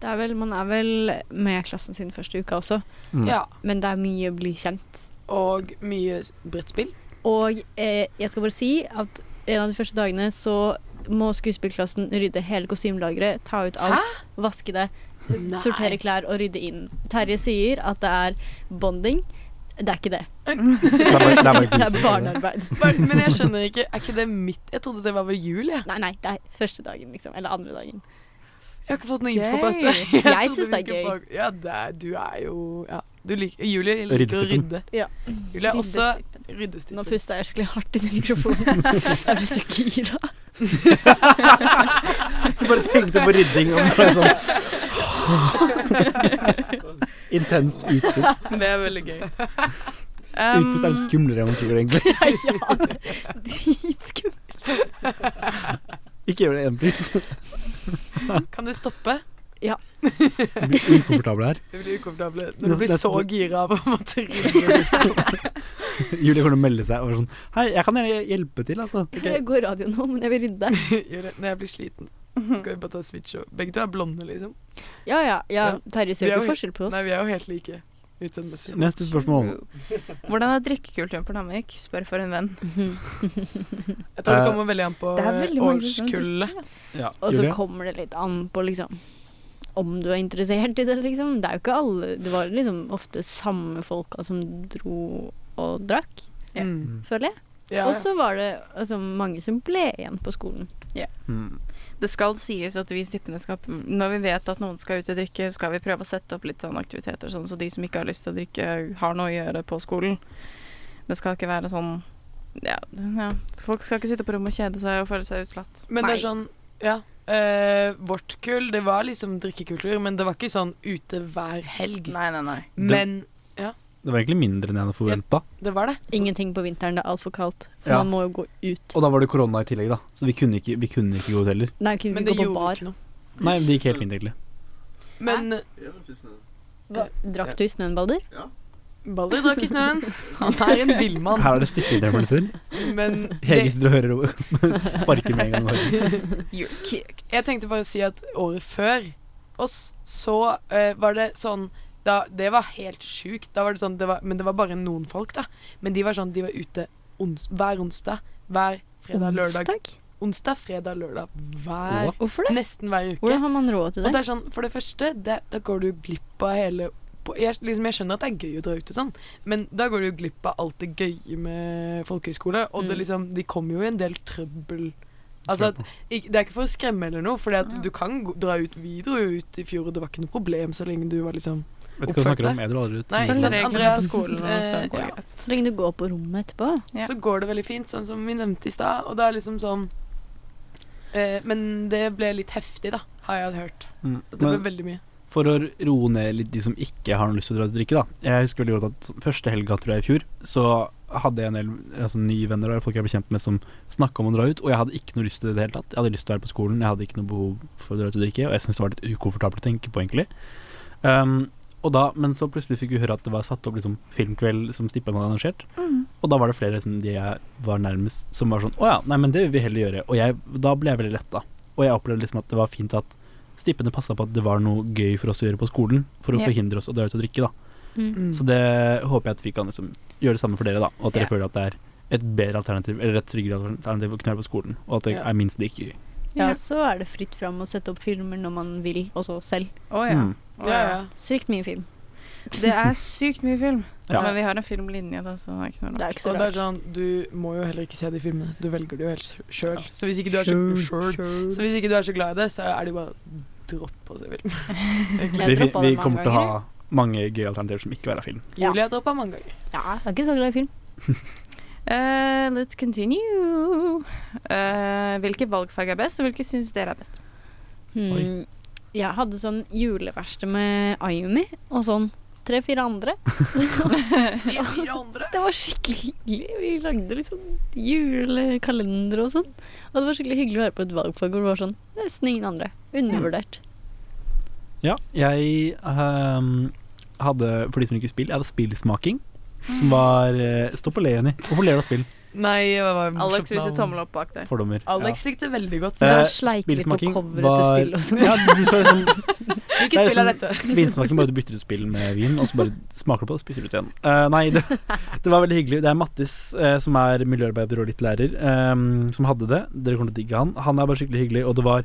Speaker 8: Det er vel, man er vel med klassen sin første uka også,
Speaker 7: Mm.
Speaker 1: Ja,
Speaker 8: men det er mye å bli kjent.
Speaker 1: og mye brettspill.
Speaker 8: Og eh, jeg skal bare si at en av de første dagene så må skuespillklassen rydde hele kostymelageret, ta ut alt, vaske det, sortere klær og rydde inn. Terje sier at det er bonding. Det er ikke det.
Speaker 7: Det er bare- det er bare
Speaker 8: Det er
Speaker 7: grusomt.
Speaker 8: barnearbeid.
Speaker 1: Bare- Men jeg skjønner ikke, er ikke det mitt Jeg trodde det var vel jul, jeg.
Speaker 8: Nei, nei, det er første dagen, liksom. Eller andre dagen.
Speaker 1: Jeg har ikke fått noe info på
Speaker 3: Gøy.
Speaker 1: dette. Jeg
Speaker 8: Jeg
Speaker 1: trodde
Speaker 8: synes
Speaker 1: vi
Speaker 8: det er
Speaker 1: skulle på- Ja, det er, du er jo ja. du liker, Julie liker å
Speaker 7: Ryddestippen.
Speaker 1: rydde.
Speaker 8: Ja.
Speaker 1: Julie er også
Speaker 8: Ryddestippen. Nå
Speaker 1: ryddestippen.
Speaker 8: pusta jeg skikkelig hardt inn i mikrofonen. Jeg ble så gira.
Speaker 7: Du bare tenkte på rydding, og så ble det sånn Intenst utpust.
Speaker 3: Det er veldig gøy.
Speaker 7: Utpust er litt
Speaker 3: Um,
Speaker 7: skumlere enn man tror, egentlig.
Speaker 8: Ja, ja, det er dritskummelt.
Speaker 7: Ikke gjør det igjen, please.
Speaker 1: Kan du stoppe?
Speaker 7: Jeg blir ukomfortabel her.
Speaker 1: Du blir ukomfortabel når du blir
Speaker 7: Neste-
Speaker 1: så gira av å måtte rydde.
Speaker 7: Julie kommer til å melde seg og være sånn Hei, jeg kan gjerne hjelpe til, altså.
Speaker 8: Jeg går radio nå, men jeg vil rydde.
Speaker 1: Julie, Når jeg blir sliten,
Speaker 3: Mhm.
Speaker 1: skal vi bare ta switch over. Begge to er blonde, liksom.
Speaker 8: Ja, ja. ja
Speaker 1: Ja.
Speaker 8: Terje
Speaker 1: Vi
Speaker 8: ser
Speaker 1: er
Speaker 8: jo
Speaker 1: jo-
Speaker 8: ikke forskjell på oss.
Speaker 1: Nei, vi er jo helt like utseendemessig.
Speaker 7: Neste spørsmål.
Speaker 3: hvordan er drikkekulturen på Namvik? Spør for en venn.
Speaker 1: Jeg tror det
Speaker 7: Eh,
Speaker 1: kommer veldig an på
Speaker 3: Det er veldig mange som
Speaker 1: årskullet.
Speaker 3: drikker, ass.
Speaker 7: Ja,
Speaker 8: Og så
Speaker 7: Julie?
Speaker 8: kommer det litt an på liksom om du er interessert i det, liksom. Det er jo ikke alle Det var liksom ofte samme folka som dro og drakk,
Speaker 3: Ja.
Speaker 1: Mm.
Speaker 8: føler jeg.
Speaker 1: Ja,
Speaker 8: Og så var det altså, mange som ble igjen på skolen.
Speaker 7: Mm.
Speaker 3: Det skal sies at vi i stippendeskap, når vi vet at noen skal ut og drikke, skal vi prøve å sette opp litt sånn aktiviteter, sånn så de som ikke har lyst til å drikke, har noe å gjøre på skolen. Det skal ikke være sånn ja, ja. Folk skal ikke sitte på rommet og kjede seg og føle seg utelatt.
Speaker 1: Men det er sånn, ja. eh, vårt kull, det var liksom drikkekultur, men det var ikke sånn ute hver helg.
Speaker 3: Nei, nei, nei.
Speaker 1: Men
Speaker 7: Det var egentlig mindre enn jeg hadde forventa.
Speaker 1: det var det.
Speaker 8: Ingenting på vinteren, det er altfor kaldt. For
Speaker 7: Ja.
Speaker 8: man må jo gå ut.
Speaker 7: Og da var det korona i tillegg, da. Så vi kunne ikke, vi kunne ikke gå ut heller.
Speaker 8: Nei, kunne
Speaker 1: Men
Speaker 8: vi
Speaker 1: det
Speaker 8: gå på
Speaker 1: gjorde
Speaker 8: bar?
Speaker 1: ikke noe.
Speaker 7: Nei, det gikk helt fint, egentlig.
Speaker 1: Men
Speaker 8: Drakk du snøenballer?
Speaker 1: Balder drakk i snøen. Han er en villmann.
Speaker 7: Her er det stikkeinterferanser.
Speaker 1: Men
Speaker 7: Hege
Speaker 1: det,
Speaker 7: sitter og hører og sparker med en gang. og hører.
Speaker 1: sånn-
Speaker 3: You're kicked.
Speaker 1: jeg tenkte bare å si at året før oss, så eh, var det sånn da, Det var helt sjukt. Da var det sånn, det var, men det var bare noen folk, da. Men de var sånn, de var ute ons, hver onsdag, hver fredag, lørdag.
Speaker 8: Onsdag?
Speaker 1: Onsdag, fredag, lørdag. Hver
Speaker 8: Hvorfor det?
Speaker 1: Nesten hver uke.
Speaker 8: Hvordan har man råd til
Speaker 1: Og det
Speaker 8: det?
Speaker 1: er sånn, for det første, det, da går du glipp av hele på, jeg, liksom, jeg skjønner at det er gøy å dra ut og sånn, men da går du jo glipp av alt det gøye med folkehøyskole. Og det
Speaker 8: Mm.
Speaker 1: liksom, de kommer jo i en del trøbbel. Altså, at, ik- det er ikke for å skremme eller noe, for
Speaker 3: Ah.
Speaker 1: du kan gå- dra ut Vi dro jo ut i fjor, og det var ikke noe problem så lenge du var liksom
Speaker 7: Vet ikke hva du snakker om. Jeg drar aldri ut.
Speaker 1: Nei, ikke sant?
Speaker 3: Følger
Speaker 7: Nei,
Speaker 3: reglene
Speaker 1: Andreas,
Speaker 3: på skolen, og så
Speaker 1: eh,
Speaker 3: går det
Speaker 1: ja.
Speaker 3: greit.
Speaker 8: Så lenge du går på rommet etterpå.
Speaker 3: Ja.
Speaker 1: Så går det veldig fint, sånn som vi nevnte i stad. Og det er liksom sånn eh, Men det ble litt heftig, da, har jeg hørt.
Speaker 7: Mm.
Speaker 1: Det ble
Speaker 7: Men
Speaker 1: veldig mye.
Speaker 7: for å roe ned litt de som ikke har noe lyst til å dra ut og drikke, da. Jeg husker veldig godt at sånn første helga, tror jeg, i fjor, så hadde jeg en del altså, nye venner og folk jeg ble kjent med som snakka om å dra ut, og jeg hadde ikke noe lyst til det i det hele tatt. Jeg hadde lyst til å være på skolen, jeg hadde ikke noe behov for å dra ut og drikke, og jeg syntes det var litt ukomfortabelt å tenke på, egentlig. Um, og da, men så plutselig fikk vi høre at det var satt opp liksom, filmkveld som Stippan hadde arrangert. Og da var det flere liksom, de jeg var nærmest, som var sånn Å ja, nei, men det vil vi heller gjøre. Og jeg, da ble jeg veldig letta. Og jeg opplevde liksom at det var fint at Stippene passa på at det var noe gøy for oss å gjøre på skolen, for å
Speaker 3: Ja.
Speaker 7: forhindre oss å dra ut og drikke, da.
Speaker 8: Mm.
Speaker 1: Mm.
Speaker 7: Så det håper jeg at vi kan liksom gjøre det samme for dere, da. Og at dere
Speaker 3: Ja.
Speaker 7: føler at det er et bedre alternativ, eller et tryggere alternativ å knære på skolen, og at det
Speaker 8: Ja.
Speaker 7: er minst like gøy.
Speaker 8: Ja, så er det fritt fram å sette opp filmer når man vil, også selv.
Speaker 3: Å ja.
Speaker 7: Mm.
Speaker 3: Å
Speaker 1: Ja,
Speaker 3: ja.
Speaker 1: ja.
Speaker 8: Sykt mye film.
Speaker 3: Det er sykt mye film.
Speaker 7: Ja.
Speaker 3: Men vi har en filmlinje, da, så det er ikke noe
Speaker 8: Det
Speaker 3: rart.
Speaker 8: er ikke så
Speaker 1: Og det er
Speaker 8: rart.
Speaker 1: sånn, du må jo heller ikke se de filmene. Du velger det jo helt sjøl. Så hvis ikke du er så Sjøl. Så hvis ikke du er så glad i det, så er det jo bare dropp å se film.
Speaker 8: Jeg
Speaker 7: Vi, vi,
Speaker 8: droppet
Speaker 7: vi
Speaker 8: det mange
Speaker 7: kommer til å ha mange gøye alternativer som ikke vil være film.
Speaker 8: Ja.
Speaker 1: Julie har droppa mange ganger.
Speaker 8: Ja, jeg er ikke så glad i film.
Speaker 3: Eh, let's continue. Eh, hvilke valgfag er best, og hvilke syns dere er best?
Speaker 8: Hmm. Jeg hadde sånn juleverksted med Ayumi og sånn tre-fire andre.
Speaker 1: De fire andre.
Speaker 8: Det var skikkelig hyggelig. Vi lagde liksom julekalendere og sånn. Og det var skikkelig hyggelig å være på et valgfag hvor det var sånn nesten ingen andre. Undervurdert.
Speaker 7: Ja, jeg ehm, hadde, for de som liker spill, jeg hadde spillsmaking. Som var eh, Stopp å le, Jenny. Hvorfor ler du av spill?
Speaker 1: Nei, det var morsomt
Speaker 3: Alex viser
Speaker 1: navn.
Speaker 3: tommel opp bak der.
Speaker 7: Fordommer.
Speaker 1: Alex likte veldig godt.
Speaker 7: Eh,
Speaker 8: Så
Speaker 7: Ja.
Speaker 8: da
Speaker 7: Eh,
Speaker 8: sleik vi på
Speaker 7: spillsmaking
Speaker 8: coveret
Speaker 7: var-
Speaker 8: til spill og sånn.
Speaker 7: Ja, du skal liksom
Speaker 1: Hvilket
Speaker 7: det er
Speaker 1: spill er
Speaker 7: sånn-
Speaker 1: dette?
Speaker 7: Vinsmaking bare du bytter ut spill med vin, og så bare smaker du på det, og så bytter du ut igjen. Eh, nei, det, det var veldig hyggelig. Det er Mattis, eh, som er miljøarbeider og litt lærer, ehm, som hadde det. Dere kommer til å digge han. Han er bare skikkelig hyggelig, og det var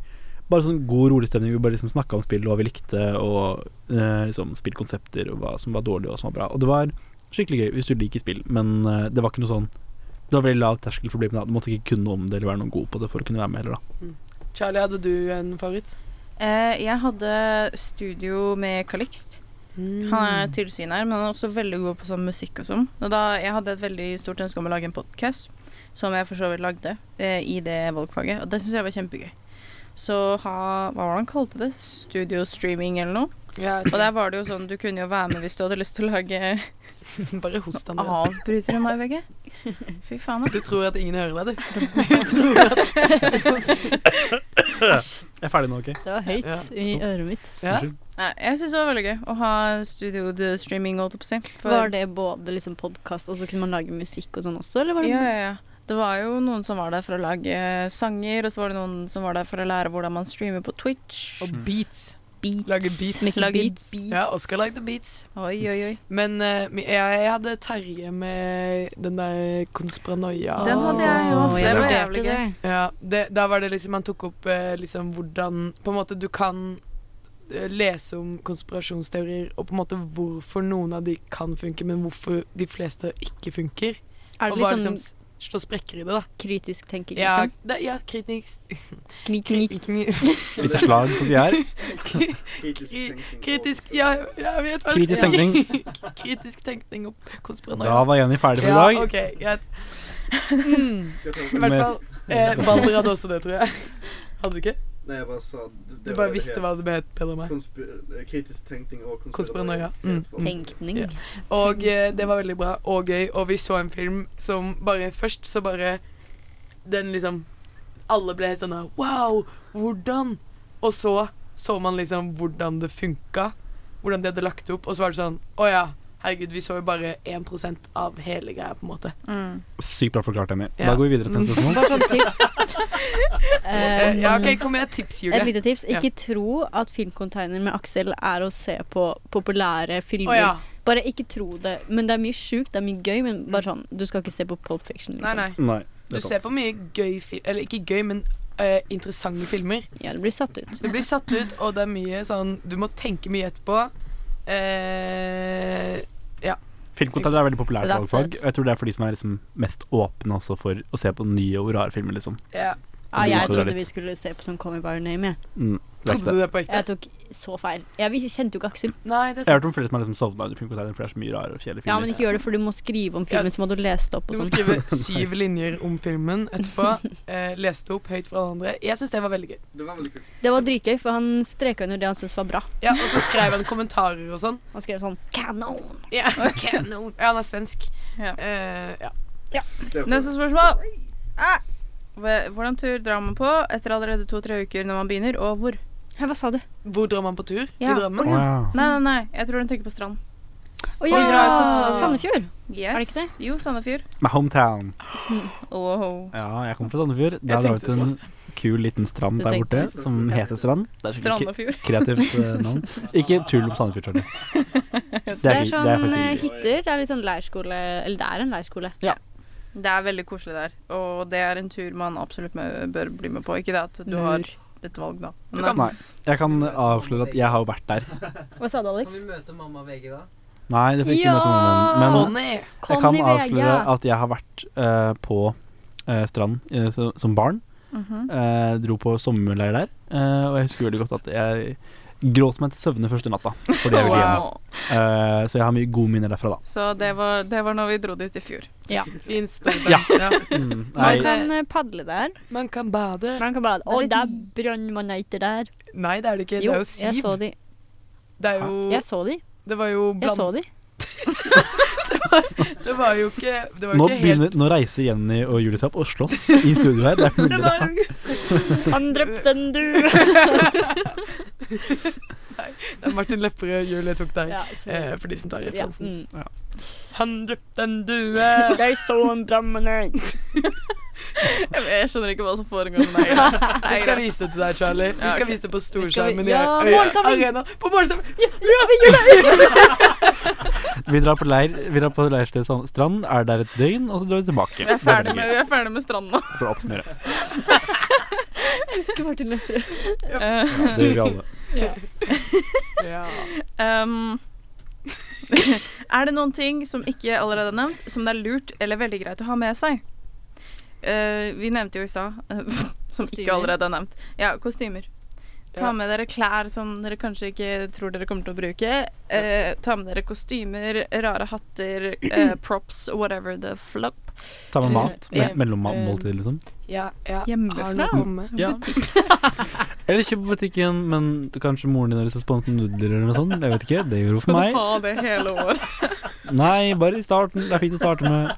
Speaker 7: bare sånn god, rolig stemning. Vi bare liksom snakka om spill og hva vi likte, og eh, liksom spillkonsepter og hva som var dårlig og hva som var bra. Og det var skikkelig gøy hvis du liker spill, men eh, det var ikke noe sånn det var veldig lav terskel for å bli med. da. Du måtte ikke kunne om det eller være noen god på det for å kunne være med heller, da.
Speaker 1: Charlie, hadde du en favoritt?
Speaker 3: Eh, jeg hadde studio med Kalix. Mm. Han
Speaker 1: Mm.
Speaker 3: er tilsyner, men han er også veldig god på sånn musikk og sånn. Og da jeg hadde et veldig stort ønske om å lage en podkast, som jeg for så vidt lagde eh, i det valgfaget, og det syns jeg var kjempegøy. Så ha Hva var det han kalte det? Studio streaming eller noe?
Speaker 1: Ja,
Speaker 3: Og der var det jo sånn, du kunne jo være med hvis du hadde lyst til å lage
Speaker 1: bare host han altså.
Speaker 3: Avbryter du meg, VG? Fy faen, altså.
Speaker 1: Du
Speaker 3: ass.
Speaker 1: tror at ingen hører deg, du. Du tror at
Speaker 7: Jeg er ferdig nå, OK?
Speaker 8: Det var høyt
Speaker 1: Ja,
Speaker 8: i øret mitt.
Speaker 1: Ja.
Speaker 3: Nei, jeg syns det var veldig gøy å ha studio d- streaming, holdt jeg på å si. For-
Speaker 8: Var det både liksom podkast, og så kunne man lage musikk og sånn også, eller var det
Speaker 3: Ja, ja, ja. Det var jo noen som var der for å lage eh, sanger, og så var det noen som var der for å lære hvordan man streamer på Twitch.
Speaker 1: Og beats.
Speaker 3: beats.
Speaker 1: Lage beats.
Speaker 8: Make
Speaker 3: Lage
Speaker 8: beats.
Speaker 3: beats.
Speaker 1: Ja, Oskar lagde beats.
Speaker 3: Oi, oi, oi.
Speaker 1: Men eh, mi- jeg, jeg hadde Terje med den der konspiranoia.
Speaker 3: Den hadde jeg
Speaker 8: Åh,
Speaker 3: jo. Det var
Speaker 8: vurderte
Speaker 3: jævlig gøy.
Speaker 8: det.
Speaker 1: Ja, det, da var det liksom Han tok opp eh, liksom hvordan På en måte du kan eh, lese om konspirasjonsteorier og på en måte hvorfor noen av de kan funke, men hvorfor de fleste ikke funker.
Speaker 8: Er det
Speaker 1: og bare
Speaker 8: litt
Speaker 1: liksom
Speaker 8: sånn
Speaker 1: s- slå sprekker i det, da.
Speaker 8: kritisk tenking,
Speaker 1: Ja,
Speaker 8: liksom?
Speaker 1: det, ja kritisk
Speaker 8: Knik, knik.
Speaker 7: Litt slag på sida her.
Speaker 1: Kritisk Ja, jeg vet hva
Speaker 7: Kritisk tenkning.
Speaker 1: Kritisk tenkning og
Speaker 7: Da
Speaker 1: konspiranoia.
Speaker 7: var Jenny ferdig for i dag.
Speaker 1: Ja, OK, greit. Mm. I hvert
Speaker 7: Med-
Speaker 1: fall eh, Balder hadde også det, tror jeg. Hadde du ikke?
Speaker 6: Nei, jeg bare sa det,
Speaker 1: Du bare visste hva det het bedre enn meg.
Speaker 6: Konspir eh, kritisk tenkning og
Speaker 1: Konspiranoia. Mm.
Speaker 8: Tenkning.
Speaker 1: Ja. Og eh, det var veldig bra og gøy, og vi så en film som bare Først så bare Den liksom Alle ble helt sånn her, Wow! Hvordan? Og så så man liksom hvordan det funka. Hvordan de hadde lagt det opp. Og så var det sånn Å ja, herregud, vi så jo bare 1 av hele greia, på en måte.
Speaker 3: Mm.
Speaker 7: Sykt bra forklart, Jenny.
Speaker 1: Ja.
Speaker 7: Da går vi videre til en spørsmål.
Speaker 8: Bare sånn tips.
Speaker 1: Eh,
Speaker 8: Eh,
Speaker 1: ja, OK, kom med et tips, Julie.
Speaker 8: Et lite tips.
Speaker 1: Ja.
Speaker 8: Ikke tro at filmcontainer med Aksel er å se på populære filmer.
Speaker 1: Å ja.
Speaker 8: Bare ikke tro det. Men det er mye sjukt, det er mye gøy, men bare sånn Du skal ikke se på Pulp Fiction,
Speaker 1: Mm. Nei,
Speaker 8: liksom.
Speaker 1: nei.
Speaker 7: Nei,
Speaker 1: Du
Speaker 7: det er
Speaker 1: ser
Speaker 7: sant.
Speaker 1: på mye gøy film Eller ikke gøy, men eh, interessante filmer.
Speaker 8: Ja, du blir satt ut.
Speaker 1: Det blir satt ut, og det er mye sånn Du må tenke mye etterpå. Eh,
Speaker 7: Filmkontakter er veldig populært
Speaker 8: That's
Speaker 7: valgfag.
Speaker 8: it.
Speaker 7: Og jeg tror det er for de som er liksom mest åpne også for å se på nye og rare filmer, liksom.
Speaker 1: ja.
Speaker 8: Ja,
Speaker 7: Du
Speaker 8: Ah, jeg
Speaker 7: utfordrer
Speaker 8: trodde
Speaker 7: litt.
Speaker 8: vi skulle se på sånn Call Me By Your Name, jeg.
Speaker 7: Mm, vet
Speaker 1: Trodde
Speaker 7: det.
Speaker 1: du det på ekte?
Speaker 8: Jeg tok så feil. Jeg vis- kjente jo ikke Aksel.
Speaker 1: Nei, det
Speaker 7: Jeg har
Speaker 1: er sant.
Speaker 7: hørt om flere som har liksom sovna under filmkontakter, for det er så mye rare og kjedelige
Speaker 8: Ja, men
Speaker 7: filmer.
Speaker 8: ikke gjør det, for du må skrive om filmen
Speaker 1: Ja.
Speaker 8: som hadde lest opp
Speaker 1: Du
Speaker 8: og
Speaker 1: må
Speaker 8: sånn.
Speaker 1: skrive syv linjer om filmen etterpå. Eh, leste opp høyt fra alle andre. Jeg syns det var veldig gøy.
Speaker 6: Det var veldig kult.
Speaker 8: Det var dritgøy, for han streka under det han syntes var bra.
Speaker 1: Ja, Og så skrev han kommentarer og sånn.
Speaker 8: Han skrev sånn Canon!
Speaker 1: Ja, kanon. ja, han er svensk.
Speaker 3: Ja.
Speaker 1: Eh, ja.
Speaker 3: Neste spørsmål. Ah! Hva- Hvordan tur drar man på etter allerede to-tre uker når man begynner, og hvor?
Speaker 8: Hæ, hva sa du?
Speaker 1: Hvor drar man på tur?
Speaker 3: Ja.
Speaker 1: I Drammen?
Speaker 7: Å, ja.
Speaker 3: Nei, nei, nei. Jeg tror hun tenker på strand.
Speaker 8: Å ja!
Speaker 3: Oi, dra på-
Speaker 8: Sandefjord.
Speaker 3: Yes.
Speaker 8: Er det ikke det?
Speaker 3: Jo, Sandefjord.
Speaker 7: My hometown.
Speaker 3: Wow.
Speaker 7: Ja, jeg kommer fra Sandefjord. Der har
Speaker 1: tenkte
Speaker 7: vi en kul liten strand
Speaker 8: Du
Speaker 7: der borte
Speaker 8: tenkte
Speaker 7: som heter Strand. Det er sikkert
Speaker 3: Strandefjord.
Speaker 7: ikke kreativt eh, navn. Ikke tull om Sandefjord, Charlie. Det
Speaker 8: Det
Speaker 7: er,
Speaker 8: er
Speaker 7: fint.
Speaker 8: sånn
Speaker 7: det er
Speaker 8: eh,
Speaker 7: faktisk hyggelig.
Speaker 8: hytter. Det er litt sånn leirskole Eller det er en leirskole.
Speaker 7: Ja.
Speaker 3: Det er veldig koselig der, og det er en tur man absolutt med, bør bli med på. Ikke det at du har et valg, da. Men
Speaker 1: kan-
Speaker 7: Nei. Jeg kan avsløre at jeg har jo vært der.
Speaker 8: Hva sa du,
Speaker 9: Kan
Speaker 8: Alex?
Speaker 9: vi møte mamma VG da?
Speaker 7: Nei, det fikk jeg ikke møte
Speaker 8: Ja!
Speaker 7: mammaen min. Men
Speaker 1: Conny.
Speaker 7: jeg kan
Speaker 8: Conny VG.
Speaker 7: avsløre at jeg har vært eh, på eh, strand eh, så, som barn.
Speaker 3: Mhm.
Speaker 7: Eh, dro på sommerleir der, eh, og jeg husker veldig godt at jeg gråt meg til søvne første natta. Fordi jeg ville hjem.
Speaker 3: Wow.
Speaker 7: Eh, så jeg har mye gode minner derfra, da.
Speaker 3: Så det var, det var når vi dro dit i fjor.
Speaker 1: Fin story. Ja.
Speaker 7: Mm,
Speaker 8: Man
Speaker 7: nei,
Speaker 8: kan eh, padle der.
Speaker 1: Man kan bade.
Speaker 8: Man kan bade. Å, det er brannmaneter der.
Speaker 1: Nei, det er det ikke.
Speaker 8: Jo,
Speaker 1: det er jo
Speaker 8: jeg
Speaker 1: Siv.
Speaker 8: så de.
Speaker 1: Det er jo
Speaker 8: Jeg så de.
Speaker 1: Det var jo
Speaker 8: Jeg så
Speaker 1: bland...
Speaker 8: de.
Speaker 1: Det var jo ikke Det var
Speaker 7: nå,
Speaker 1: jo ikke helt
Speaker 7: begynner, nå reiser Jenny og Julie seg opp og slåss i studio her. Det er ikke mulig, det.
Speaker 8: Han drepte den, du!
Speaker 1: Det er Martin Lepperød, Julie tok deg.
Speaker 8: Ja, så-
Speaker 1: Eh, for de som tar
Speaker 8: ja.
Speaker 1: referansen.
Speaker 8: mm.
Speaker 7: Ja.
Speaker 8: Han drepte en due! Jeg så en brannmanet.
Speaker 3: Jeg, jeg skjønner ikke hva som foregår med deg.
Speaker 1: Vi skal vise det til deg, Charlie. Vi
Speaker 3: Ja,
Speaker 1: skal
Speaker 3: ok.
Speaker 1: vise det på
Speaker 8: Vi skal vi-
Speaker 1: storskjermen.
Speaker 8: Ja,
Speaker 1: i Øya
Speaker 8: målsamling!
Speaker 1: Arena. På målsamling!
Speaker 7: Vi drar på leir Vi drar på leirsted Sand- strand, er der et døgn, og så drar vi tilbake.
Speaker 3: Vi er ferdig med, vi er ferdig med stranden nå.
Speaker 7: For å oppsummere.
Speaker 8: Elsker Martin Lepperød.
Speaker 3: Eh,
Speaker 7: Ja, det gjør vi alle.
Speaker 1: Ja.
Speaker 3: ehm, er det noen ting som ikke allerede er nevnt, som det er lurt eller veldig greit å ha med seg? Eh, vi nevnte jo i stad eh, Som ikke
Speaker 8: Kostymer.
Speaker 3: allerede er nevnt. Ja, kostymer. Ta
Speaker 1: Ja.
Speaker 3: med dere klær som dere kanskje ikke tror dere kommer til å bruke. Eh, ta med dere kostymer, rare hatter, eh, props, whatever the flop.
Speaker 7: Ta med mat.
Speaker 1: Ja.
Speaker 7: me- Mellommåltid, liksom.
Speaker 1: Ja, ja. Har
Speaker 3: Hjemmefra?
Speaker 1: noe komme?
Speaker 7: Ja. Eller kjøp på butikken, men kanskje moren din har lyst til å sponse nudler eller noe sånt. Jeg vet ikke. Det gjorde hun for
Speaker 3: Skal
Speaker 7: meg.
Speaker 3: du ha det hele året?
Speaker 7: Nei, bare i starten. Det er fint å starte med.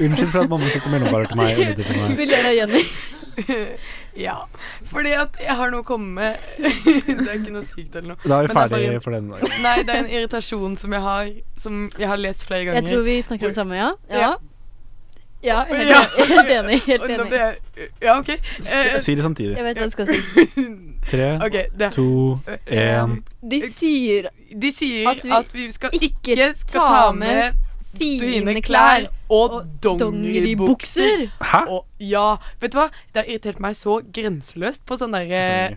Speaker 7: Unnskyld for at mamma kjøpte mellombarer til meg. og nudler til meg.
Speaker 8: Vi ler av Jenny.
Speaker 1: ja. Fordi at jeg har noe å komme med. det er ikke noe sykt eller noe.
Speaker 7: Da er
Speaker 1: Men
Speaker 7: vi
Speaker 1: det er bare-
Speaker 7: ferdig for denne dagen.
Speaker 1: Nei, det er en irritasjon som jeg har, som jeg har lest flere
Speaker 8: Jeg
Speaker 1: ganger.
Speaker 8: tror vi snakker om samme, ja? Ja.
Speaker 1: Ja.
Speaker 8: Ja, helt,
Speaker 1: Ja.
Speaker 8: helt enig. Helt
Speaker 1: Og nå
Speaker 8: enig.
Speaker 1: ble jeg Ja, OK. Eh,
Speaker 7: Si det samtidig.
Speaker 8: Jeg vet hva jeg skal si.
Speaker 7: Tre,
Speaker 1: OK, det
Speaker 7: to, én
Speaker 8: De sier
Speaker 1: De sier
Speaker 8: At
Speaker 1: at
Speaker 8: vi
Speaker 1: vi, skal
Speaker 8: ikke
Speaker 1: ikke skal ta med
Speaker 8: fine
Speaker 1: dine klær og
Speaker 8: og
Speaker 1: dongeribukser.
Speaker 8: dongeribukser.
Speaker 7: Hæ?
Speaker 1: Og ja, vet du hva? Det har irritert meg så grenseløst på sånn der eh,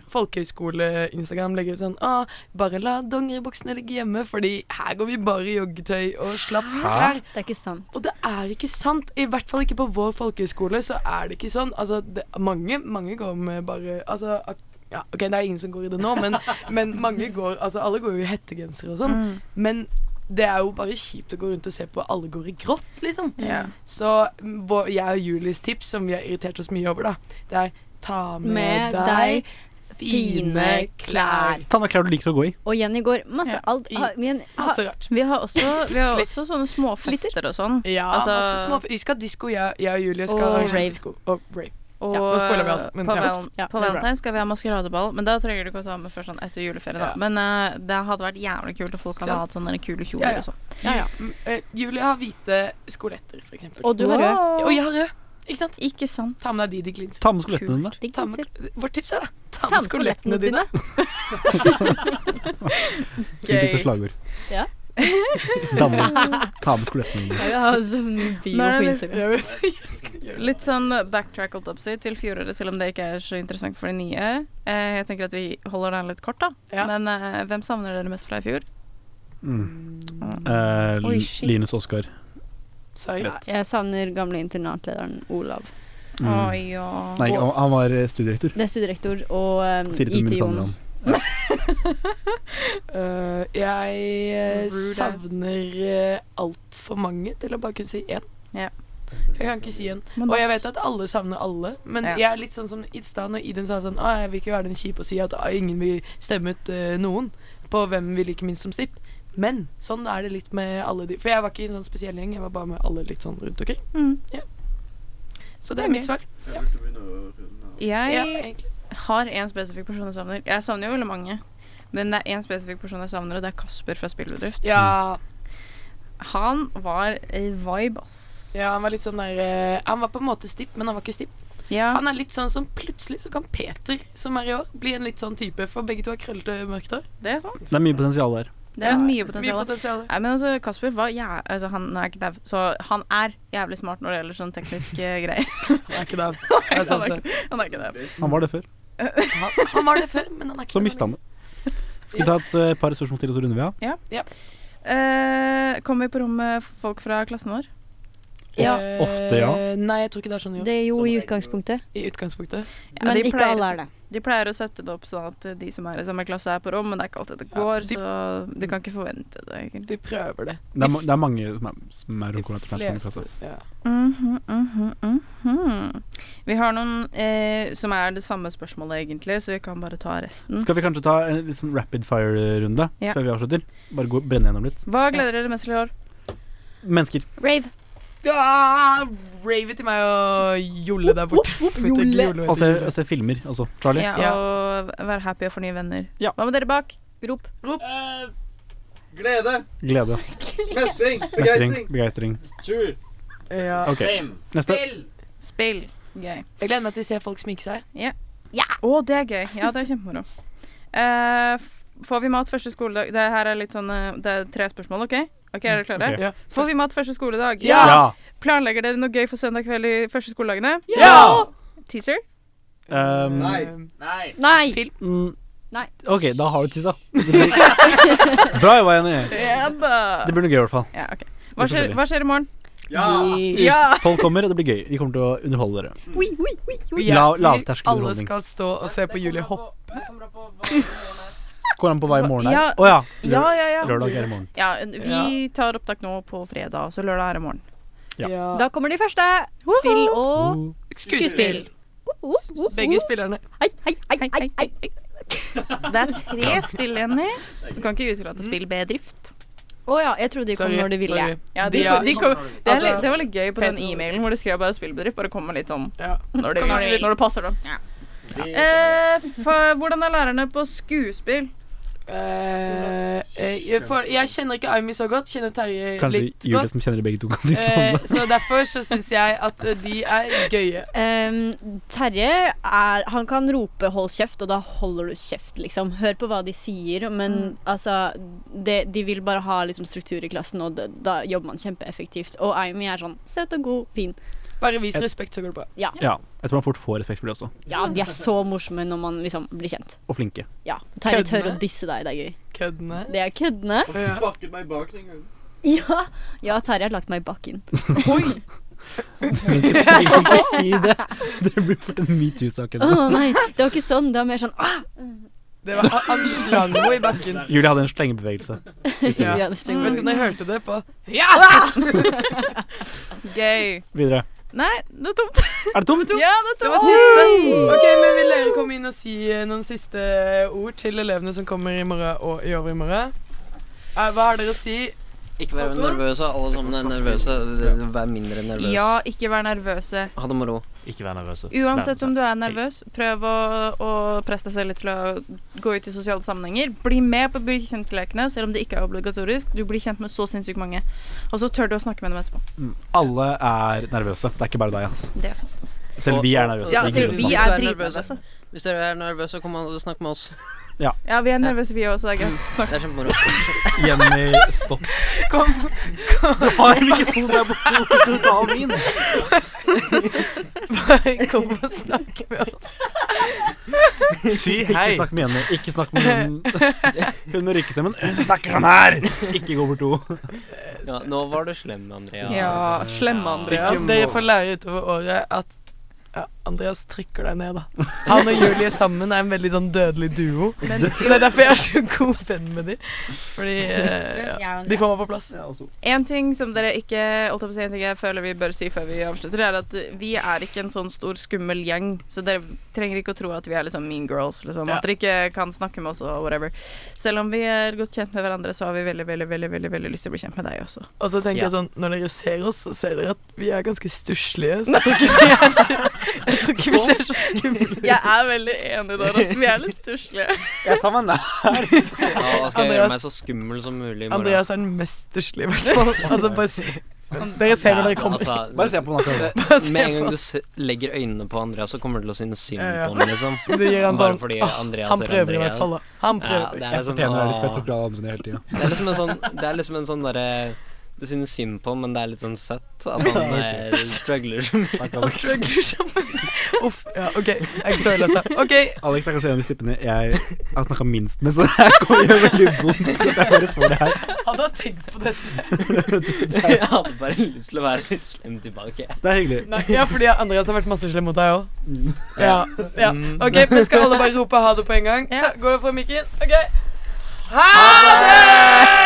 Speaker 1: folkehøyskole-Instagram. Legger ut sånn ah, 'Bare la dongeribuksene ligge hjemme, fordi her går vi bare i joggetøy og slapp klær'.
Speaker 8: Det er ikke sant.
Speaker 1: Og det er ikke sant. I hvert fall ikke på vår folkehøyskole så er det ikke sånn. Altså, det, mange, mange går med bare Altså, ak- ja, OK, det er ingen som går i det nå, men, men mange går Altså, alle går jo i hettegensere og sånn.
Speaker 3: Mm.
Speaker 1: Men det er jo bare kjipt å gå rundt og se på at alle går i grått, liksom.
Speaker 3: Ja.
Speaker 1: Så mm, vår, jeg og Julies tips, som vi har irritert oss mye over, da, det er ta med,
Speaker 8: Med
Speaker 1: deg
Speaker 8: deg
Speaker 1: fine klær.
Speaker 7: Ta med klær du liker å gå i.
Speaker 8: Og Jenny går masse alt
Speaker 1: I-
Speaker 8: ha, men, ha,
Speaker 1: Masse rart.
Speaker 3: Vi har også, vi har
Speaker 1: Plutselig.
Speaker 3: også sånne småfester og sånn.
Speaker 1: Ja,
Speaker 3: Altså-
Speaker 1: masse små Vi skal disko, jeg, jeg og Julie skal
Speaker 8: Og
Speaker 1: arrangere
Speaker 8: rave.
Speaker 1: disko. Og rave.
Speaker 3: Og
Speaker 1: Ja, nå spoiler vi alt, men
Speaker 3: på,
Speaker 1: ja.
Speaker 3: val
Speaker 8: Ja,
Speaker 3: på
Speaker 8: det er bra.
Speaker 3: Valentine skal vi ha maskeradeball, men da trenger du ikke å ta med før sånn etter juleferie. Da.
Speaker 1: Ja.
Speaker 3: Men eh, det hadde vært jævlig kult om folk hadde
Speaker 1: Ja.
Speaker 3: hatt sånne kule kjoler
Speaker 1: Ja, ja.
Speaker 3: og sånn.
Speaker 1: Mm, eh, Julie har hvite skoletter, for eksempel.
Speaker 8: Og du har rød.
Speaker 1: Og jeg har rød. Ikke sant?
Speaker 3: Ikke sant.
Speaker 1: Ta med deg de de glinser.
Speaker 7: Ta med skolettene dine.
Speaker 8: Digg
Speaker 1: Ta med,
Speaker 8: genser.
Speaker 1: vårt tips er da ta
Speaker 8: Ta
Speaker 1: med skolettene dine.
Speaker 7: Hvilket slagord.
Speaker 8: Ja.
Speaker 7: Danner. Ta med skolettene dine.
Speaker 8: Jeg vil ha sånn bio
Speaker 3: Nå er
Speaker 8: på
Speaker 3: det-
Speaker 8: Instagram.
Speaker 1: Jeg vet ikke, jeg skal gjøre det.
Speaker 3: Litt sånn backtrack holdt jeg på å si, til fjoråret, selv om det ikke er så interessant for de nye. Eh, jeg tenker at vi holder den litt kort, da.
Speaker 1: Ja.
Speaker 3: Men eh, hvem savner dere mest fra i fjor?
Speaker 7: Mm.
Speaker 3: Mm.
Speaker 7: Eh,
Speaker 3: Oi, shit.
Speaker 7: Linus Oskar.
Speaker 1: Sorry.
Speaker 8: Jeg savner gamle internatlederen Olav.
Speaker 7: Mm.
Speaker 3: Å, ja.
Speaker 7: Nei, han han var eh, studierektor.
Speaker 8: Det er studierektor og um,
Speaker 7: Siri Tumund savner
Speaker 8: IT-Jon.
Speaker 7: han.
Speaker 1: Øh, jeg eh,
Speaker 3: Rude ass.
Speaker 1: savner eh, altfor mange til å bare kunne si én.
Speaker 3: Ja.
Speaker 1: Jeg kan ikke si én.
Speaker 3: Men
Speaker 1: Og
Speaker 3: da
Speaker 1: jeg
Speaker 3: s-
Speaker 1: vet at alle savner alle, men
Speaker 3: Ja.
Speaker 1: jeg er litt sånn som i stad når Idun sa sånn Å, jeg vil ikke være den kjipe og si at «Å, ingen vil stemme ut eh, noen på hvem vi liker minst som stipp. Men sånn er det litt med alle de For jeg var ikke i en sånn spesiell gjeng, jeg var bare med alle litt sånn rundt omkring.
Speaker 3: Mm.
Speaker 1: Så det er mitt svar.
Speaker 3: Jeg
Speaker 1: Ja, egentlig.
Speaker 3: har én spesifikk person jeg savner. Jeg savner jo veldig mange. Men det er én spesifikk person jeg savner, og det er Kasper fra Spillbedrift.
Speaker 1: ja,
Speaker 3: Han var eh, vibe, ass.
Speaker 1: ja, han var litt sånn der eh, Han var på en måte stipp, men han var ikke stipp.
Speaker 3: Ja.
Speaker 1: Han er litt sånn som plutselig så kan Peter, som er i år, bli en litt sånn type, for begge to har krøllete mørkt hår.
Speaker 3: Det er sant.
Speaker 7: Det er mye potensial der.
Speaker 3: Det er
Speaker 1: Ja,
Speaker 3: mye
Speaker 1: Mye
Speaker 3: potensial.
Speaker 1: potensial.
Speaker 3: Nei, men altså, Kasper var jæ- altså, han, nå er ikke dev, så han er jævlig smart når det gjelder sånn tekniske greier.
Speaker 1: Han er ikke der. Det er
Speaker 3: han,
Speaker 1: sant,
Speaker 3: er
Speaker 1: det.
Speaker 3: ikke, han er ikke dev.
Speaker 7: Han var det før.
Speaker 1: Han, han var det før, men han er ikke
Speaker 7: Så
Speaker 1: det
Speaker 7: mista
Speaker 1: lenger.
Speaker 7: han det. Skal vi ta et eh, par spørsmål til, og så runder vi av?
Speaker 3: Eh, Kommer vi på rom med folk fra klassen vår?
Speaker 8: Ja.
Speaker 1: Eh,
Speaker 7: Ofte, ja.
Speaker 1: Nei, jeg tror ikke det er sånn jo.
Speaker 8: Det er jo i utgangspunktet,
Speaker 1: I utgangspunktet.
Speaker 3: Ja,
Speaker 8: men
Speaker 3: de
Speaker 8: ikke
Speaker 3: pleier
Speaker 8: alle
Speaker 3: å
Speaker 8: er det.
Speaker 3: De pleier å sette det opp sånn at de som er i samme klasse, er på rom, men det er ikke alltid det
Speaker 1: Ja,
Speaker 3: går,
Speaker 1: de-
Speaker 3: så du kan ikke forvente det, egentlig.
Speaker 1: De prøver det.
Speaker 7: Det er, ma- det er mange som er, som er sånn, rundt korona til altså.
Speaker 1: Fleste,
Speaker 7: samme klasse.
Speaker 1: ja.
Speaker 3: Mhm, mhm, mhm. Vi har noen eh, som er det samme spørsmålet, egentlig, så vi kan bare ta resten.
Speaker 7: Skal vi kanskje ta en litt sånn rapid fire-runde
Speaker 3: Mm. Ja.
Speaker 7: før vi avslutter? Bare gå, brenne gjennom litt.
Speaker 3: Hva gleder dere mest til i år?
Speaker 7: Mennesker.
Speaker 8: Rave.
Speaker 1: Ah, Rave til meg og Jolle der borte. Jolle. Jolle.
Speaker 7: Og se, og se filmer også. Charlie.
Speaker 3: Ja, og være happy og fornye venner.
Speaker 7: Ja.
Speaker 3: Hva med dere bak? Rop.
Speaker 6: Glede,
Speaker 7: Glede.
Speaker 6: mestring,
Speaker 7: Mestring.
Speaker 6: begeistring.
Speaker 7: Begeistring.
Speaker 6: Tur.
Speaker 1: Ja.
Speaker 7: Ok. Neste.
Speaker 3: Spill. Gøy.
Speaker 1: Jeg gleder meg til å se folk sminke seg.
Speaker 3: Å, det er gøy. Ja, det er kjempemoro. Eh, f- får vi mat første skoledag Det her er litt sånn eh, Det er tre spørsmål, OK? Ok, Er dere klare?
Speaker 7: Ok.
Speaker 1: Mm, Ja.
Speaker 3: Får vi mat første skoledag?
Speaker 1: Ja!
Speaker 3: Planlegger dere noe gøy for søndag kveld i første skoledagene?
Speaker 1: Ja!
Speaker 3: Teaser?
Speaker 1: Eh,
Speaker 7: Um,
Speaker 6: Nei.
Speaker 8: Nei!
Speaker 7: Mm,
Speaker 8: Nei.
Speaker 7: OK, da har du tissa. Det blir- Bra jobba, Jenny.
Speaker 3: Ja, da.
Speaker 7: Det blir noe gøy, i hvert fall.
Speaker 3: Ja, ok. Hva
Speaker 7: Det er
Speaker 3: skjer,
Speaker 7: forskjellig.
Speaker 3: hva skjer i morgen?
Speaker 6: Ja!
Speaker 3: Ja!
Speaker 7: Folk kommer, og det blir gøy. Vi kommer til å underholde dere.
Speaker 8: Oi, oi, oi, oi.
Speaker 1: Ja, vi- Alle
Speaker 7: Lav- lavterskelunderholdning.
Speaker 1: skal stå og se på Julie hoppe.
Speaker 7: Går an på hva i morgen er?
Speaker 3: Ja.
Speaker 7: Å ja.
Speaker 3: Ja, ja, ja.
Speaker 7: Lørdag er i morgen.
Speaker 3: ja vi tar opptak nå på fredag, så lørdag er i morgen.
Speaker 7: Ja.
Speaker 8: Da kommer de første. Spill og
Speaker 7: Uh,
Speaker 8: skuespill. Oh, oh, oh.
Speaker 1: Begge spillerne.
Speaker 8: Hei, hei, hei,
Speaker 3: Hei,
Speaker 8: hei, hei.
Speaker 3: Det er tre spill, Jenny. Du kan ikke utelate spillbedrift.
Speaker 8: Å ja, jeg trodde de kom når de ville.
Speaker 1: sorry.
Speaker 3: Ja,
Speaker 1: De
Speaker 3: de,
Speaker 1: er-
Speaker 3: de kom, det, er,
Speaker 1: Altså,
Speaker 3: litt- det var litt gøy på den
Speaker 1: Peter-
Speaker 3: e-mailen hvor det skrev bare spillbedrift. Bare kommer litt sånn
Speaker 1: Ja.
Speaker 3: når det,
Speaker 1: Kom når de vil.
Speaker 3: når det passer dem. Ja. Eh, fa- hvordan er lærerne på skuespill?
Speaker 1: Eh, eh, jeg, får- jeg kjenner ikke Aimi så godt, kjenner Terje
Speaker 7: Kanskje
Speaker 1: litt
Speaker 7: Julie
Speaker 1: godt.
Speaker 7: som kjenner de begge to, kan si noe
Speaker 1: Eh,
Speaker 7: om det.
Speaker 1: så derfor så syns jeg at eh, de er gøye.
Speaker 8: Ehm, Terje er, han kan rope 'hold kjeft', og da holder du kjeft, liksom. Hør på hva de sier, men altså det, De vil bare ha liksom, struktur i klassen, og det, da jobber man kjempeeffektivt. Og Amy er sånn søt og god, fin.
Speaker 1: Bare vis respekt, så går det bra.
Speaker 7: Ja. Jeg tror man fort får respekt for det også.
Speaker 8: Ja, de er så morsomme når man liksom blir kjent.
Speaker 7: Og flinke.
Speaker 8: Ja. Terje tør
Speaker 1: Køddene?
Speaker 8: å disse deg, det er gøy.
Speaker 1: Køddene.
Speaker 8: Det er køddene.
Speaker 6: Og sparket meg i baken en gang.
Speaker 8: Ja, ja Terje har lagt meg i bakken.
Speaker 7: Men ikke så- jeg kan ikke si det. Det blir fort en metoo-sak.
Speaker 8: Å
Speaker 7: eller noe.
Speaker 8: nei, det var ikke sånn. Det var mer sånn ah!
Speaker 1: Det var, han slang henne i bakken.
Speaker 7: Julie hadde en slengebevegelse.
Speaker 1: Ja.
Speaker 8: Ja, det
Speaker 1: Vet
Speaker 8: er
Speaker 1: ikke om
Speaker 8: strengt.
Speaker 1: dere hørte det på
Speaker 3: Gøy.
Speaker 7: Videre.
Speaker 3: Nei, det er tomt.
Speaker 7: Er det tomt?
Speaker 3: Ja, det er
Speaker 1: Det
Speaker 3: tomt.
Speaker 1: var siste. Ok, men Vil dere komme inn og si eh, noen siste ord til elevene som kommer i morgen og i overmorgen? Eh, Hva har dere å si?
Speaker 4: Ikke vær
Speaker 1: Håkon?
Speaker 4: nervøse. Alle sammen er nervøse. Vær mindre nervøs.
Speaker 3: Ja, ikke vær nervøse.
Speaker 4: Ha det moro.
Speaker 2: Ikke vær nervøse.
Speaker 3: Uansett om du er nervøs, prøv å, å presse deg selv litt til å gå ut i sosiale sammenhenger. Bli med på Bli kjent-lekene, selv om det ikke er obligatorisk. Du blir kjent med så sinnssykt mange. Og så tør du å snakke med dem etterpå.
Speaker 7: Mm. Alle er nervøse. Det er ikke bare deg, ass.
Speaker 3: Det er sant.
Speaker 7: Selv vi er nervøse.
Speaker 3: Ja,
Speaker 7: Vi
Speaker 3: til
Speaker 7: gruer oss
Speaker 3: vi
Speaker 7: masse.
Speaker 3: er altså.
Speaker 4: Hvis
Speaker 3: dritnervøse.
Speaker 4: du er nervøs, Hvis dere er nervøse, kom og snakk med oss.
Speaker 3: Ja, vi er nervøse vi òg, så det er greit. Snakk.
Speaker 4: Det er kjempemoro.
Speaker 7: Jenny, stopp.
Speaker 1: Kom.
Speaker 7: Du har en mikrofon der borte! Hvorfor skal du ta av min?
Speaker 1: Bare kom og snakk med oss.
Speaker 2: Si
Speaker 7: Ikke snakk med Jenny. Ikke snakk med hun Hun med rykkestemmen. Hun som snakker sånn her! Ikke gå bort til henne.
Speaker 4: Ja, nå var du slem, Andrea.
Speaker 3: Ja, slemme Andreas.
Speaker 6: Ikke-
Speaker 1: Dere får lære utover året at ja, Andreas trykker deg ned, da. Han og Julie sammen er en veldig sånn dødelig duo.
Speaker 3: Men
Speaker 1: Så det er derfor jeg er så god venn med dem. Fordi eh, ja, de får meg på plass.
Speaker 3: En ting som dere ikke holdt jeg på å si, en ting jeg føler vi bør si før vi avslutter, er at vi er ikke en sånn stor skummel gjeng, så dere trenger ikke å tro at vi er liksom mean girls, liksom.
Speaker 1: Ja.
Speaker 3: At dere ikke kan snakke med oss og whatever. Selv om vi er godt kjent med hverandre, så har vi veldig, veldig, veldig, veldig, veldig lyst til å bli kjent med deg også.
Speaker 1: Og så tenker
Speaker 4: Ja.
Speaker 1: jeg sånn, når dere ser oss, så ser dere at vi er ganske stusslige. Så jeg tror ikke vi, er så, jeg tror ikke vi ser så skumle ut.
Speaker 3: Jeg er veldig enig der, altså. Vi er litt stusslige.
Speaker 7: Jeg tar meg nær.
Speaker 4: Ja, da skal jeg gjøre
Speaker 1: Andreas-
Speaker 4: meg så skummel som mulig i morgen.
Speaker 1: Andreas er den mest stusslige, i hvert fall. Altså, bare se. Dere ser når dere kommer.
Speaker 7: Bare
Speaker 4: Altså,
Speaker 7: se på den. akkurat.
Speaker 1: Bare se
Speaker 4: med en
Speaker 1: på-
Speaker 4: gang du se- legger øynene på Andreas, så kommer du til å synes synd
Speaker 1: Ja, ja.
Speaker 4: på ham, liksom.
Speaker 1: Du gir han
Speaker 4: Bare
Speaker 1: sånn
Speaker 4: fordi
Speaker 1: «Åh,
Speaker 4: Andreas
Speaker 1: Han
Speaker 4: er
Speaker 1: prøver i
Speaker 4: Andreas».
Speaker 1: hvert fall, da. Han
Speaker 4: Ja,
Speaker 1: prøver.
Speaker 4: det, er
Speaker 7: Jeg
Speaker 4: liksom,
Speaker 7: fortjener det litt, for jeg
Speaker 4: «Åh».
Speaker 7: tror ikke alle andre hele tida.
Speaker 4: det er liksom en sånn Det er liksom en sånn derre Du synes synd på ham, men det er litt sånn søtt at han eh, struggler så mye.
Speaker 7: Takk,
Speaker 1: Han
Speaker 7: Alex.
Speaker 1: struggler sammen. Uff. Ja, OK. Jeg er ikke så ille, altså. OK.
Speaker 7: Alex er kanskje en av de stippene jeg har snakka minst med, så det her kommer til å gjøre veldig vondt at jeg bare får det her.
Speaker 1: Hadde han tenkt på dette?
Speaker 4: Jeg hadde bare lyst til å være litt slem tilbake.
Speaker 7: Det er hyggelig.
Speaker 1: Nei, ja, fordi Andreas har vært masse slem mot deg òg.
Speaker 7: Mm.
Speaker 1: Ja. ja.
Speaker 4: Mm.
Speaker 1: OK, men skal alle bare rope ha det på en gang?
Speaker 3: Ja.
Speaker 1: Ta, går det fra mikken? OK. Ha det!